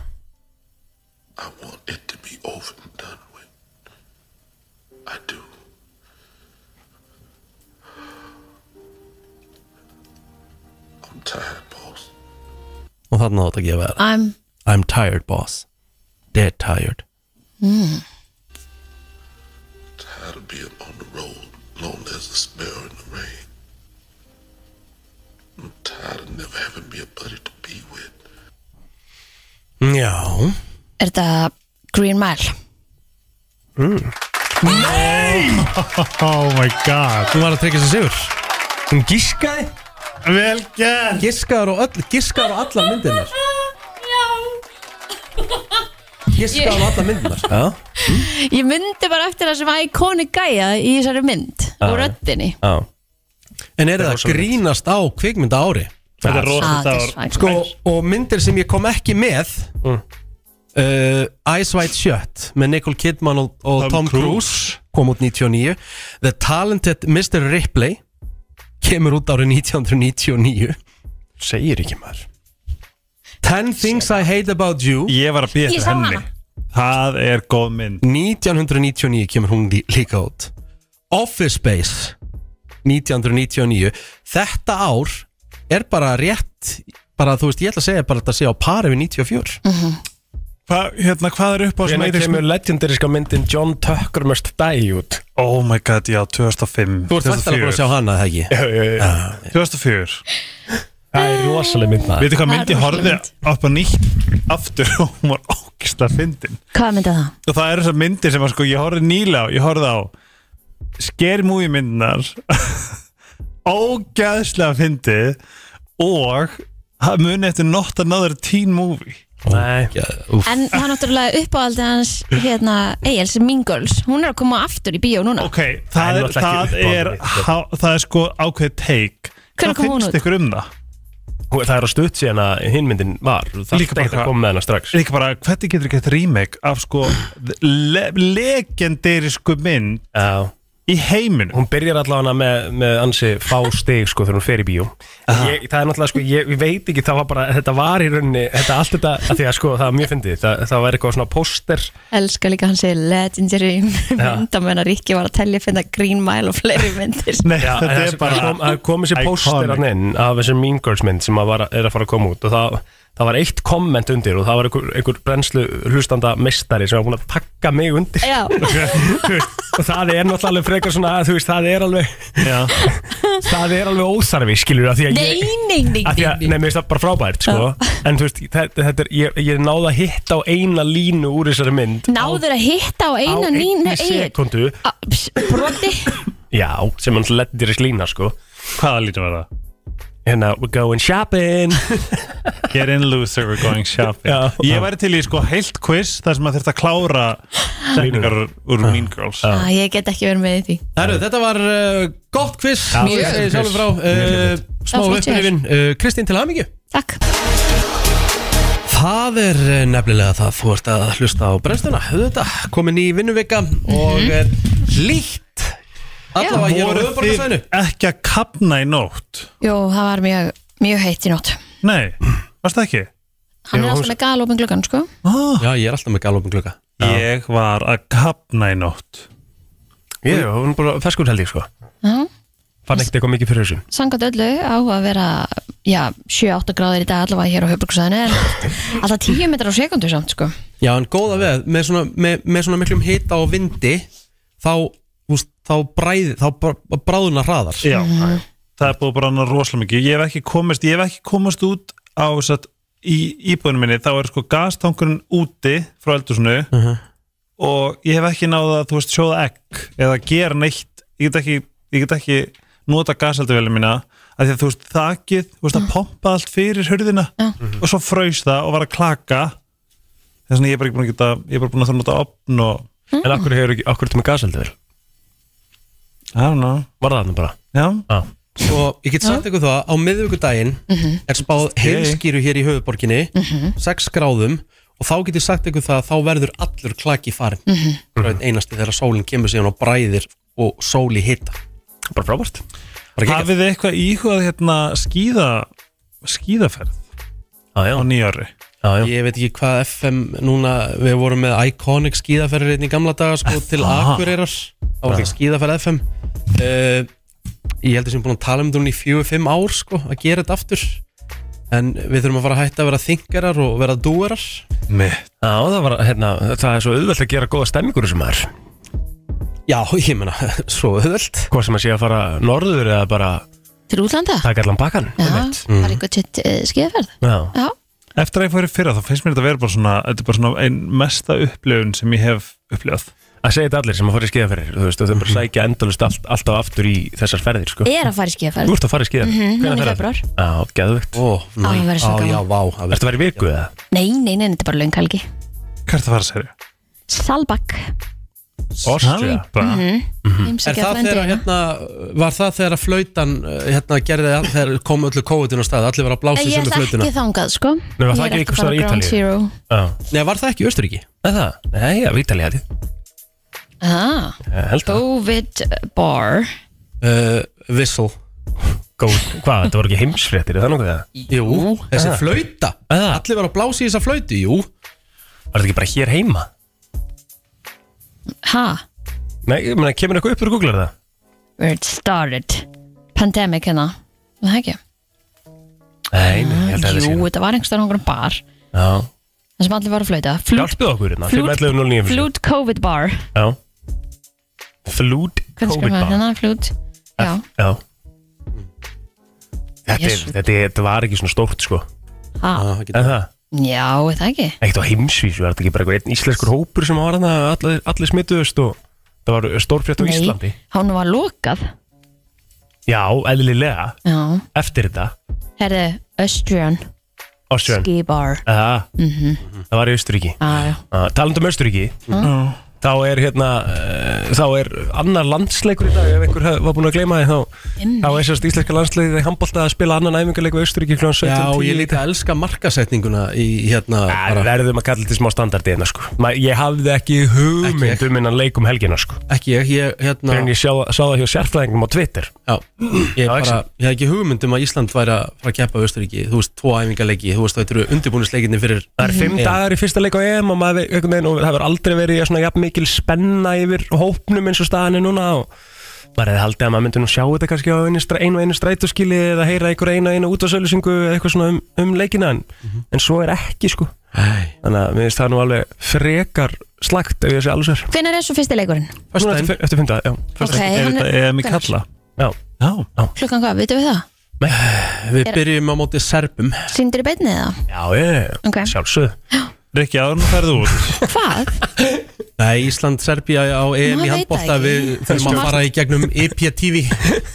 [SPEAKER 1] Og þannig átt að gefa þér
[SPEAKER 2] I'm
[SPEAKER 1] I'm tired boss Dead tired
[SPEAKER 2] mm.
[SPEAKER 18] Tired of being on the road, lonely as a sparrow in the rain. I'm tired of never having me a buddy to be with.
[SPEAKER 3] Mm,
[SPEAKER 1] Já
[SPEAKER 2] Er þetta Green Mile?
[SPEAKER 1] mm.
[SPEAKER 5] Nei Oh my god
[SPEAKER 1] Hún var að tryggja sig sigur Hún gískaði
[SPEAKER 5] Vel gert
[SPEAKER 1] Gískaðar og öll, gískaðar og allar myndirnar Gískaðar og allar myndirnar Já
[SPEAKER 2] Ég myndi bara eftir það sem iconic gæja í þessari mynd
[SPEAKER 1] Já,
[SPEAKER 2] og
[SPEAKER 1] já.
[SPEAKER 2] röddinni
[SPEAKER 1] Já En er það að grínast á kvikmynda ári?
[SPEAKER 5] Þetta er rosalegt
[SPEAKER 2] Ah, þetta er ár. svakalegt.
[SPEAKER 1] Sko, og myndir sem ég kom ekki með uh, Ice White Shut með Nicole Kidman og, og Tom,
[SPEAKER 5] Tom
[SPEAKER 1] Cruise. kom út 99 The Talented Mr. Ripley kemur út árið 1999 Segir ekki maður Ten Things I Hate About You
[SPEAKER 5] Ég var að býja
[SPEAKER 1] Ég
[SPEAKER 5] eftir
[SPEAKER 1] sá
[SPEAKER 5] henni
[SPEAKER 1] hana.
[SPEAKER 5] Það er góð mynd
[SPEAKER 1] 1999 kemur hún lí- líka út Office Space 1999 Þetta ár er bara rétt bara þú veist, ég ætla að segja bara að þetta sé á pari við 94
[SPEAKER 5] Hva, hérna, Hvað er upp á
[SPEAKER 3] Hvenær
[SPEAKER 5] Matrix-
[SPEAKER 3] kemur legendariska myndin John Tucker must die út
[SPEAKER 5] Oh my god, já, 2005
[SPEAKER 1] Þú ert væntanlega búin að sjá hana, það ekki?
[SPEAKER 3] Já, já, já
[SPEAKER 5] 2004
[SPEAKER 3] Það er rosaleg mynd
[SPEAKER 5] Veitu
[SPEAKER 2] Það
[SPEAKER 5] hvað
[SPEAKER 2] er
[SPEAKER 5] mynd
[SPEAKER 2] rosaleg
[SPEAKER 5] ég horfði upp á nýtt aftur og hún var ógislega fyndin
[SPEAKER 2] Hvað myndi það?
[SPEAKER 5] og það eru þessar myndir sem að sko ég horfði nýla á, ég horfði á Scary Movie myndinar ógæðslega fyndið og ha- muni eftir Not Another Teen Movie
[SPEAKER 3] Nei
[SPEAKER 2] En það er náttúrulega uppáhaldið hans hérna, Egil's Mean Girls Hún er að koma aftur í bíó núna
[SPEAKER 5] okay, Það er, það er, há- það er sko ákveðið take
[SPEAKER 2] Hvenær kom hún út?
[SPEAKER 5] finnst ykkur um það?
[SPEAKER 3] Það er á stutt síðan að hinmyndin var Þú þarft
[SPEAKER 5] Líka
[SPEAKER 3] ekkert
[SPEAKER 5] bara
[SPEAKER 3] að
[SPEAKER 5] hvað-
[SPEAKER 3] koma með hana strax
[SPEAKER 5] Líka bara, hvernig getur gett remake af sko le legenderisku mynd
[SPEAKER 3] Já
[SPEAKER 5] Í heiminu
[SPEAKER 3] Hún byrjar allavega með, með ansi fá stig sko þegar hún fer í bíó ég, Það er náttúrulega sko, ég, ég veit ekki það var bara, þetta var í rauninni Þetta allt þetta, að því að sko það var mjög fyndið Það, það var eitthvað svona póster
[SPEAKER 2] Elskar líka hans í legendary myndamenn að Ríkki var að telja að finna Green Mile og fleiri myndir
[SPEAKER 5] Nei,
[SPEAKER 3] Já, en
[SPEAKER 5] þetta er
[SPEAKER 3] það
[SPEAKER 5] bara
[SPEAKER 3] kom, það kom þessi póster hann inn af þessi Mean Girls mynd sem að var, er að fara að koma út og það, það var eitt komment undir og það var einhver, einhver brennslu hlustanda mestari sem var búin að takka mig undir
[SPEAKER 2] Já.
[SPEAKER 3] Þú veist, og það er náttúrulega alveg frekar svona þú veist, það er alveg það er alveg óþarfi skilur að því að
[SPEAKER 2] Nei,
[SPEAKER 3] ég
[SPEAKER 2] nei, nei,
[SPEAKER 3] að því
[SPEAKER 2] nei,
[SPEAKER 3] að, nei, mér finnst það bara frábært sko. en þú veist, þetta, þetta er, ég, ég náði að hitta á eina línu úr þessari mynd
[SPEAKER 2] Náður að hitta á eina nínu eigin
[SPEAKER 3] sekundu,
[SPEAKER 2] Broti
[SPEAKER 3] já, sem hans leddir í slína sko.
[SPEAKER 5] hvaða línu var það?
[SPEAKER 3] hérna, we're going shopping
[SPEAKER 5] Get in loser, we're going shopping
[SPEAKER 3] Já.
[SPEAKER 5] Ég væri til í sko heilt quiz þar sem að þurft að klára setningar úr Mean Girls
[SPEAKER 2] ah, Ég get ekki verið með í því
[SPEAKER 1] Herru, þetta var uh, gott quiz
[SPEAKER 5] Já,
[SPEAKER 1] Mjög
[SPEAKER 5] flott
[SPEAKER 1] quiz
[SPEAKER 5] quiz.
[SPEAKER 1] Sjálfur frá uh, Smá
[SPEAKER 2] Það var flott hjá
[SPEAKER 1] upprifin uh, Kristín til hamingju
[SPEAKER 2] Takk
[SPEAKER 1] Það er eh, nefnilega það Þú ert að hlusta á brennstuna Þetta komin í vinnuvika Og er líkt Allavega hér á
[SPEAKER 5] Voruð
[SPEAKER 1] höfuborgarsvæðinu
[SPEAKER 5] þið ekki að kapna í nótt?
[SPEAKER 2] Jó, það var mjög, mjög heitt í nótt
[SPEAKER 5] Nei, varst það ekki?
[SPEAKER 2] Hann er alltaf með galopin gluggan, sko
[SPEAKER 1] Já, ég er alltaf með galopin glugga
[SPEAKER 5] Ég var að kapna í nótt
[SPEAKER 3] Ég, hún er bara ferskur held ég sko
[SPEAKER 2] Já.
[SPEAKER 3] Fann ekkert eitthvað mikið fyrir þessu
[SPEAKER 2] Sangat öllu á að vera já, 7-8 gráður í dag allavega hér á höfbruksæðinu en alltaf 10 metrar á sekundu samt, sko
[SPEAKER 1] Já, en góða veð Með svona, með, með svona miklum hita og vindi Þá, úst, þá bræði Þá br- bráðuna hraðar
[SPEAKER 5] Já, það er búið bara annað rosalega mikið Ég hef ekki komist, ég hef ekki komist út á satt, í íbúðinu minni þá er sko gastankurinn úti frá eldusinu og ég hef ekki náða að þú veist sjóða egg eða gera neitt ég get ekki, ég get ekki nota gaseldavélu mína að því að þú veist þakið þú veist það pompa allt fyrir hurðina og svo fraus það og var að klaka þess vegna ég er bara ekki búin að geta ég er bara búin að þurfa að nota opn og
[SPEAKER 3] En akkur hefur ekki, akkur ertu með gaseldur?
[SPEAKER 5] I don't know
[SPEAKER 3] Var það hann bara?
[SPEAKER 5] Já
[SPEAKER 3] ah.
[SPEAKER 1] Svo ég get sagt ykkur það Á miðvíkudaginn
[SPEAKER 2] Mhm.
[SPEAKER 1] er spáð heilskýru hér í höfuborginni
[SPEAKER 2] Mhm.
[SPEAKER 1] 6 gráðum Og þá get ég sagt ykkur það að Þá verður allur klaki farin
[SPEAKER 2] Mhm.
[SPEAKER 1] mm. einasti þegar sólinn kemur síðan og bræðir og sóli hitta
[SPEAKER 3] bara frábært
[SPEAKER 5] hafið þið eitthvað íhugað hérna skíða skíðaferð
[SPEAKER 3] ah, á
[SPEAKER 5] nýjári
[SPEAKER 3] ah,
[SPEAKER 1] ég veit ekki hvað FM núna við vorum með Iconic skíðaferðir hérna í gamla daga sko til
[SPEAKER 5] það?
[SPEAKER 1] Akureyrar það var ekki skíðaferð FM uh, ég heldur sem búin að tala um þetta núna í 4-5 ár sko að gera þetta aftur en við þurfum að fara að hætta að vera þingarar og vera dúarar
[SPEAKER 5] Mitt
[SPEAKER 3] Já, það var, hérna, það er svo auðvelt að gera góða stemmingur sem er
[SPEAKER 1] Já, ég meina, svo auðvelt
[SPEAKER 3] Hvað sem að sé að fara norður eða bara
[SPEAKER 2] Til útlanda?
[SPEAKER 3] taka allan bakkan
[SPEAKER 2] Já, það er eitthvað titt uh, skeiðferð
[SPEAKER 3] Já.
[SPEAKER 2] Já,
[SPEAKER 5] Eftir að ég fór í fyrra þá finnst mér þetta vera bara svona þetta er bara svona ein mesta upplifun sem ég hef upplifað
[SPEAKER 3] Að segja þetta allir sem að fara í skíðaferðir Þú veist, þau bara sækja endalust allt, alltaf aftur í þessar ferðir sko.
[SPEAKER 2] er að fara í skeiðferð
[SPEAKER 3] Þú ert að fara í skíðaferð
[SPEAKER 2] Mhm,
[SPEAKER 3] Hvenær
[SPEAKER 2] núna í
[SPEAKER 3] ferðu?
[SPEAKER 2] febrúar.
[SPEAKER 3] Já, geðvögt
[SPEAKER 1] Ó,
[SPEAKER 2] næ. Á, það verður svo Á, gaman. já,
[SPEAKER 1] vá Ertu
[SPEAKER 3] að vera í viku eða?
[SPEAKER 2] Nei, nei, nei, þetta er bara lönghelgi
[SPEAKER 5] Hvað er það að fara að segja?
[SPEAKER 2] Salbak
[SPEAKER 3] Ástria
[SPEAKER 2] mm
[SPEAKER 3] Mhm.
[SPEAKER 1] Er það þegar, hérna, var það þegar að flautan uh, hérna, gerði, þegar kom öllu kóðin á stað, allir var að blása
[SPEAKER 2] Ég
[SPEAKER 1] sem
[SPEAKER 2] ætla
[SPEAKER 1] með flautuna
[SPEAKER 2] ekki þangað, sko
[SPEAKER 1] Nei, var
[SPEAKER 2] Ég
[SPEAKER 1] það
[SPEAKER 2] er
[SPEAKER 1] ekki
[SPEAKER 2] ekki
[SPEAKER 1] einhvers
[SPEAKER 2] að fara
[SPEAKER 1] staðar í
[SPEAKER 2] Ground
[SPEAKER 1] Ítalíu?
[SPEAKER 2] Zero
[SPEAKER 1] Nei, var það ekki í Östuríki?
[SPEAKER 3] Nei, það, nei, já, Ítalið hætti
[SPEAKER 2] ah,
[SPEAKER 3] Ég held það.
[SPEAKER 2] COVID bar
[SPEAKER 1] uh, Whistle
[SPEAKER 3] Góð, hvað, þetta voru ekki heimsfréttir, er það nokkuð það?
[SPEAKER 1] Jú, Eh. þessi
[SPEAKER 3] Ah.
[SPEAKER 1] flauta Allir var að blása í þessa flautu, jú
[SPEAKER 3] Var þetta ekki bara hér heima?
[SPEAKER 2] Ha,
[SPEAKER 3] Nei, ég meina, kemur eitthvað upp úr og googlar það?
[SPEAKER 2] where it started Pandemic hérna Var Það ekki
[SPEAKER 3] Nei, nei, ég held að það sé
[SPEAKER 2] Jú, þetta var einhverstaðar einhverjum bar
[SPEAKER 3] Já
[SPEAKER 2] Það sem allir var að flauta Flute,
[SPEAKER 3] Hjálpið okkur hérna,
[SPEAKER 2] Flút-
[SPEAKER 3] 511 09
[SPEAKER 2] flute COVID bar
[SPEAKER 3] Já Flút
[SPEAKER 2] Hvernig hérna? skrifum
[SPEAKER 3] COVID
[SPEAKER 2] við
[SPEAKER 3] bar
[SPEAKER 2] hérna? Flute Já,
[SPEAKER 3] Já Þetta, er,
[SPEAKER 2] Jesú.
[SPEAKER 3] þetta, er, þetta var ekki svona stórt sko
[SPEAKER 2] ha
[SPEAKER 1] Ah,
[SPEAKER 3] En það,
[SPEAKER 2] Já, er það ekki
[SPEAKER 3] ekkert á heimsvísu Var þetta ekki bara eitthvað einn íslenskur hópur sem var hana Allir, allir smituðust og Það var uh, stórfrétt á Íslandi
[SPEAKER 2] hann var lokað
[SPEAKER 3] Já, eðlilega
[SPEAKER 2] Já,
[SPEAKER 3] Eftir þetta
[SPEAKER 2] herðu, Östrian
[SPEAKER 3] Austrian
[SPEAKER 2] Ski bar
[SPEAKER 3] Aha,
[SPEAKER 2] Mhm.
[SPEAKER 3] Það var í Austuríki
[SPEAKER 2] Já, já.
[SPEAKER 3] Taland um Austuríki
[SPEAKER 2] Mhm.
[SPEAKER 3] Þá er hérna eh, Þá er annar landsleikur í dag Ef einhver hef- var búin að gleyma því þá,
[SPEAKER 2] Einmitt.
[SPEAKER 3] þá er sérst íslenska landsleikið í handbólta að spila annan æfingarleik við Austuríki kl. 17
[SPEAKER 1] Já, ég líka að elska markasetninguna í hérna
[SPEAKER 3] Það verðum að kalla þetta smá standardi hérna sko Ma, Ég hafði ekki hugmynd um innan leikum helgina sko
[SPEAKER 1] Ekki ég, ég hérna
[SPEAKER 3] Þegar ég sjá, sá það hjá sérfræðingum á Twitter
[SPEAKER 1] Já, ég, bara,
[SPEAKER 3] ekki.
[SPEAKER 1] ég hef ekki hugmynd um að Ísland væri að fara að keppa á Östuríki Þú veist, tvo æfingarleiki, þú veist, þetta eru undirbúnisleikinni fyrir
[SPEAKER 3] Það er fimm
[SPEAKER 1] EM.
[SPEAKER 3] dagar í fyrsta leik á EM og, maður, einhvern veginn, og það hefur aldrei verið svona jafn mikil spenna yfir hópnum eins og staðan er núna og bara hefði haldið að maður myndi nú sjá þetta kannski á einu, stra- einu, og einu strætóskili eða heyra einhver einu og einu útvarsölusingu eða eitthvað svona um, um leikina en,
[SPEAKER 1] Mhm.
[SPEAKER 3] en svo er ekki sko
[SPEAKER 1] Æ.
[SPEAKER 3] þannig að mér finnst það nú alveg frekar slagt ef ég sé alveg sér
[SPEAKER 2] Hvenær er svo fyrsti leikurinn?
[SPEAKER 3] Núna eftir, eftir fymta, já
[SPEAKER 2] Ok, Er hann er- þetta EM í hvenær? karla?
[SPEAKER 3] Já, já.
[SPEAKER 2] Klukkan hvað, vitum við það?
[SPEAKER 1] Við
[SPEAKER 2] Er-
[SPEAKER 1] byrjum á móti Serbum
[SPEAKER 2] Sýndir í beinni eða?
[SPEAKER 3] Já, ég,
[SPEAKER 2] Ok.
[SPEAKER 3] sjálfsög
[SPEAKER 1] Rikki, áður nú ferðu út
[SPEAKER 2] Hvað?
[SPEAKER 1] Nei, Ísland, Serbia á EM í
[SPEAKER 2] Maður veit
[SPEAKER 1] handbólta
[SPEAKER 2] það
[SPEAKER 1] Við
[SPEAKER 2] ekki.
[SPEAKER 1] þurfum að fara í gegnum IPTV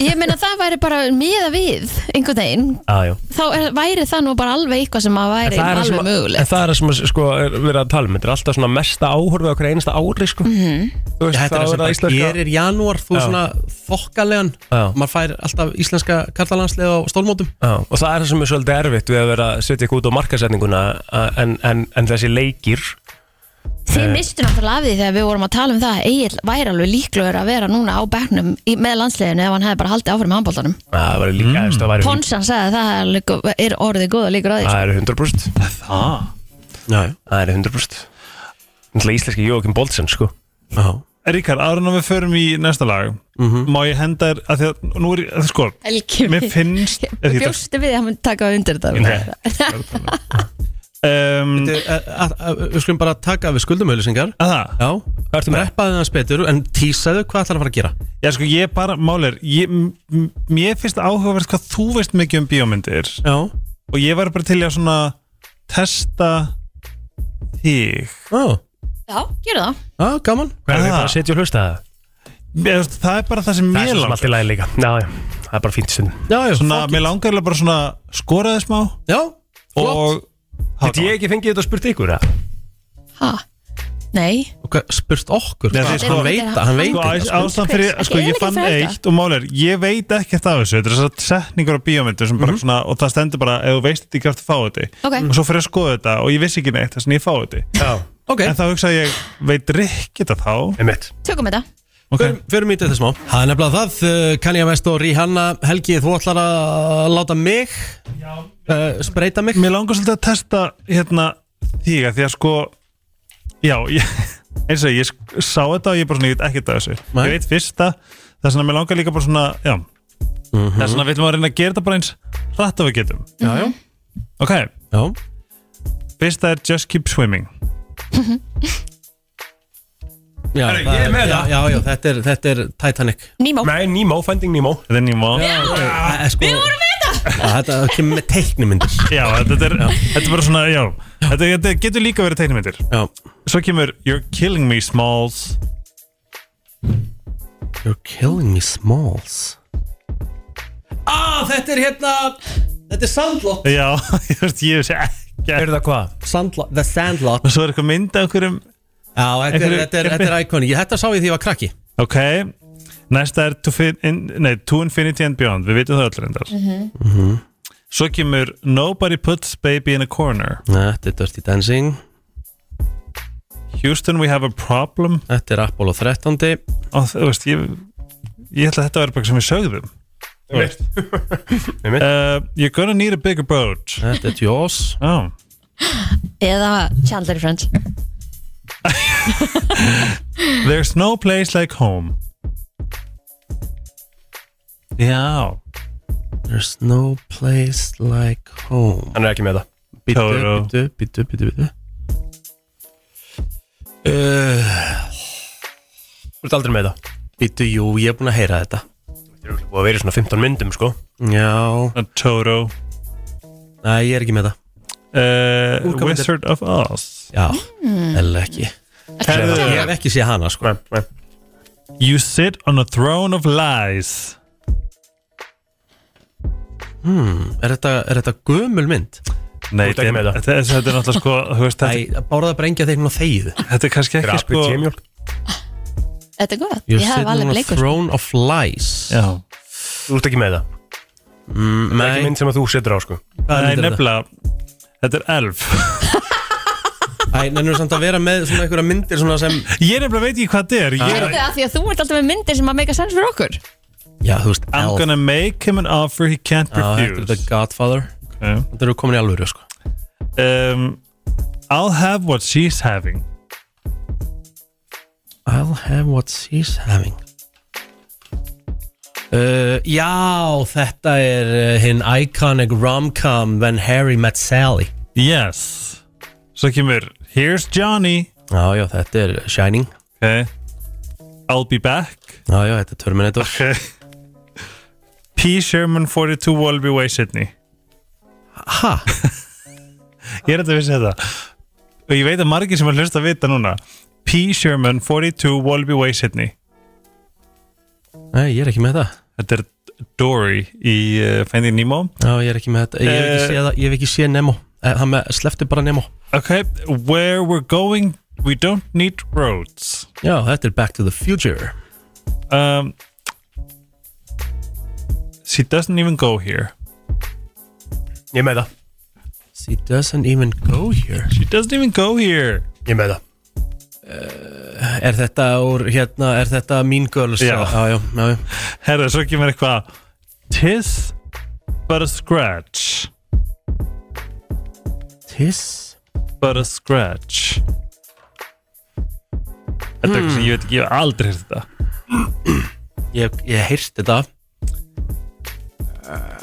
[SPEAKER 2] Ég meina það væri bara miða við einhvern veginn
[SPEAKER 3] ah,
[SPEAKER 2] þá er, væri það nú bara alveg eitthvað sem að væri
[SPEAKER 3] það er það
[SPEAKER 2] alveg
[SPEAKER 3] sem,
[SPEAKER 2] mögulegt
[SPEAKER 3] en það er það sem að, sko, er verið að tala um Þetta er alltaf svona mesta áhorfið okkur einasta ári sko.
[SPEAKER 2] Mhm.
[SPEAKER 3] Þú veist,
[SPEAKER 1] Þetta
[SPEAKER 3] þá
[SPEAKER 1] er það sem
[SPEAKER 3] það
[SPEAKER 1] bara
[SPEAKER 3] íslenska-
[SPEAKER 1] gerir janúar Þú
[SPEAKER 3] Já.
[SPEAKER 1] er svona þokkalegan Maður fær alltaf íslenska karlalandslega á stólmótum
[SPEAKER 3] Já, og það er það sem er svolítið erfitt við að vera að setja ykkur út á markasetninguna a- en, en, en þessi leikir
[SPEAKER 2] Þið
[SPEAKER 3] Eh,
[SPEAKER 2] mistu náttúrulega af því þegar við vorum að tala um það Egil væri alveg líklegur að vera núna á bekknum í, með landsliðinu ef hann hefði bara haldið áfram með handbóltanum
[SPEAKER 3] að það var líka mm. það væri hund-
[SPEAKER 2] Ponsan sagði að það er, líka- er orðið góða líkur á því
[SPEAKER 3] það er 100% það það er 100% Náttúrulega íslenski Jókim Boltsen sko
[SPEAKER 1] Já
[SPEAKER 5] Ríkar, árun að við förum í næsta lag
[SPEAKER 3] Mhm.
[SPEAKER 5] Má ég henda þér að því að nú er ég, að sko
[SPEAKER 2] Helgi
[SPEAKER 5] Mér finnst er
[SPEAKER 2] Ég
[SPEAKER 5] þetta-
[SPEAKER 2] Bjóstu við að hann myndi taka undir
[SPEAKER 5] Nei.
[SPEAKER 2] þetta
[SPEAKER 5] Um,
[SPEAKER 1] eh, Við skulum bara taka við skuldumauðlýsingar
[SPEAKER 5] Það?
[SPEAKER 1] Já, reppaði hans betur en tísaðu hvað ætlar að fara að gera
[SPEAKER 5] Já, sko, ég bara, málir, ég, m- m- mér finnst áhugavert hvað þú veist mikið um bíómyndir
[SPEAKER 1] Já
[SPEAKER 5] Og ég var bara til í að svona testa þig
[SPEAKER 1] Já
[SPEAKER 2] Já, gerðu það
[SPEAKER 1] Já, gaman
[SPEAKER 3] Hvað er við bara að setja og hlusta það?
[SPEAKER 5] Það er bara það sem
[SPEAKER 3] Það
[SPEAKER 5] mér
[SPEAKER 3] er svo sem
[SPEAKER 5] langar.
[SPEAKER 3] allt í lagi líka Já, já, það er bara fínt stundum
[SPEAKER 1] Já, já,
[SPEAKER 5] svona, mér langar eiginlega bara svona skoraði smá
[SPEAKER 1] Já,
[SPEAKER 5] og
[SPEAKER 3] Þetta ég ekki fengið þetta að spurt ykkur að
[SPEAKER 2] Ha? Nei
[SPEAKER 1] okay, Spurt okkur,
[SPEAKER 5] Nei,
[SPEAKER 1] Hvað?
[SPEAKER 5] því, sko,
[SPEAKER 1] hann veit það, hann veit
[SPEAKER 5] sko,
[SPEAKER 1] þetta,
[SPEAKER 5] ás-
[SPEAKER 1] sko.
[SPEAKER 5] ástæðan fyrir,
[SPEAKER 1] Ekki,
[SPEAKER 5] sko,
[SPEAKER 1] er
[SPEAKER 5] ég
[SPEAKER 1] ekki
[SPEAKER 5] fann
[SPEAKER 1] fræga.
[SPEAKER 5] eitt og mál er, ég veit ekkert af þessu þetta er þess setningar á bíómyndu sem bara
[SPEAKER 3] Mhm.
[SPEAKER 5] svona og það stendur bara, ef þú veist þetta, ég gæft að fá þetta
[SPEAKER 2] Ok.
[SPEAKER 5] og svo fyrir að skoða þetta og ég vissi ekki neitt þess að ég fá þetta
[SPEAKER 1] okay.
[SPEAKER 5] en þá hugsaði ég, veit Rikki þetta þá
[SPEAKER 3] Einmitt.
[SPEAKER 2] Tökum þetta
[SPEAKER 1] Förum förum í þetta smá Það er nefnilega það, uh, Kanye West og Rihanna Helgi, þú ætlar að láta mig Já Spreita mig
[SPEAKER 5] Mér langar svolítið að testa hérna því að því að sko já, ég, eins og ég sk- sá þetta og ég bara svona, ég veit ekkert af þessu
[SPEAKER 1] Nei.
[SPEAKER 5] ég veit fyrsta, það er svona, mér langar líka bara svona já, það er svona, við viljum að reyna að gera þetta bara eins hratt og við getum
[SPEAKER 1] Já, já
[SPEAKER 5] ok,
[SPEAKER 1] já.
[SPEAKER 5] fyrsta er Just Keep Swimming
[SPEAKER 1] Já,
[SPEAKER 5] Herru,
[SPEAKER 1] það
[SPEAKER 5] ég er með
[SPEAKER 1] já,
[SPEAKER 5] það.
[SPEAKER 1] Já, já, þetta er, þetta er Titanic
[SPEAKER 2] Nemo
[SPEAKER 3] Nei, Nemo, Finding Nemo
[SPEAKER 5] Þetta er Nemo
[SPEAKER 1] Já, sko, við vorum með þetta Þetta kemur með teiknumyndir
[SPEAKER 5] Já, þetta er, þetta er bara svona, já þetta, þetta getur líka verið teiknumyndir
[SPEAKER 1] Já
[SPEAKER 5] Svo kemur You're Killing Me Smalls
[SPEAKER 1] You're killing me smalls Ah, þetta er hérna Þetta er Sandlot
[SPEAKER 5] Já, ég veist, ég veist ekki Er
[SPEAKER 3] það hvað?
[SPEAKER 1] Sandlot, The Sandlot
[SPEAKER 5] Og svo er eitthvað mynd af einhverjum
[SPEAKER 1] Já, þetta er, þetta er, þetta er íkoni Þetta sá ég því ég var krakki
[SPEAKER 5] Ok, næsta er To, fin in, nei, to Infinity and Beyond Við veitum það öll reyndar Mhm. Svo kemur Nobody Puts Baby in a Corner
[SPEAKER 1] Þetta er Dirty Dancing
[SPEAKER 5] Houston We Have a Problem
[SPEAKER 1] Þetta er Apollo 13
[SPEAKER 5] Og þú veist, ég, ég ætla að þetta verður bara eitthvað sem við sögðum Þú veist. uh, You're gonna need a bigger boat
[SPEAKER 1] Þetta er Jaws
[SPEAKER 5] oh.
[SPEAKER 2] Eða Chandler í Friends
[SPEAKER 5] There's no place like home Já
[SPEAKER 1] There's no place like home
[SPEAKER 3] Hann er ekki með það
[SPEAKER 1] Bíddu,
[SPEAKER 3] Tóró.
[SPEAKER 1] bíddu, bíddu, bíddu, bíddu Uh,
[SPEAKER 3] Þú ert aldrei með það
[SPEAKER 1] Bíddu, jú, ég er búin að heyra þetta
[SPEAKER 3] Þetta er örugglega búið að vera í svona 15 myndum sko
[SPEAKER 1] Já
[SPEAKER 5] Toro
[SPEAKER 1] Nei, ég er ekki með það
[SPEAKER 5] uh,
[SPEAKER 1] Úrkomendur.
[SPEAKER 5] Wizard of Oz
[SPEAKER 1] Já, eða ekki
[SPEAKER 5] Herðu.
[SPEAKER 1] Ég hef ekki séð hana, sko
[SPEAKER 3] nei.
[SPEAKER 5] You sit on a throne of lies
[SPEAKER 1] hmm, er, þetta, er þetta gömul mynd?
[SPEAKER 5] Nei,
[SPEAKER 3] Þú ert ekki með
[SPEAKER 5] þetta
[SPEAKER 3] það.
[SPEAKER 5] þetta er þetta er náttúrulega sko þú veist, Nei,
[SPEAKER 1] borða bara engja þeir nú þegið
[SPEAKER 5] Þetta er kannski
[SPEAKER 3] Þetta
[SPEAKER 5] ekki
[SPEAKER 3] er
[SPEAKER 5] sko
[SPEAKER 3] APG-mjólk.
[SPEAKER 2] Þetta er gott, ég hef alveg bleikur
[SPEAKER 1] throne of lies
[SPEAKER 5] Já
[SPEAKER 3] Þú ert ekki með það
[SPEAKER 1] mm,
[SPEAKER 3] Það er ekki mynd sem að þú setur á sko
[SPEAKER 5] Nei, nefnilega Þetta er elf
[SPEAKER 1] Æ, nennur samt að vera með svona einhverja myndir svona sem
[SPEAKER 5] Ég nefnilega veit ekki hvað þetta er Ég
[SPEAKER 2] Erðu
[SPEAKER 5] er
[SPEAKER 2] það því að þú ert alltaf með myndir sem að make a sense fyrir okkur
[SPEAKER 1] Já, þú veist,
[SPEAKER 5] I'm
[SPEAKER 1] elf.
[SPEAKER 5] gonna make him an offer he can't
[SPEAKER 1] Já, þetta er
[SPEAKER 5] refuse
[SPEAKER 1] The Godfather
[SPEAKER 5] okay.
[SPEAKER 1] Þetta eru komin í alvöru sko
[SPEAKER 5] um, I'll have what she's having
[SPEAKER 1] I'll have what she's having uh, Já, þetta er uh, hinn iconic rom-com When Harry Met Sally
[SPEAKER 5] Yes Svo kemur Here's Johnny
[SPEAKER 1] Já, já, þetta er Shining
[SPEAKER 5] okay. I'll be back
[SPEAKER 1] Já, já, þetta er Terminator
[SPEAKER 5] okay. P. Sherman 42 Wallaby Way Sydney
[SPEAKER 1] Ha?
[SPEAKER 5] ég er þetta að vissi þetta og ég veit að margir sem að hlusta vita núna P. Sherman 42 Wallaby Way Sydney
[SPEAKER 1] Nei, ég er ekki með það
[SPEAKER 5] Þetta er Dory í uh, Finding Nemo
[SPEAKER 1] Já, ég er ekki með þetta Ég hef ekki séð, það- ég hef ekki séð Nemo Eh, Hann með, slefti bara Nemo
[SPEAKER 5] Ok, where we're going we don't need roads
[SPEAKER 1] Já, þetta er Back to the Future
[SPEAKER 5] um, She doesn't even go here
[SPEAKER 3] Ég með það
[SPEAKER 1] She doesn't even go here
[SPEAKER 5] She doesn't even go here
[SPEAKER 3] Ég með það
[SPEAKER 1] Eh, Er þetta úr, hérna, er þetta Mean Girls?
[SPEAKER 5] Já.
[SPEAKER 1] já, já, já, já.
[SPEAKER 5] Herra, svo kemur eitthvað Tis but a scratch
[SPEAKER 1] Tis
[SPEAKER 5] But a scratch Þetta er eitthvað sem ég veit ekki, ég hef aldrei hérst þetta
[SPEAKER 1] Ég, ég heyrst þetta Eh,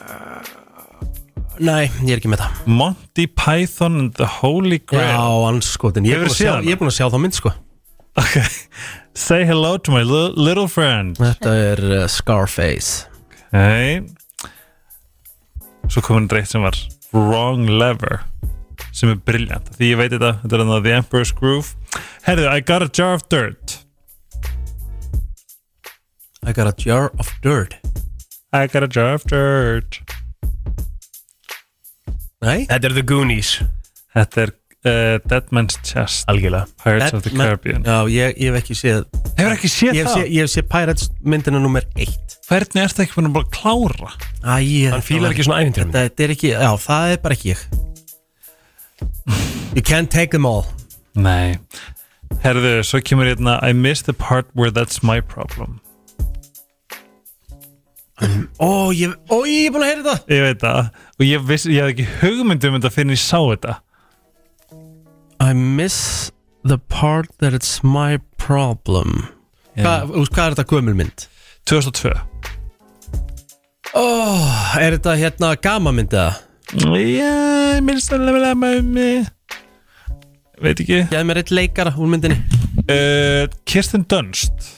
[SPEAKER 1] Nei, ég er ekki með það
[SPEAKER 5] Monty Python and the Holy
[SPEAKER 1] Já,
[SPEAKER 5] Grail
[SPEAKER 1] anskotin Ég er búin
[SPEAKER 5] Hefurðu
[SPEAKER 1] að
[SPEAKER 5] séð
[SPEAKER 1] sjá-
[SPEAKER 5] hana?
[SPEAKER 1] ég er búin að sjá þá mynd sko
[SPEAKER 5] okay. Say hello to my li- little friend
[SPEAKER 1] Þetta er uh, Scarface
[SPEAKER 5] okay. Svo kom hann dreitt sem var Wrong Lever sem er briljant, því ég veit þetta þetta er hann The Emperor's Groove Herðu, I got a jar of dirt
[SPEAKER 1] I got a jar of dirt
[SPEAKER 5] I got a jar of dirt
[SPEAKER 1] Nei,
[SPEAKER 3] Þetta er The Goonies
[SPEAKER 5] Þetta er uh, Dead Man's Chest
[SPEAKER 3] Algjörlega
[SPEAKER 5] Pirates of the
[SPEAKER 1] Batman-
[SPEAKER 5] Caribbean
[SPEAKER 1] Já, ég, ég hef ekki séð
[SPEAKER 5] Hefur ekki
[SPEAKER 1] Ég
[SPEAKER 5] séð
[SPEAKER 1] hef
[SPEAKER 5] það?
[SPEAKER 1] séð, ég hef séð Pirates myndina nummer 1
[SPEAKER 5] Hvernig ertu ekki búin að bara klára?
[SPEAKER 1] Æ,
[SPEAKER 3] Hann fílar ekki svona ævintýrum.
[SPEAKER 1] Þetta þetta er ekki, já, það er bara ekki ég You can't take them all
[SPEAKER 5] Nei Herðu, svo kemur hérna I missed the part where that's my problem
[SPEAKER 1] Ó, ég, ó, ég er búin að heyra þetta
[SPEAKER 5] Ég veit það Og ég, viss, ég hafði ekki hugmynd um þetta fyrir en ég sá þetta
[SPEAKER 1] I miss the part that it's my problem Hva, úr, Hvað er þetta gömulmynd?
[SPEAKER 5] 2002
[SPEAKER 1] Oh, er þetta hérna gamamynd eða?
[SPEAKER 5] Já, ég minnst að lefnilega með mig Veit ekki
[SPEAKER 1] Gæði mér eitt leikara úr myndinni
[SPEAKER 5] uh, Kirsten Dunst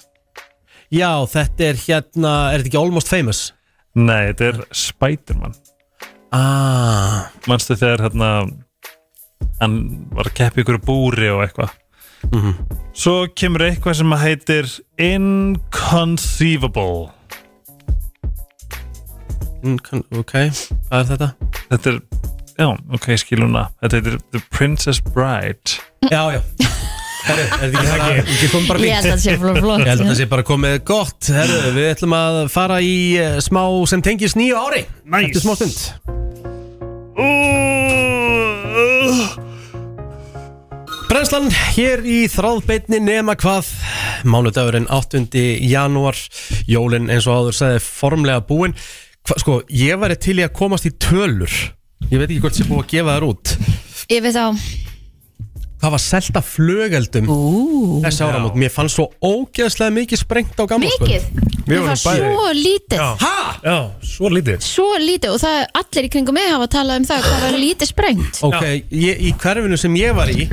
[SPEAKER 1] Já, þetta er hérna, er þetta ekki Almost Famous?
[SPEAKER 5] Nei, þetta er Spiderman
[SPEAKER 1] Ah,
[SPEAKER 5] Manstu þegar hérna Hann var að keppa ykkur búri og eitthvað Svo kemur eitthvað sem heitir Inconceivable
[SPEAKER 1] mm, ok, hvað er þetta?
[SPEAKER 5] Þetta er, já, ok, ég skil núna Þetta heitir The Princess Bride
[SPEAKER 1] Já, já Herru, er þetta ekki það? Ég kom bara
[SPEAKER 2] Ég held
[SPEAKER 1] fínt
[SPEAKER 2] að það sé
[SPEAKER 1] Ég
[SPEAKER 2] flott
[SPEAKER 1] held að það
[SPEAKER 2] flott.
[SPEAKER 1] sé bara komið gott Herru, við ætlum að fara í eh, smá sem tengist nýju ári
[SPEAKER 5] Nice.
[SPEAKER 1] Eftir smá stund Brennslan hér í þráðbeitni nema hvað Mánudagurinn 8. janúar Jólin eins og áður sagði formlega búin Hva, Sko, ég væri til í að komast í tölur Ég veit ekki hvort sé búið að gefa þær út
[SPEAKER 2] Yfir þá
[SPEAKER 1] Það var selta flögeldum
[SPEAKER 2] Ú,
[SPEAKER 1] Þessi áramót, mér fannst svo ógeðslega mikið sprengt á gamla
[SPEAKER 2] Mikið
[SPEAKER 3] Við
[SPEAKER 2] Það
[SPEAKER 3] vorum
[SPEAKER 2] var
[SPEAKER 3] bæði
[SPEAKER 2] svo lítið
[SPEAKER 1] Hæ?
[SPEAKER 3] Já, svo lítið
[SPEAKER 2] Svo lítið og það allir í kringum mig hafa talað um það hvað var lítið sprengt
[SPEAKER 1] Ok, ég, í hverfinu sem ég var í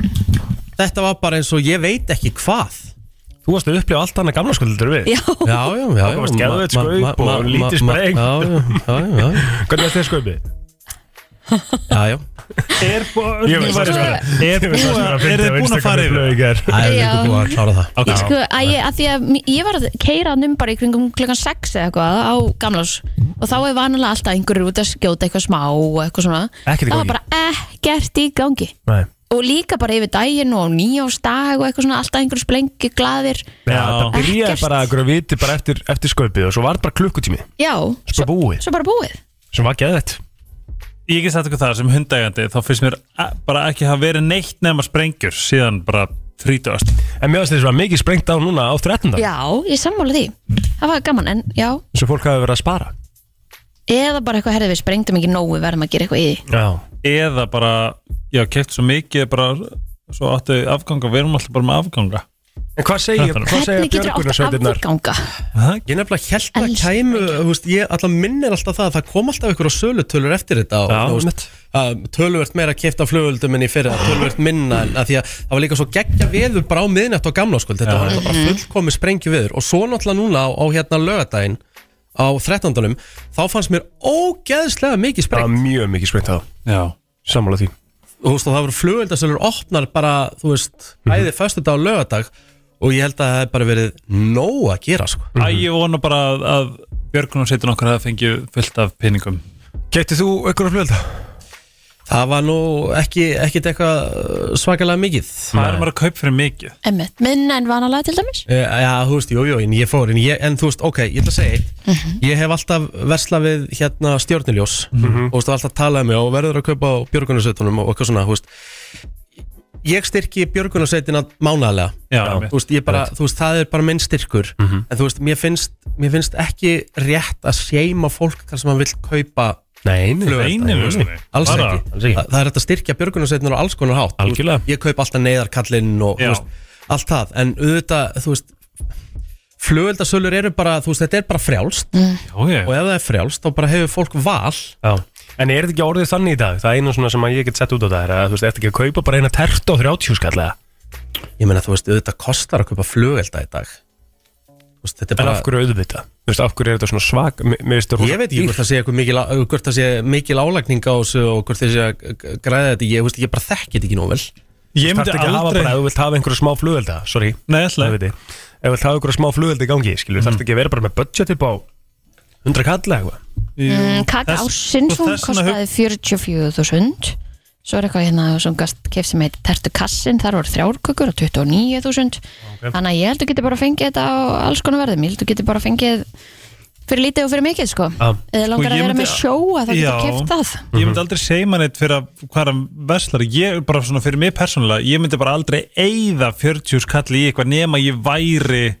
[SPEAKER 1] Þetta var bara eins og ég veit ekki hvað
[SPEAKER 3] Þú varst að upplifa allt annað gamla sko heldur en við
[SPEAKER 2] Já,
[SPEAKER 1] Já, já, já
[SPEAKER 3] Það komast geðveikt skaup og lítið sprengt.
[SPEAKER 1] Já, já, já, já
[SPEAKER 3] Hvernig er þetta skaupið?
[SPEAKER 1] Já, já
[SPEAKER 5] Er búið
[SPEAKER 1] Ég veist
[SPEAKER 2] sko,
[SPEAKER 5] að
[SPEAKER 1] það.
[SPEAKER 5] Er búið að Er þið búin að fara yfir
[SPEAKER 1] Það er líka búið að klára það
[SPEAKER 2] Ég, sko, að ég, að því að m- ég var að keira um bara í kringum klukkan 6 eða eitthvað á gamlás og þá er vanalega alltaf einhverjur út að skjóta eitthvað smá og eitthvað svona
[SPEAKER 3] Ekkert í
[SPEAKER 2] það var
[SPEAKER 3] gangi.
[SPEAKER 2] bara ekkert í gangi
[SPEAKER 3] Nei
[SPEAKER 2] og líka bara yfir daginn og á nýjástag og eitthvað svona alltaf einhverjur splengi glaðir
[SPEAKER 3] Já, það byrjaði bara að gera viti bara eftir, eftir sköpið og svo var þetta bara klukkutími
[SPEAKER 2] já,
[SPEAKER 3] Svo búið,
[SPEAKER 2] svo bara búið
[SPEAKER 3] sem var geðvett
[SPEAKER 5] Ég get sagt ykkur það sem hundægandi Þá finnst mér a- bara ekki hafa verið neitt nema sprengjur Síðan bara þrítast
[SPEAKER 3] En mér finnst þess að mikið sprengt á núna á 13.
[SPEAKER 2] já, ég sammála því, það var gaman en já,
[SPEAKER 3] Svo fólk hafi verið að spara
[SPEAKER 2] eða bara eitthvað herðið við sprengdum ekki nógu við verðum að gera eitthvað í því
[SPEAKER 3] Já.
[SPEAKER 5] Eða bara Já, keft svo mikið bara Svo áttu afganga Við erum alltaf bara með afganga
[SPEAKER 3] En hvað
[SPEAKER 2] Hvernig getur átt afganga?
[SPEAKER 1] Ég nefnilega held að kæmu þú veist, Ég alltaf minnir alltaf það að það kom alltaf ykkur á sölutölur eftir þetta og, þú veist, að Töluvert meira keft af flugöldum en í fyrra Töluvert minna en að því að það var líka svo geggja veður bara á miðnætt og gamla skuld Þetta var náttúrulega bara fullkomi sprengju veður Og svo náttúrulega núna á, á hérna lögadaginn á 13. Þá fannst mér ógeðslega mikið sprengt
[SPEAKER 3] Það var mjög mikið sprengt á
[SPEAKER 5] Já
[SPEAKER 3] Sammála því
[SPEAKER 1] Þú veist og það voru flugöldasölur opnar bara Þú veist, bæði föstudag og lögadag Og ég held að það hef bara verið nóg að gera sko
[SPEAKER 5] Æ, ég vona bara að, að björgunarsveitin okkar hafa fengið fullt af peningum
[SPEAKER 3] Gætið þú ykkur að fljóða?
[SPEAKER 1] Það var nú ekki, ekkit eitthvað uh, svakalega mikið
[SPEAKER 5] Það er bara að kaup fyrir mikið
[SPEAKER 2] Einmitt, minna en vanalega til dæmis
[SPEAKER 1] Eh, Já, þú veist, jú, jú, en ég fór en, ég, en þú veist, ok, ég ætla að segja eitt Ég hef alltaf verslað við hérna stjórniljós
[SPEAKER 5] Mhm.
[SPEAKER 1] Og þú veist, alltaf talað um mig og verður að kaupa á björgunarsveitunum og eitthvað svona, þú veist Ég styrki björgunarsveitina mánaðlega
[SPEAKER 5] Já, einmitt.
[SPEAKER 1] þú veist, ég bara,
[SPEAKER 5] Einmitt. Mhm.
[SPEAKER 1] þú veist, það er bara minn styrkur En þú veist, mér finnst, mér finnst ekki rétt að seima fólk þar sem hann vill kaupa
[SPEAKER 3] Nei, nei,
[SPEAKER 1] flugvelda,
[SPEAKER 3] nei, nei,
[SPEAKER 1] þú veist.
[SPEAKER 3] nei.
[SPEAKER 1] alls
[SPEAKER 3] Bara,
[SPEAKER 1] ekki,
[SPEAKER 3] alls ekki.
[SPEAKER 1] Þa- það er hægt að styrkja björgunarsveitnur á alls konar hátt Þú veist, ég kaup alltaf neyðarkallinn og þú veist, allt það, en auðvitað þú veist, flugöldasölur eru bara, þú veist, þetta er bara frjálst
[SPEAKER 2] Mm.
[SPEAKER 5] Já, og ef
[SPEAKER 1] það er frjálst, þá bara hefur fólk val
[SPEAKER 3] Já En er þetta ekki orðið þannig í dag? Það er einu svona sem að ég get sett út á það er að þú veist, ertu ekki að kaupa bara eina tert og 30 skallega
[SPEAKER 1] Ég meina, þú veist, auðvitað kostar að kaupa flugölda í dag Þú veist, þetta er
[SPEAKER 3] En
[SPEAKER 1] bara
[SPEAKER 3] af hverju auðvitað? Þú veist, af hverju er þetta svona svak? Mér- mér finnst þetta rosa
[SPEAKER 1] Ég veit ekki
[SPEAKER 3] dýrt.
[SPEAKER 1] hvort það sé, einhver mikil, hvort það sé mikil álagning á þessu og hvort það sé að græða þetta ég, þú veist, ég bara þekki þetta ekki nóg vel
[SPEAKER 5] Ég
[SPEAKER 3] Þú þarft
[SPEAKER 5] myndi
[SPEAKER 3] ekki að hafa
[SPEAKER 5] aldrei-
[SPEAKER 3] bara, ef þú vilt hafa einhverja smá flugvelda, sorry
[SPEAKER 5] Nei, ætla
[SPEAKER 3] Ef þú vilt hafa einhverja smá flugvelda í gangi, skilur, mm. þarft ekki að vera bara með budget upp á 100 kalla eitthvað
[SPEAKER 2] Mm, Kaka ársins, hún kostaði 44.000 Svo er eitthvað hérna sem gast kef sem heit Tertu kassin, þar voru þrjárkökur og 29.000 Þannig að ég held að geti bara fengið þetta á alls konar verðum Ég held að geti bara fengið fyrir lítið og fyrir mikið sko Eða langar
[SPEAKER 5] Sko,
[SPEAKER 2] að
[SPEAKER 5] ég
[SPEAKER 2] vera
[SPEAKER 5] myndi-
[SPEAKER 2] með sjóa þá
[SPEAKER 5] Já.
[SPEAKER 2] getur keft það
[SPEAKER 5] Ég myndi aldrei segja maður neitt fyrir að hvað hann veslar Ég bara svona fyrir mig persónulega Ég myndi bara aldrei eyða 40 skalli í eitthvað nema ég væri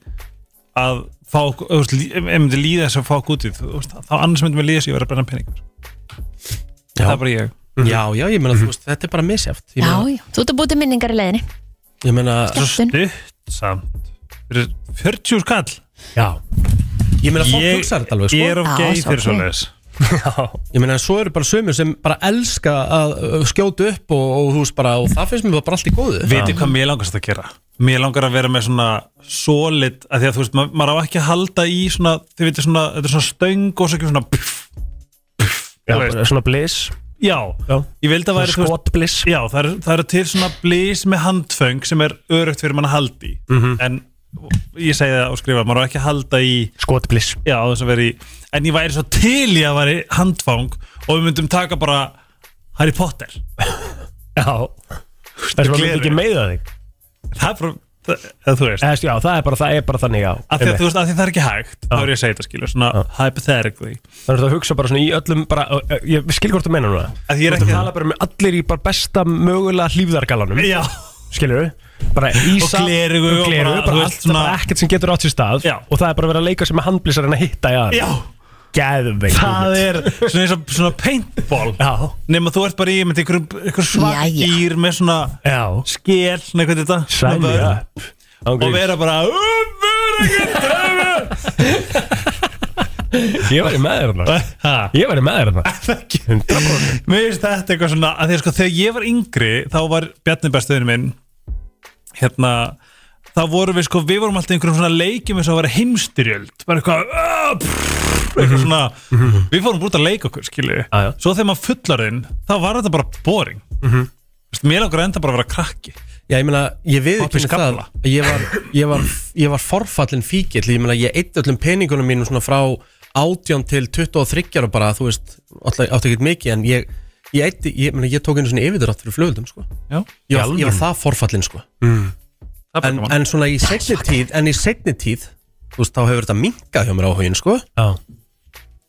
[SPEAKER 5] að fá þú veist, lí- Ég myndi líða þess að fá út í þú veist, Þá annars myndi mér líða þess að ég vera að brenna peningar
[SPEAKER 1] Já.
[SPEAKER 5] Það er bara ég
[SPEAKER 1] Já, já, ég meina, þú veist, þetta er bara misjæft
[SPEAKER 2] Já, já, þú ert að búið til minningar í leiðinni
[SPEAKER 1] Ég meina
[SPEAKER 5] Svo stutt samt Fyrir 40 skall
[SPEAKER 1] Já Ég meina fólk
[SPEAKER 5] Ég-
[SPEAKER 1] hugsa þetta alveg sko
[SPEAKER 5] ég er of Já, gay fyrir ok. svoleiðis.
[SPEAKER 1] Ég meina svo eru bara sömur sem bara elska að uh, skjóta upp og, og, hús, bara, og það finnst mér bara allt í góðu
[SPEAKER 5] Vitið hvað mér langast að gera? Mér langar að vera með svona solid, að því að þú veist, ma maður á ekki að halda í svona, þið veitir svona, þetta er svona stöng og svo ekki svona pff,
[SPEAKER 3] Já,
[SPEAKER 5] Þú veist.
[SPEAKER 3] bara svona bliss
[SPEAKER 5] Já,
[SPEAKER 3] Já.
[SPEAKER 5] ég vildi að væri
[SPEAKER 3] Skotbliss
[SPEAKER 5] Já, það eru það eru til svona bliss með handföng sem er örugt fyrir mann að halda í
[SPEAKER 3] Mhm.
[SPEAKER 5] En ég segi það og skrifa, maður á ekki að halda í
[SPEAKER 3] Skotbliss
[SPEAKER 5] Já, á þess að vera í En ég væri svo til í að væri handfang og við myndum taka bara Harry Potter
[SPEAKER 3] Já Það sem að myndi ekki meiða þig
[SPEAKER 5] Það er bara, það, eða þú veist
[SPEAKER 3] Já, það er bara, það er bara þannig, já
[SPEAKER 5] Af því að
[SPEAKER 3] Einmitt.
[SPEAKER 5] þú veist, af því að það er ekki hægt Þá er ég að segja þetta skilur, svona hypothetically
[SPEAKER 3] Þannig að þú hugsa bara svona í öllum bara, ö, ö, Ég skil hvort þú meina núna
[SPEAKER 5] Að ég er
[SPEAKER 3] Þú
[SPEAKER 5] ekki-
[SPEAKER 3] tala bara um allir í bara besta mögulega hlýfðargalanum
[SPEAKER 5] Já.
[SPEAKER 3] Skilur Bara ísa
[SPEAKER 5] Og gleraugu
[SPEAKER 3] og
[SPEAKER 5] og
[SPEAKER 3] gleru
[SPEAKER 5] bara,
[SPEAKER 3] Bara,
[SPEAKER 5] þú
[SPEAKER 3] bara
[SPEAKER 5] veist,
[SPEAKER 3] allt
[SPEAKER 5] svona-
[SPEAKER 3] bara ekkert sem getur átt sér stað Já. Og það er bara verið að leika sem með handblissar en að hitta í aðra
[SPEAKER 5] Já.
[SPEAKER 3] Gæðveik
[SPEAKER 5] Það er svona eins og svona paintball
[SPEAKER 3] Já
[SPEAKER 5] Nefn að þú ert bara í með einhver, einhver svakýr með svona
[SPEAKER 3] Já.
[SPEAKER 5] skel, nei hvað er þetta Svona
[SPEAKER 3] Sign me
[SPEAKER 5] vörn.
[SPEAKER 3] up. Ángríns.
[SPEAKER 5] Og vera bara "Um,
[SPEAKER 3] Ég væri með þér þarna Ég væri með þér þarna
[SPEAKER 5] Mér finnst þetta eitthvað svona að því að sko, þegar ég var yngri þá var Bjarni bestuðin minn hérna þá vorum við sko, við vorum alltaf í einhverjum svona leikjum eins og að vera heimstyrjöld bara eitthvað "Ah, pff, eitthvað svona Við fórum bara út að leika okkur, skilju Svo þegar maður fullarinn, þá var þetta bara boring
[SPEAKER 1] Mhm.
[SPEAKER 5] Vist, Mér langar enda bara að vera krakki
[SPEAKER 1] Já, ég meina, ég viðurkenni
[SPEAKER 5] Pabbi
[SPEAKER 1] það
[SPEAKER 5] skafla.
[SPEAKER 1] að ég var, ég var, ég var forfallin fíkill, ég meina, ég eitt öllum peningunum mínum svona frá 18 til 23 ára bara, þú veist, alltaf átti ekkert mikið, en ég, ég eitt, ég meina, ég tók einu svona yfirdrátt fyrir flugöldum, sko.
[SPEAKER 5] Já.
[SPEAKER 1] Ég var, ég var
[SPEAKER 5] Í
[SPEAKER 1] það forfallin, sko.
[SPEAKER 5] Það er bara
[SPEAKER 1] En,
[SPEAKER 5] gaman.
[SPEAKER 1] en svona í segni tíð, en í segni tíð, þú veist, þá hefur þetta minkað hjá mér áhugin, sko.
[SPEAKER 3] Já.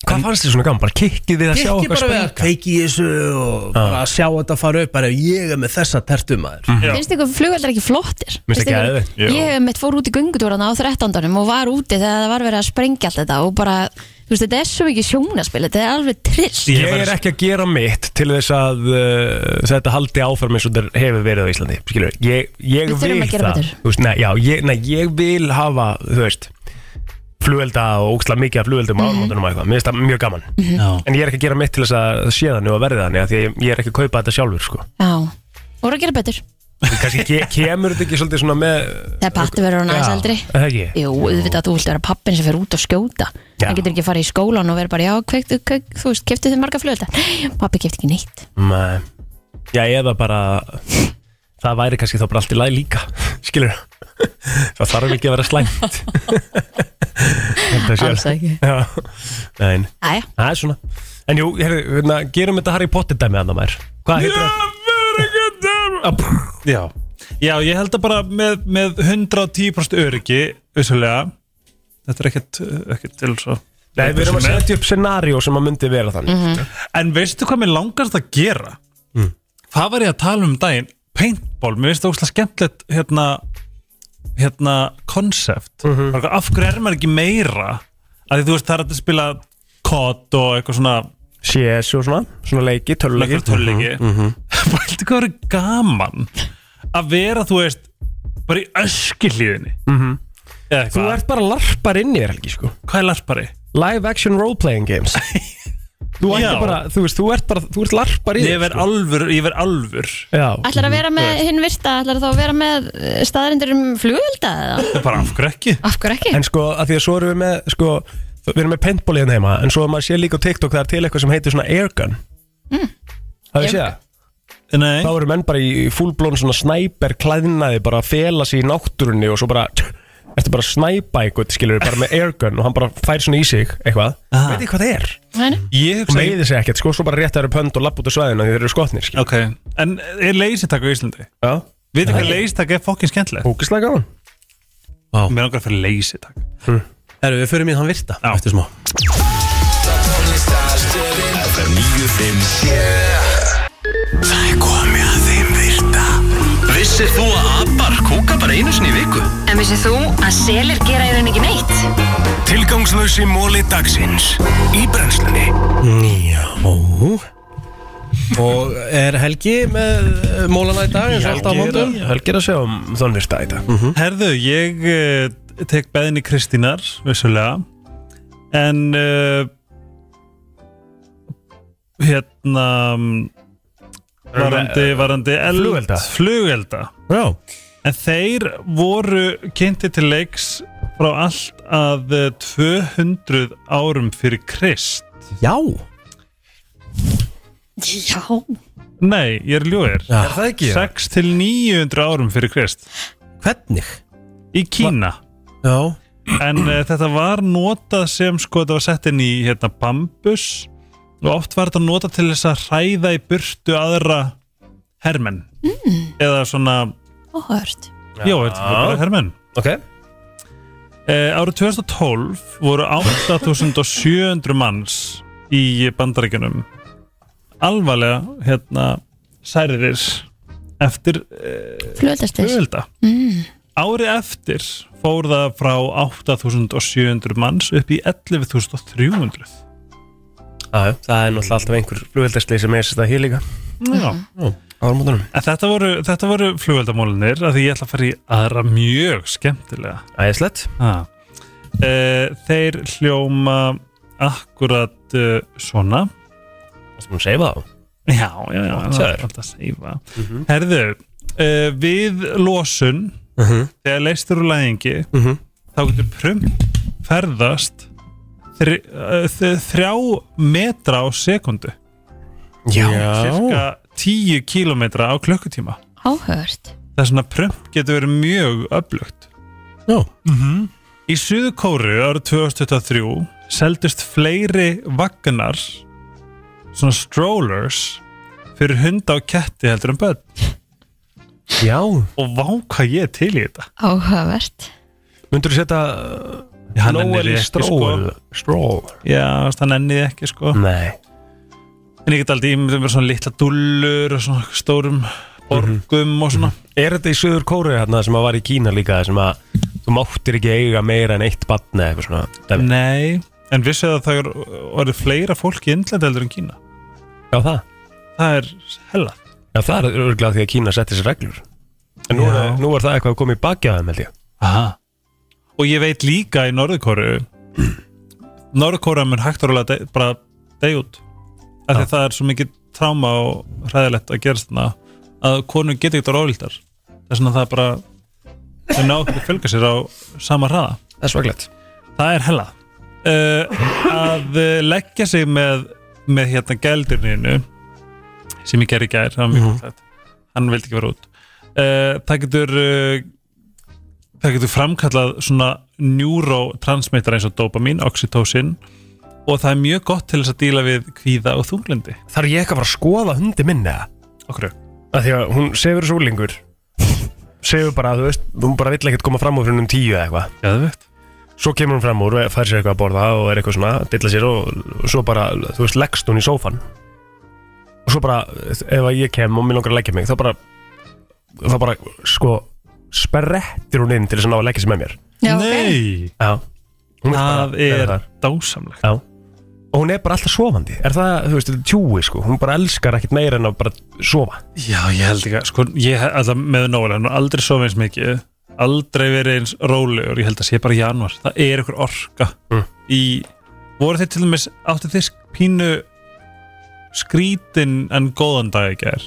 [SPEAKER 3] Hvað fannst þér svona gaman? Bara kikkið við að sjá
[SPEAKER 1] Ekki
[SPEAKER 3] okkar
[SPEAKER 1] bara við að
[SPEAKER 3] springa?
[SPEAKER 1] kveiki í þessu og bara að sjá þetta fara upp, bara ég er með þessa tertum aður.
[SPEAKER 3] Mhm.
[SPEAKER 2] Finnst ykkur flugveldar ekki flottir?
[SPEAKER 1] Mér finnst ekki
[SPEAKER 2] ykkur-
[SPEAKER 1] geðveikt. Jú.
[SPEAKER 2] Ég hef mitt fór út í göngutúrana á 13. og var úti þegar það var verið að sprengja allt þetta og bara, þú veist, þetta er svo mikið sjónaspil, þetta er alveg trist
[SPEAKER 3] Ég er ekki að gera mitt til þess að uh, þetta haldi áfram eins og þetta hefur verið á Íslandi skilur. Ég,
[SPEAKER 2] Við
[SPEAKER 3] ég
[SPEAKER 2] þurfum
[SPEAKER 3] vil
[SPEAKER 2] að gera
[SPEAKER 3] það
[SPEAKER 2] betur.
[SPEAKER 3] Þú veist, nei, já, ég, nei, ég vil hafa þú veist flugvelda og óksla mikið af flugveldum
[SPEAKER 2] Mhm.
[SPEAKER 3] mm. áramóndunum og eitthvað, mér finnst það mjög gaman en ég er ekki að gera mitt til þess að sé þannig og verði þannig af því að ég, ég er ekki að kaupa þetta sjálfur sko.
[SPEAKER 2] Já, voru að gera betur
[SPEAKER 3] kannski ke kemur þetta ekki svolítið svona með
[SPEAKER 2] Þegar patti verður hún aðeins
[SPEAKER 3] Já,
[SPEAKER 2] eldri
[SPEAKER 3] er það ekki?
[SPEAKER 2] Jú, auðvitað að þú vilt vera pappin sem fer út og skjóta
[SPEAKER 3] Já.
[SPEAKER 2] Hann getur ekki að fara í skólan og vera bara Já, kveiktu, kveik, þú veist, keftið þið marga flugölda Pappi kefti ekki neitt
[SPEAKER 3] Nei. Já, eða bara það væri kannski þá bara allt í lagi líka skilur það þarf ekki að vera slæmt
[SPEAKER 2] Alls ekki.
[SPEAKER 3] Nein.
[SPEAKER 2] Jæja.
[SPEAKER 3] Það er svona En jú, heru, hérna, gerum þetta Harry Potter dæmi annar mær Hvað heitir það?
[SPEAKER 5] Já. Já, ég held að bara með, með 110% öryggi, vissulega Þetta er ekkert, ekkert til svo
[SPEAKER 3] Nei, við erum að setja upp scenario sem að myndi vera þannig
[SPEAKER 2] Mhm.
[SPEAKER 5] En veistu hvað mér langast að gera?
[SPEAKER 3] Mm.
[SPEAKER 5] Hvað var ég að tala um um daginn? Paintball, mér finnst það óslega skemmtilegt hérna, hérna concept,
[SPEAKER 3] Mhm.
[SPEAKER 5] mm -hmm. af hverju er maður ekki meira að því þú veist það er hægt að spila COD og eitthvað svona
[SPEAKER 3] CS og svona, svona leiki, Mhm. töluleiki
[SPEAKER 5] Leikur tölleiki Bælti hvað verið gaman að vera, þú veist, bara í öskilíðinni
[SPEAKER 3] Mhm.
[SPEAKER 5] eða
[SPEAKER 3] Þú
[SPEAKER 5] eitthvað
[SPEAKER 3] ert bara larpar inn í þér helgi sko
[SPEAKER 5] Hvað er larpari?
[SPEAKER 3] Live action role playing games Þú, ætti
[SPEAKER 5] Já.
[SPEAKER 3] bara, þú, veist, þú ert bara, þú ert larpar í sko.
[SPEAKER 5] Ég verð alvur, ég verð alvur
[SPEAKER 3] Já
[SPEAKER 2] Ætlar að vera með hinn virta, ætlar þá að vera með staðarindur um flugölda eða?
[SPEAKER 5] Bara af hverju ekki?
[SPEAKER 2] Af hverju ekki?
[SPEAKER 3] En sko, af því að svo erum við með sko, Við erum með paintball hérna heima En svo að maður sé líka á TikTok það er til eitthvað sem heitir svona airgun Það
[SPEAKER 2] Ég-
[SPEAKER 3] við séð það?
[SPEAKER 5] Nei
[SPEAKER 3] Þá eru menn bara í fullblón svona snæper klæðnaði bara að fela sig í náttúrunni og svo bara Ertu bara að snæpa einhvern, skilur bara með airgun og hann bara fær svona í sig eitthvað Veit þið hvað það er?
[SPEAKER 5] Ég
[SPEAKER 3] Og meiði sig ekkert, sko, svo bara rétt að eru pönd og lapp út á svæðina því þeir eru skotnir, skilur
[SPEAKER 5] Ok, en er leysintaka í Íslandi?
[SPEAKER 3] Já
[SPEAKER 5] Við
[SPEAKER 3] Já.
[SPEAKER 5] hvað leysintaka er fokkin skemmtilegt?
[SPEAKER 3] Ógislega gaman
[SPEAKER 5] Mér langar að fyrir leysintaka
[SPEAKER 1] Herru, við förum í hann virta Já. eftir smá
[SPEAKER 18] FM 957 Það er komið að þeim virta Vissir þú að abar kúka bara einu sinni í viku?
[SPEAKER 16] En vissið þú að selir gera í rauninni ekki neitt?
[SPEAKER 3] Tilgangslösi móli dagsins Í brennslunni
[SPEAKER 1] Já Og er Helgi með eh, mólana í dag eins og alltaf á móndum?
[SPEAKER 3] Helgi er að sjá um þann virta í dag
[SPEAKER 1] Mhm.
[SPEAKER 5] Herðu, ég uh, tek beðinni Kristínar, vissulega En uh, Hérna mm, Varandi, varandi eld,
[SPEAKER 3] Flugelda.
[SPEAKER 5] Flugelda
[SPEAKER 1] Já
[SPEAKER 5] En þeir voru kynnti til leiks frá allt að eh, 200 árum fyrir Krist
[SPEAKER 1] Já
[SPEAKER 2] Já
[SPEAKER 5] Nei, ég er ljóðir
[SPEAKER 1] Já. Er það ekki?
[SPEAKER 5] 6 til 900 árum fyrir Krist
[SPEAKER 1] Hvernig?
[SPEAKER 5] Í Kína
[SPEAKER 1] Já
[SPEAKER 5] En uh, þetta var notað sem sko þetta var sett inn í hérna, bambus og oft var þetta notað til þess að hræða í burtu aðra hermenn mm. eða svona,
[SPEAKER 2] Óhört
[SPEAKER 5] já, þetta var bara hermenn
[SPEAKER 1] Ok
[SPEAKER 5] uh, Árið 2012 voru 8700 manns í bandaríkjunum alvarlega hérna særðir eftir uh,
[SPEAKER 2] Flugeldastlys.
[SPEAKER 5] flugelda
[SPEAKER 2] mm.
[SPEAKER 5] Árið eftir fór það frá 8.700 manns upp í 11.300
[SPEAKER 3] Æ, Það er náttúrulega alltaf einhver flugveldastlið sem er þetta hér líka
[SPEAKER 5] Já.
[SPEAKER 3] Ármóndunum
[SPEAKER 5] En þetta voru, þetta voru flugveldamólinir að því ég ætla að fara í aðra mjög skemmtilega
[SPEAKER 3] Æðislegt
[SPEAKER 5] ah. Þeir hljóma akkurat uh, svona
[SPEAKER 3] Það sem hún seifa þá
[SPEAKER 5] Já, já, já,
[SPEAKER 3] Gott,
[SPEAKER 5] það
[SPEAKER 3] sagður.
[SPEAKER 5] er alltaf að seifa Herðu, uh, við losun þegar leistur úr læðingi þá getur prump ferðast þri, uh, þ- þrjá metra á sekundu
[SPEAKER 1] Já.
[SPEAKER 5] Cirka 10 kílometra á klukkutíma
[SPEAKER 2] Áhört
[SPEAKER 5] Það er svona prump getur verið mjög öflugt
[SPEAKER 1] Já
[SPEAKER 5] Í Suðu Kóru árið 2023 seldust fleiri vagnar svona strollers fyrir hunda og ketti heldur en börn
[SPEAKER 3] Já
[SPEAKER 5] Og vá hvað ég er til í þetta
[SPEAKER 2] Áhört
[SPEAKER 3] Myndur þú setja
[SPEAKER 5] Já, hann
[SPEAKER 3] Noel
[SPEAKER 5] nennir
[SPEAKER 3] í
[SPEAKER 5] ekki, sko.
[SPEAKER 3] stról Stról
[SPEAKER 5] Já, það nenni ég ekki sko
[SPEAKER 3] Nei
[SPEAKER 5] En ég get aldrei ímyndið mér svona litla dullur og svona stórum borgum og svona
[SPEAKER 3] Er þetta í Suður Kóru hérna sem að var í Kína líka sem að þú máttir ekki eiga meira en eitt batn eða eitthvað svona dæmi?
[SPEAKER 5] Nei, en vissu að það er orðið fleira fólk í Indlandi heldur en Kína
[SPEAKER 3] Já það
[SPEAKER 5] Það er hella
[SPEAKER 3] Já það er örgulega því að Kína setti sér reglur En nú, er, nú er það eitthvað að koma í baki að þeim held ég
[SPEAKER 5] Aha. Og ég veit líka í Norðurkóru Norðurkóra mun hægt og rólega de, bara deg út af því að það er svo mikið tráma og hræðilegt að gerast þarna að konur geta ekkert rofildar þess vegna það er bara þau ná ekki að fylga sér á sama hraða
[SPEAKER 3] Það er svaklegt
[SPEAKER 5] Það er hella uh, að eh, leggja sig með með hérna gældurninu sem ég gerði í gær það var mjög
[SPEAKER 3] Mhm.
[SPEAKER 5] mm hann vildi ekki vera út uh, það getur uh, það getur framkallað svona neurotransmitter eins og dopamin, oxytocin og það er mjög gott til þess að díla við kvíða og þunglindi
[SPEAKER 3] Þarf ég ekki að fara að skoða hundi minni eða?
[SPEAKER 5] Okkur
[SPEAKER 3] Af því að hún sefur svo lengur Sefur bara, þú veist, hún bara vill ekkert koma fram úr fyrir um tíu eða eitthvað
[SPEAKER 5] Já það veit
[SPEAKER 3] Svo kemur hún fram úr, fær sér eitthvað að borða og er eitthvað svona, dilla sér og, og svo bara, þú veist, leggst hún í sófan og svo bara, ef að ég kem og mér langar að leggja mig, þá bara þá bara, sko sperrettir hún inn til þess að ná að leggja sér með mér
[SPEAKER 5] Já, ok. Nei.
[SPEAKER 3] Já Hún vill bara
[SPEAKER 5] það
[SPEAKER 3] vera
[SPEAKER 5] er
[SPEAKER 3] þar.
[SPEAKER 5] dásamlegt
[SPEAKER 3] Já Og hún er bara alltaf sofandi, er það, þú veist, þetta er tjúi, sko hún bara elskar ekkert meira en að bara sofa
[SPEAKER 5] Já, ég held ekki að, sko, ég held alltaf með Nóel, hann er aldrei svo eins mikið, aldrei verið eins rólegur, ég held að sé bara í januar, það er ykkur orka í, voru þið til dæmis, áttu þið pínu skrítin en góðan dag í gær?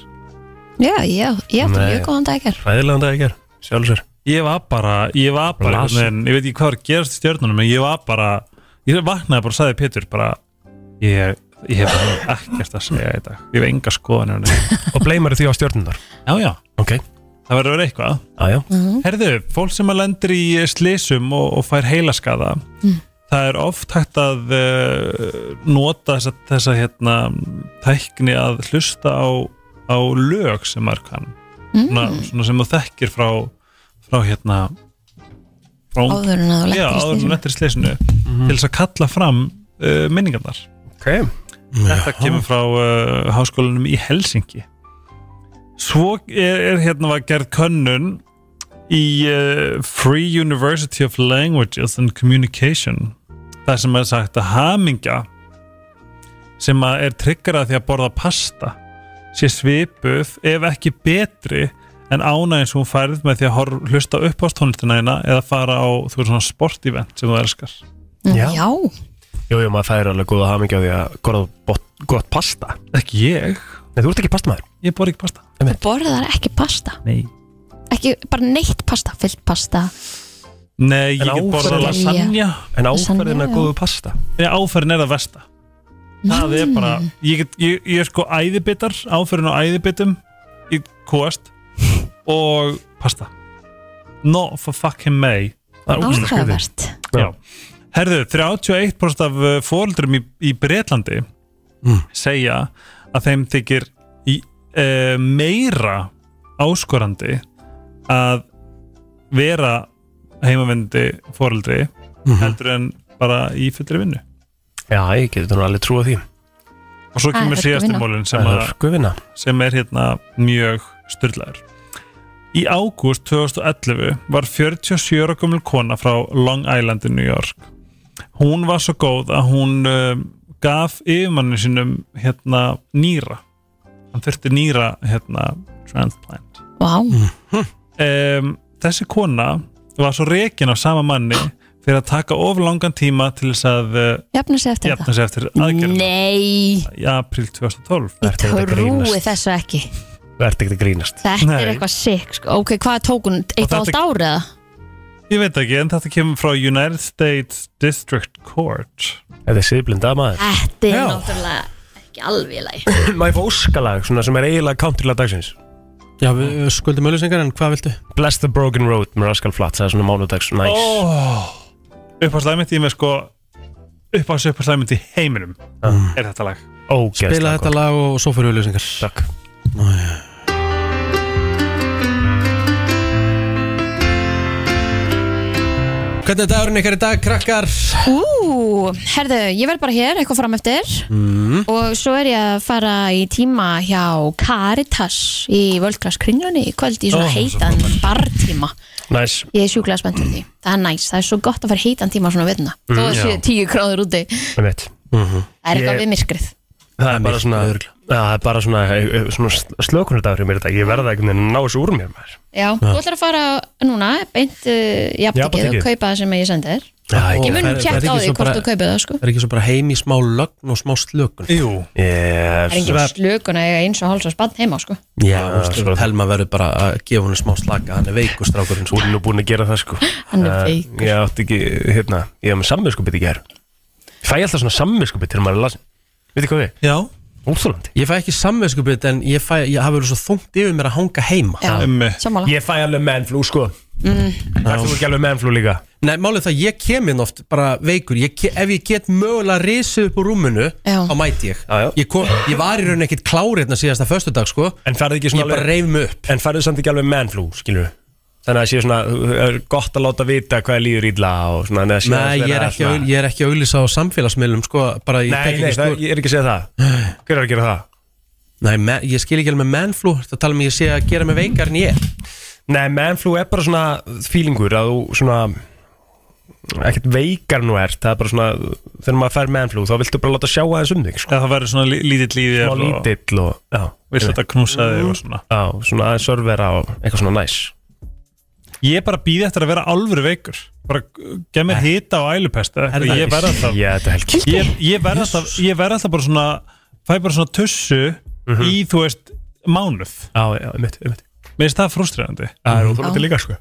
[SPEAKER 2] Já, já, já, það er
[SPEAKER 5] Nei.
[SPEAKER 2] mjög góðan dag hér
[SPEAKER 3] Ræðilegan dag ekki er, sjálfsver
[SPEAKER 5] Ég var bara, ég var bara,
[SPEAKER 3] Lasin.
[SPEAKER 5] en, ég veit ekki hvað var að gerast í stjörnunum, en ég var bara, ég vaknaði bara og sagði Pétur, bara, ég, ég hef bara ekkert að segja í dag, ég hef enga skoðanir. á neinu.
[SPEAKER 3] Og bleimar því á stjörnundar
[SPEAKER 5] Já, já.
[SPEAKER 3] Ok
[SPEAKER 5] Það verður að vera eitthvað.
[SPEAKER 3] Já, já
[SPEAKER 5] Herðu, fólk sem að lendir í slísum og, og fær heilaskaða
[SPEAKER 3] Mm.
[SPEAKER 5] það er oft hægt að uh, nota þessa, þessa hérna, tækni að hlusta á, á lög sem maður kann
[SPEAKER 2] Mm.
[SPEAKER 5] svona, svona sem þú þekkir frá frá hérna frá,
[SPEAKER 2] Áður en að þú lentir í
[SPEAKER 5] Já, áður en
[SPEAKER 2] slysinu.
[SPEAKER 5] þú lentir í slísinu til þess að kalla fram uh, minningarnar
[SPEAKER 3] okay.
[SPEAKER 5] Þetta kemur frá uh, háskólanum í Helsingi Svo er, er hérna var gerð könnun í uh, Free University of Languages and Communication það sem er sagt að hamingja sem að er tryggrað því að borða pasta sé svipuð ef ekki betri en ánægins hún færð með því að horf, hlusta upp á tónlistina eða fara á þú veist svona sportivent sem þú elskar
[SPEAKER 2] Já, já.
[SPEAKER 3] Jú, jú, maður færi alveg góða hamingja á því að gorða bot- gott pasta
[SPEAKER 5] Ekki ég
[SPEAKER 3] Nei, þú ert ekki pastamaður
[SPEAKER 5] Ég bor ekki pasta
[SPEAKER 2] Þú borðar ekki pasta
[SPEAKER 5] Nei
[SPEAKER 2] Ekki, bara neitt pasta, fyllt pasta
[SPEAKER 5] Nei, ég
[SPEAKER 3] En
[SPEAKER 5] get
[SPEAKER 3] áferðin-
[SPEAKER 5] borðað lasagna
[SPEAKER 3] En áferðin
[SPEAKER 2] Lasagna,
[SPEAKER 3] að
[SPEAKER 2] já.
[SPEAKER 3] góðu pasta
[SPEAKER 5] Nei, áferðin er það versta Það er bara, ég, get, ég, ég er sko æðibitar, áferðin á æðibitum í kóast og pasta No for fucking me Það er ógeðslega skrítið.
[SPEAKER 2] Áhugavert.
[SPEAKER 5] Já. Herðu, 31% af uh, foreldrum í, í Bretlandi segja að þeim þykir í, uh, meira áskorandi að vera heimavindi foreldri heldur en bara í fullri vinnu
[SPEAKER 3] Já, ég getur þannig alveg trúa því
[SPEAKER 5] og
[SPEAKER 3] Það
[SPEAKER 5] svo
[SPEAKER 3] er
[SPEAKER 5] kemur
[SPEAKER 3] hörku
[SPEAKER 5] síðastum
[SPEAKER 3] vinna.
[SPEAKER 5] mólin sem,
[SPEAKER 3] Það er
[SPEAKER 5] að-
[SPEAKER 3] hörku vinna.
[SPEAKER 5] sem er hérna mjög styrlaður Í ágúst 2011 var 47 ára gömul kona frá Long Island í New York Hún var svo góð að hún um, gaf yfirmanni sínum hérna nýra Hann þurfti nýra hérna transplant
[SPEAKER 2] Vá
[SPEAKER 5] um, þessi kona var svo rekin af sama manni fyrir að taka of langan tíma til þess að uh,
[SPEAKER 2] Jafna sig eftir
[SPEAKER 5] jafna sig eftir
[SPEAKER 2] þetta
[SPEAKER 5] aðgerðina
[SPEAKER 2] Nei,
[SPEAKER 5] í april 2012
[SPEAKER 2] ég trúi þessu ekki
[SPEAKER 3] Þú ert ekkert að grínast
[SPEAKER 2] Þetta er eitthvað sick, sko. ok, hvað tók hún? Eitt
[SPEAKER 5] Og
[SPEAKER 2] og allt
[SPEAKER 5] þetta-
[SPEAKER 2] ár eða?
[SPEAKER 5] Ég veit ekki, en þetta kemur frá United States District Court
[SPEAKER 3] Þetta er siðblinda maður
[SPEAKER 2] Þetta er náttúrulega ekki alveg í lagi
[SPEAKER 3] Maður fá óskalag, svona sem er eiginlega countrylag dagsins
[SPEAKER 1] Já, við uh, skuldum öllusengar en hvað viltu?
[SPEAKER 3] Bless the broken road með Rascal Flatts, það er svona mánudags Næs
[SPEAKER 5] oh, Uppáðslæmið í með sko Uppáðs uppáðslæmið í heiminum
[SPEAKER 3] Ah.
[SPEAKER 5] Er þetta lag
[SPEAKER 3] Ógeðslega
[SPEAKER 1] Spila þetta lag og svo fyrir öllusengar
[SPEAKER 3] Takk
[SPEAKER 1] Hvernig er dagurinn ykkar í dag, krakkar?
[SPEAKER 2] Ú, herðu, ég verð bara hér eitthvað fram eftir
[SPEAKER 1] Mm.
[SPEAKER 5] Mhm.
[SPEAKER 2] og svo er ég að fara í tíma hjá Caritas í Völdgræs kringlunni í kvöld í svona
[SPEAKER 3] Ó,
[SPEAKER 2] heitan bartíma
[SPEAKER 3] Næs
[SPEAKER 2] Ég er sjúklega spennt fyrir því Það er næs, það er svo gott að fara í heitan tíma svona veitna
[SPEAKER 3] Mm,
[SPEAKER 2] Þó að
[SPEAKER 3] já.
[SPEAKER 2] séu tíu gráður úti
[SPEAKER 3] Það
[SPEAKER 2] Það er
[SPEAKER 3] er
[SPEAKER 2] eitthvað við myrkrið
[SPEAKER 3] Það er bara svona, Já, það er bara svona, eh, svona slökunardagur í mér í dag, ég verða einhvern veginn að ná þessu úr mér maður.
[SPEAKER 2] Já, þú ætlar að fara núna beint uh, jafntekið
[SPEAKER 1] Jafnatekið.
[SPEAKER 2] og kaupa það sem ég sendi þér
[SPEAKER 1] Já,
[SPEAKER 2] Ég mun tjekka á því hvort þú kaupið það sko
[SPEAKER 1] Það er ekki svo bara heim í smá lögn og smá slökun
[SPEAKER 5] Jú
[SPEAKER 1] yes.
[SPEAKER 2] Það er engin slökun að eiga eins og háls og spann heima sko
[SPEAKER 1] Já, ja, Helma verður bara að gefa henni smá slaka Hann er veikur strákurinn
[SPEAKER 3] Hún Sko, er nú búin að gera það sko
[SPEAKER 2] Hann er
[SPEAKER 3] Eh,
[SPEAKER 2] veikur.
[SPEAKER 3] Ég átti ekki, hérna, ég hef með samvinskupið í gær Fæ ég alltaf svona samvinskupið til maður er lasin Veitir hvað við?
[SPEAKER 5] Já
[SPEAKER 3] Úrþólandi
[SPEAKER 1] Ég fæ ekki samvegskupið en ég, fæ, ég hafi verið svo þungt yfir mér að hanga heima
[SPEAKER 2] Já,
[SPEAKER 5] Um,
[SPEAKER 2] sammála.
[SPEAKER 3] Ég fæ alveg mennflú sko
[SPEAKER 2] mm.
[SPEAKER 3] Það er þú ekki alveg mennflú líka
[SPEAKER 1] Nei, málið er það, ég kem inn oft bara veikur ég, ke- Ef ég get mögulega risið upp úr rúminu
[SPEAKER 2] Já.
[SPEAKER 1] þá mæti ég Ég, kom, ég var í rauninni ekkit klárið hérna síðasta föstudag sko
[SPEAKER 3] En færðu ekki
[SPEAKER 1] Ég
[SPEAKER 3] svona
[SPEAKER 1] bara reyf mig upp
[SPEAKER 3] En færðu samt ekki alveg mennflú, skilur Þannig að það sé svona, það er gott að láta vita hvað er líður illa og svona þannig að sé
[SPEAKER 1] Nei,
[SPEAKER 3] aðeins
[SPEAKER 1] ég er
[SPEAKER 3] vera
[SPEAKER 1] ekki,
[SPEAKER 3] svona-
[SPEAKER 1] að- ég er ekki að auglýsa á samfélagsmiðlum sko, bara ég
[SPEAKER 3] Nei,
[SPEAKER 1] tek
[SPEAKER 3] nei,
[SPEAKER 1] ekki
[SPEAKER 3] það,
[SPEAKER 1] stór
[SPEAKER 3] ég er ekki að segja það Hver er að gera það?
[SPEAKER 1] Nei, me, ég skil ekki alveg með mennflú Það tala um að ég sé að gera mig veikar en ég
[SPEAKER 3] Nei, mennflú er bara svona fílingur að þú svona ekkert veikar nú ert það er bara svona, þegar maður fær mennflú þá viltu bara láta sjá aðeins um þig sko.
[SPEAKER 5] Eða það verður svona lí- lítill lífið
[SPEAKER 3] Smá lítill Mm. og, já
[SPEAKER 5] Vilt þetta knúsa þig og svona
[SPEAKER 3] Já, svona aðeins örvera og eitthvað svona næs
[SPEAKER 5] Ég er bara býði eftir að vera alvöru veikur Bara gef mér hita og ælupest eða
[SPEAKER 3] Er
[SPEAKER 5] eitthvað.
[SPEAKER 3] það
[SPEAKER 5] Ég
[SPEAKER 3] ekki?
[SPEAKER 5] verð alltaf
[SPEAKER 3] Já, þetta er helgi.
[SPEAKER 5] Ég, ég verð alltaf, ég verð alltaf bara svona Fæ bara svona tussu
[SPEAKER 3] Mhm.
[SPEAKER 5] Í þú veist, mánuð
[SPEAKER 3] Já, já, mitt, mitt
[SPEAKER 5] Mér finnst það frustrerandi
[SPEAKER 3] Ah. Það
[SPEAKER 5] Mm,
[SPEAKER 3] er
[SPEAKER 2] óþolandi Já. líka,
[SPEAKER 3] sko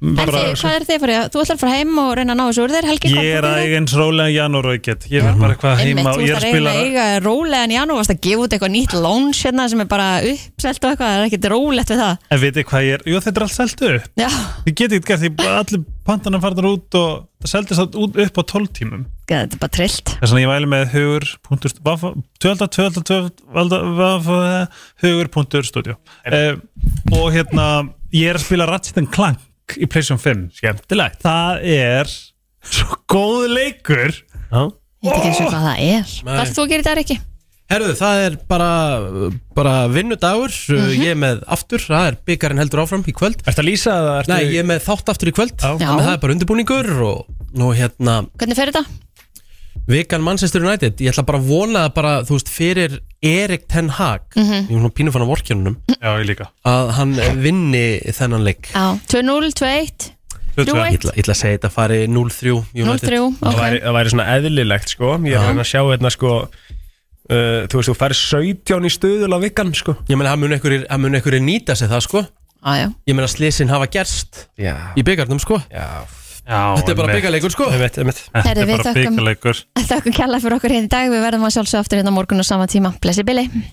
[SPEAKER 2] En þið, hvað er þið fyrir? Þú ætlar að fara heim og reyna að ná þessu úr þér Helgi,
[SPEAKER 5] Ég er
[SPEAKER 2] hvað
[SPEAKER 5] að eiga eins rólega janúar og ég get Ég
[SPEAKER 3] Mhm.
[SPEAKER 5] verð bara eitthvað heima
[SPEAKER 2] Einmitt,
[SPEAKER 5] og
[SPEAKER 2] þú
[SPEAKER 5] ég er
[SPEAKER 2] ert
[SPEAKER 5] að
[SPEAKER 2] að
[SPEAKER 5] spila
[SPEAKER 2] reyna að eiga rólegan í janú varst að gefa út eitthvað nýtt launch hérna sem er bara uppselt og eitthvað, það er ekkert rólegt við það
[SPEAKER 5] En veitir hvað ég er, jú þetta er allt seldu upp
[SPEAKER 2] Já,
[SPEAKER 5] Ég get ekki gert því bara allir pantanum farnar út og það seldist allt út upp á 12 tímum
[SPEAKER 2] þetta er bara trillt
[SPEAKER 5] Þess vegna ég væli með hugur punktur st- vafa- tölda, tölda, tölda vafa- hugur punktur studio eh, og hérna ég er að spila Ratchet and Clank í Playstation 5
[SPEAKER 3] Skemmtilegt
[SPEAKER 5] Það er svo góð leikur
[SPEAKER 3] Já
[SPEAKER 2] Ég veit ekki eins og hvað það er
[SPEAKER 1] Nei.
[SPEAKER 2] Hvað ert þú að gera í dag ekki?
[SPEAKER 1] Herðu, það er bara, bara vinnudagur uh, Ég er með aftur, það er byggarinn heldur áfram í kvöld
[SPEAKER 3] Ertu að lýsa það?
[SPEAKER 1] Nei, ég er með þátt aftur í kvöld Já.
[SPEAKER 2] Já.
[SPEAKER 1] Það er bara undirbúningur og, og hérna,
[SPEAKER 2] Hvernig fer þetta?
[SPEAKER 1] vikan Manchester United Ég ætla bara að vona að bara, þú veist, fyrir Erik Ten Hag
[SPEAKER 2] Mhm.
[SPEAKER 1] Ég er svona pínu fann að vorkjörnunum
[SPEAKER 5] Já, ég líka
[SPEAKER 1] Að hann vinni þennan leik
[SPEAKER 2] Já, 2-0, 2-1
[SPEAKER 1] Ég
[SPEAKER 2] 3-1.
[SPEAKER 1] ætla, ég ætla að segja þetta fari 0-3 United
[SPEAKER 2] 0-3, ok.
[SPEAKER 3] það, væri, það væri svona eðlilegt sko Ég er að reyna að sjá hérna sko uh, Þú veist, þú fær 17 í stuðul á vikan sko
[SPEAKER 1] Ég meina, hann mun einhverjir- hann mun einhverjir nýta sig það, sko
[SPEAKER 2] Á, já.
[SPEAKER 1] Ég meina, slisin hafa gerst
[SPEAKER 3] Já.
[SPEAKER 1] í byggarnum, sko
[SPEAKER 3] Já.
[SPEAKER 1] Þetta er bara byggarleikur, sko
[SPEAKER 3] einmitt, einmitt.
[SPEAKER 2] Herri, við þökkum-
[SPEAKER 5] leikur
[SPEAKER 2] Þakkum kærlega fyrir okkur hérna í dag Við verðum að sjálfsög aftur hérna á morgun og sama tíma Blessi Billy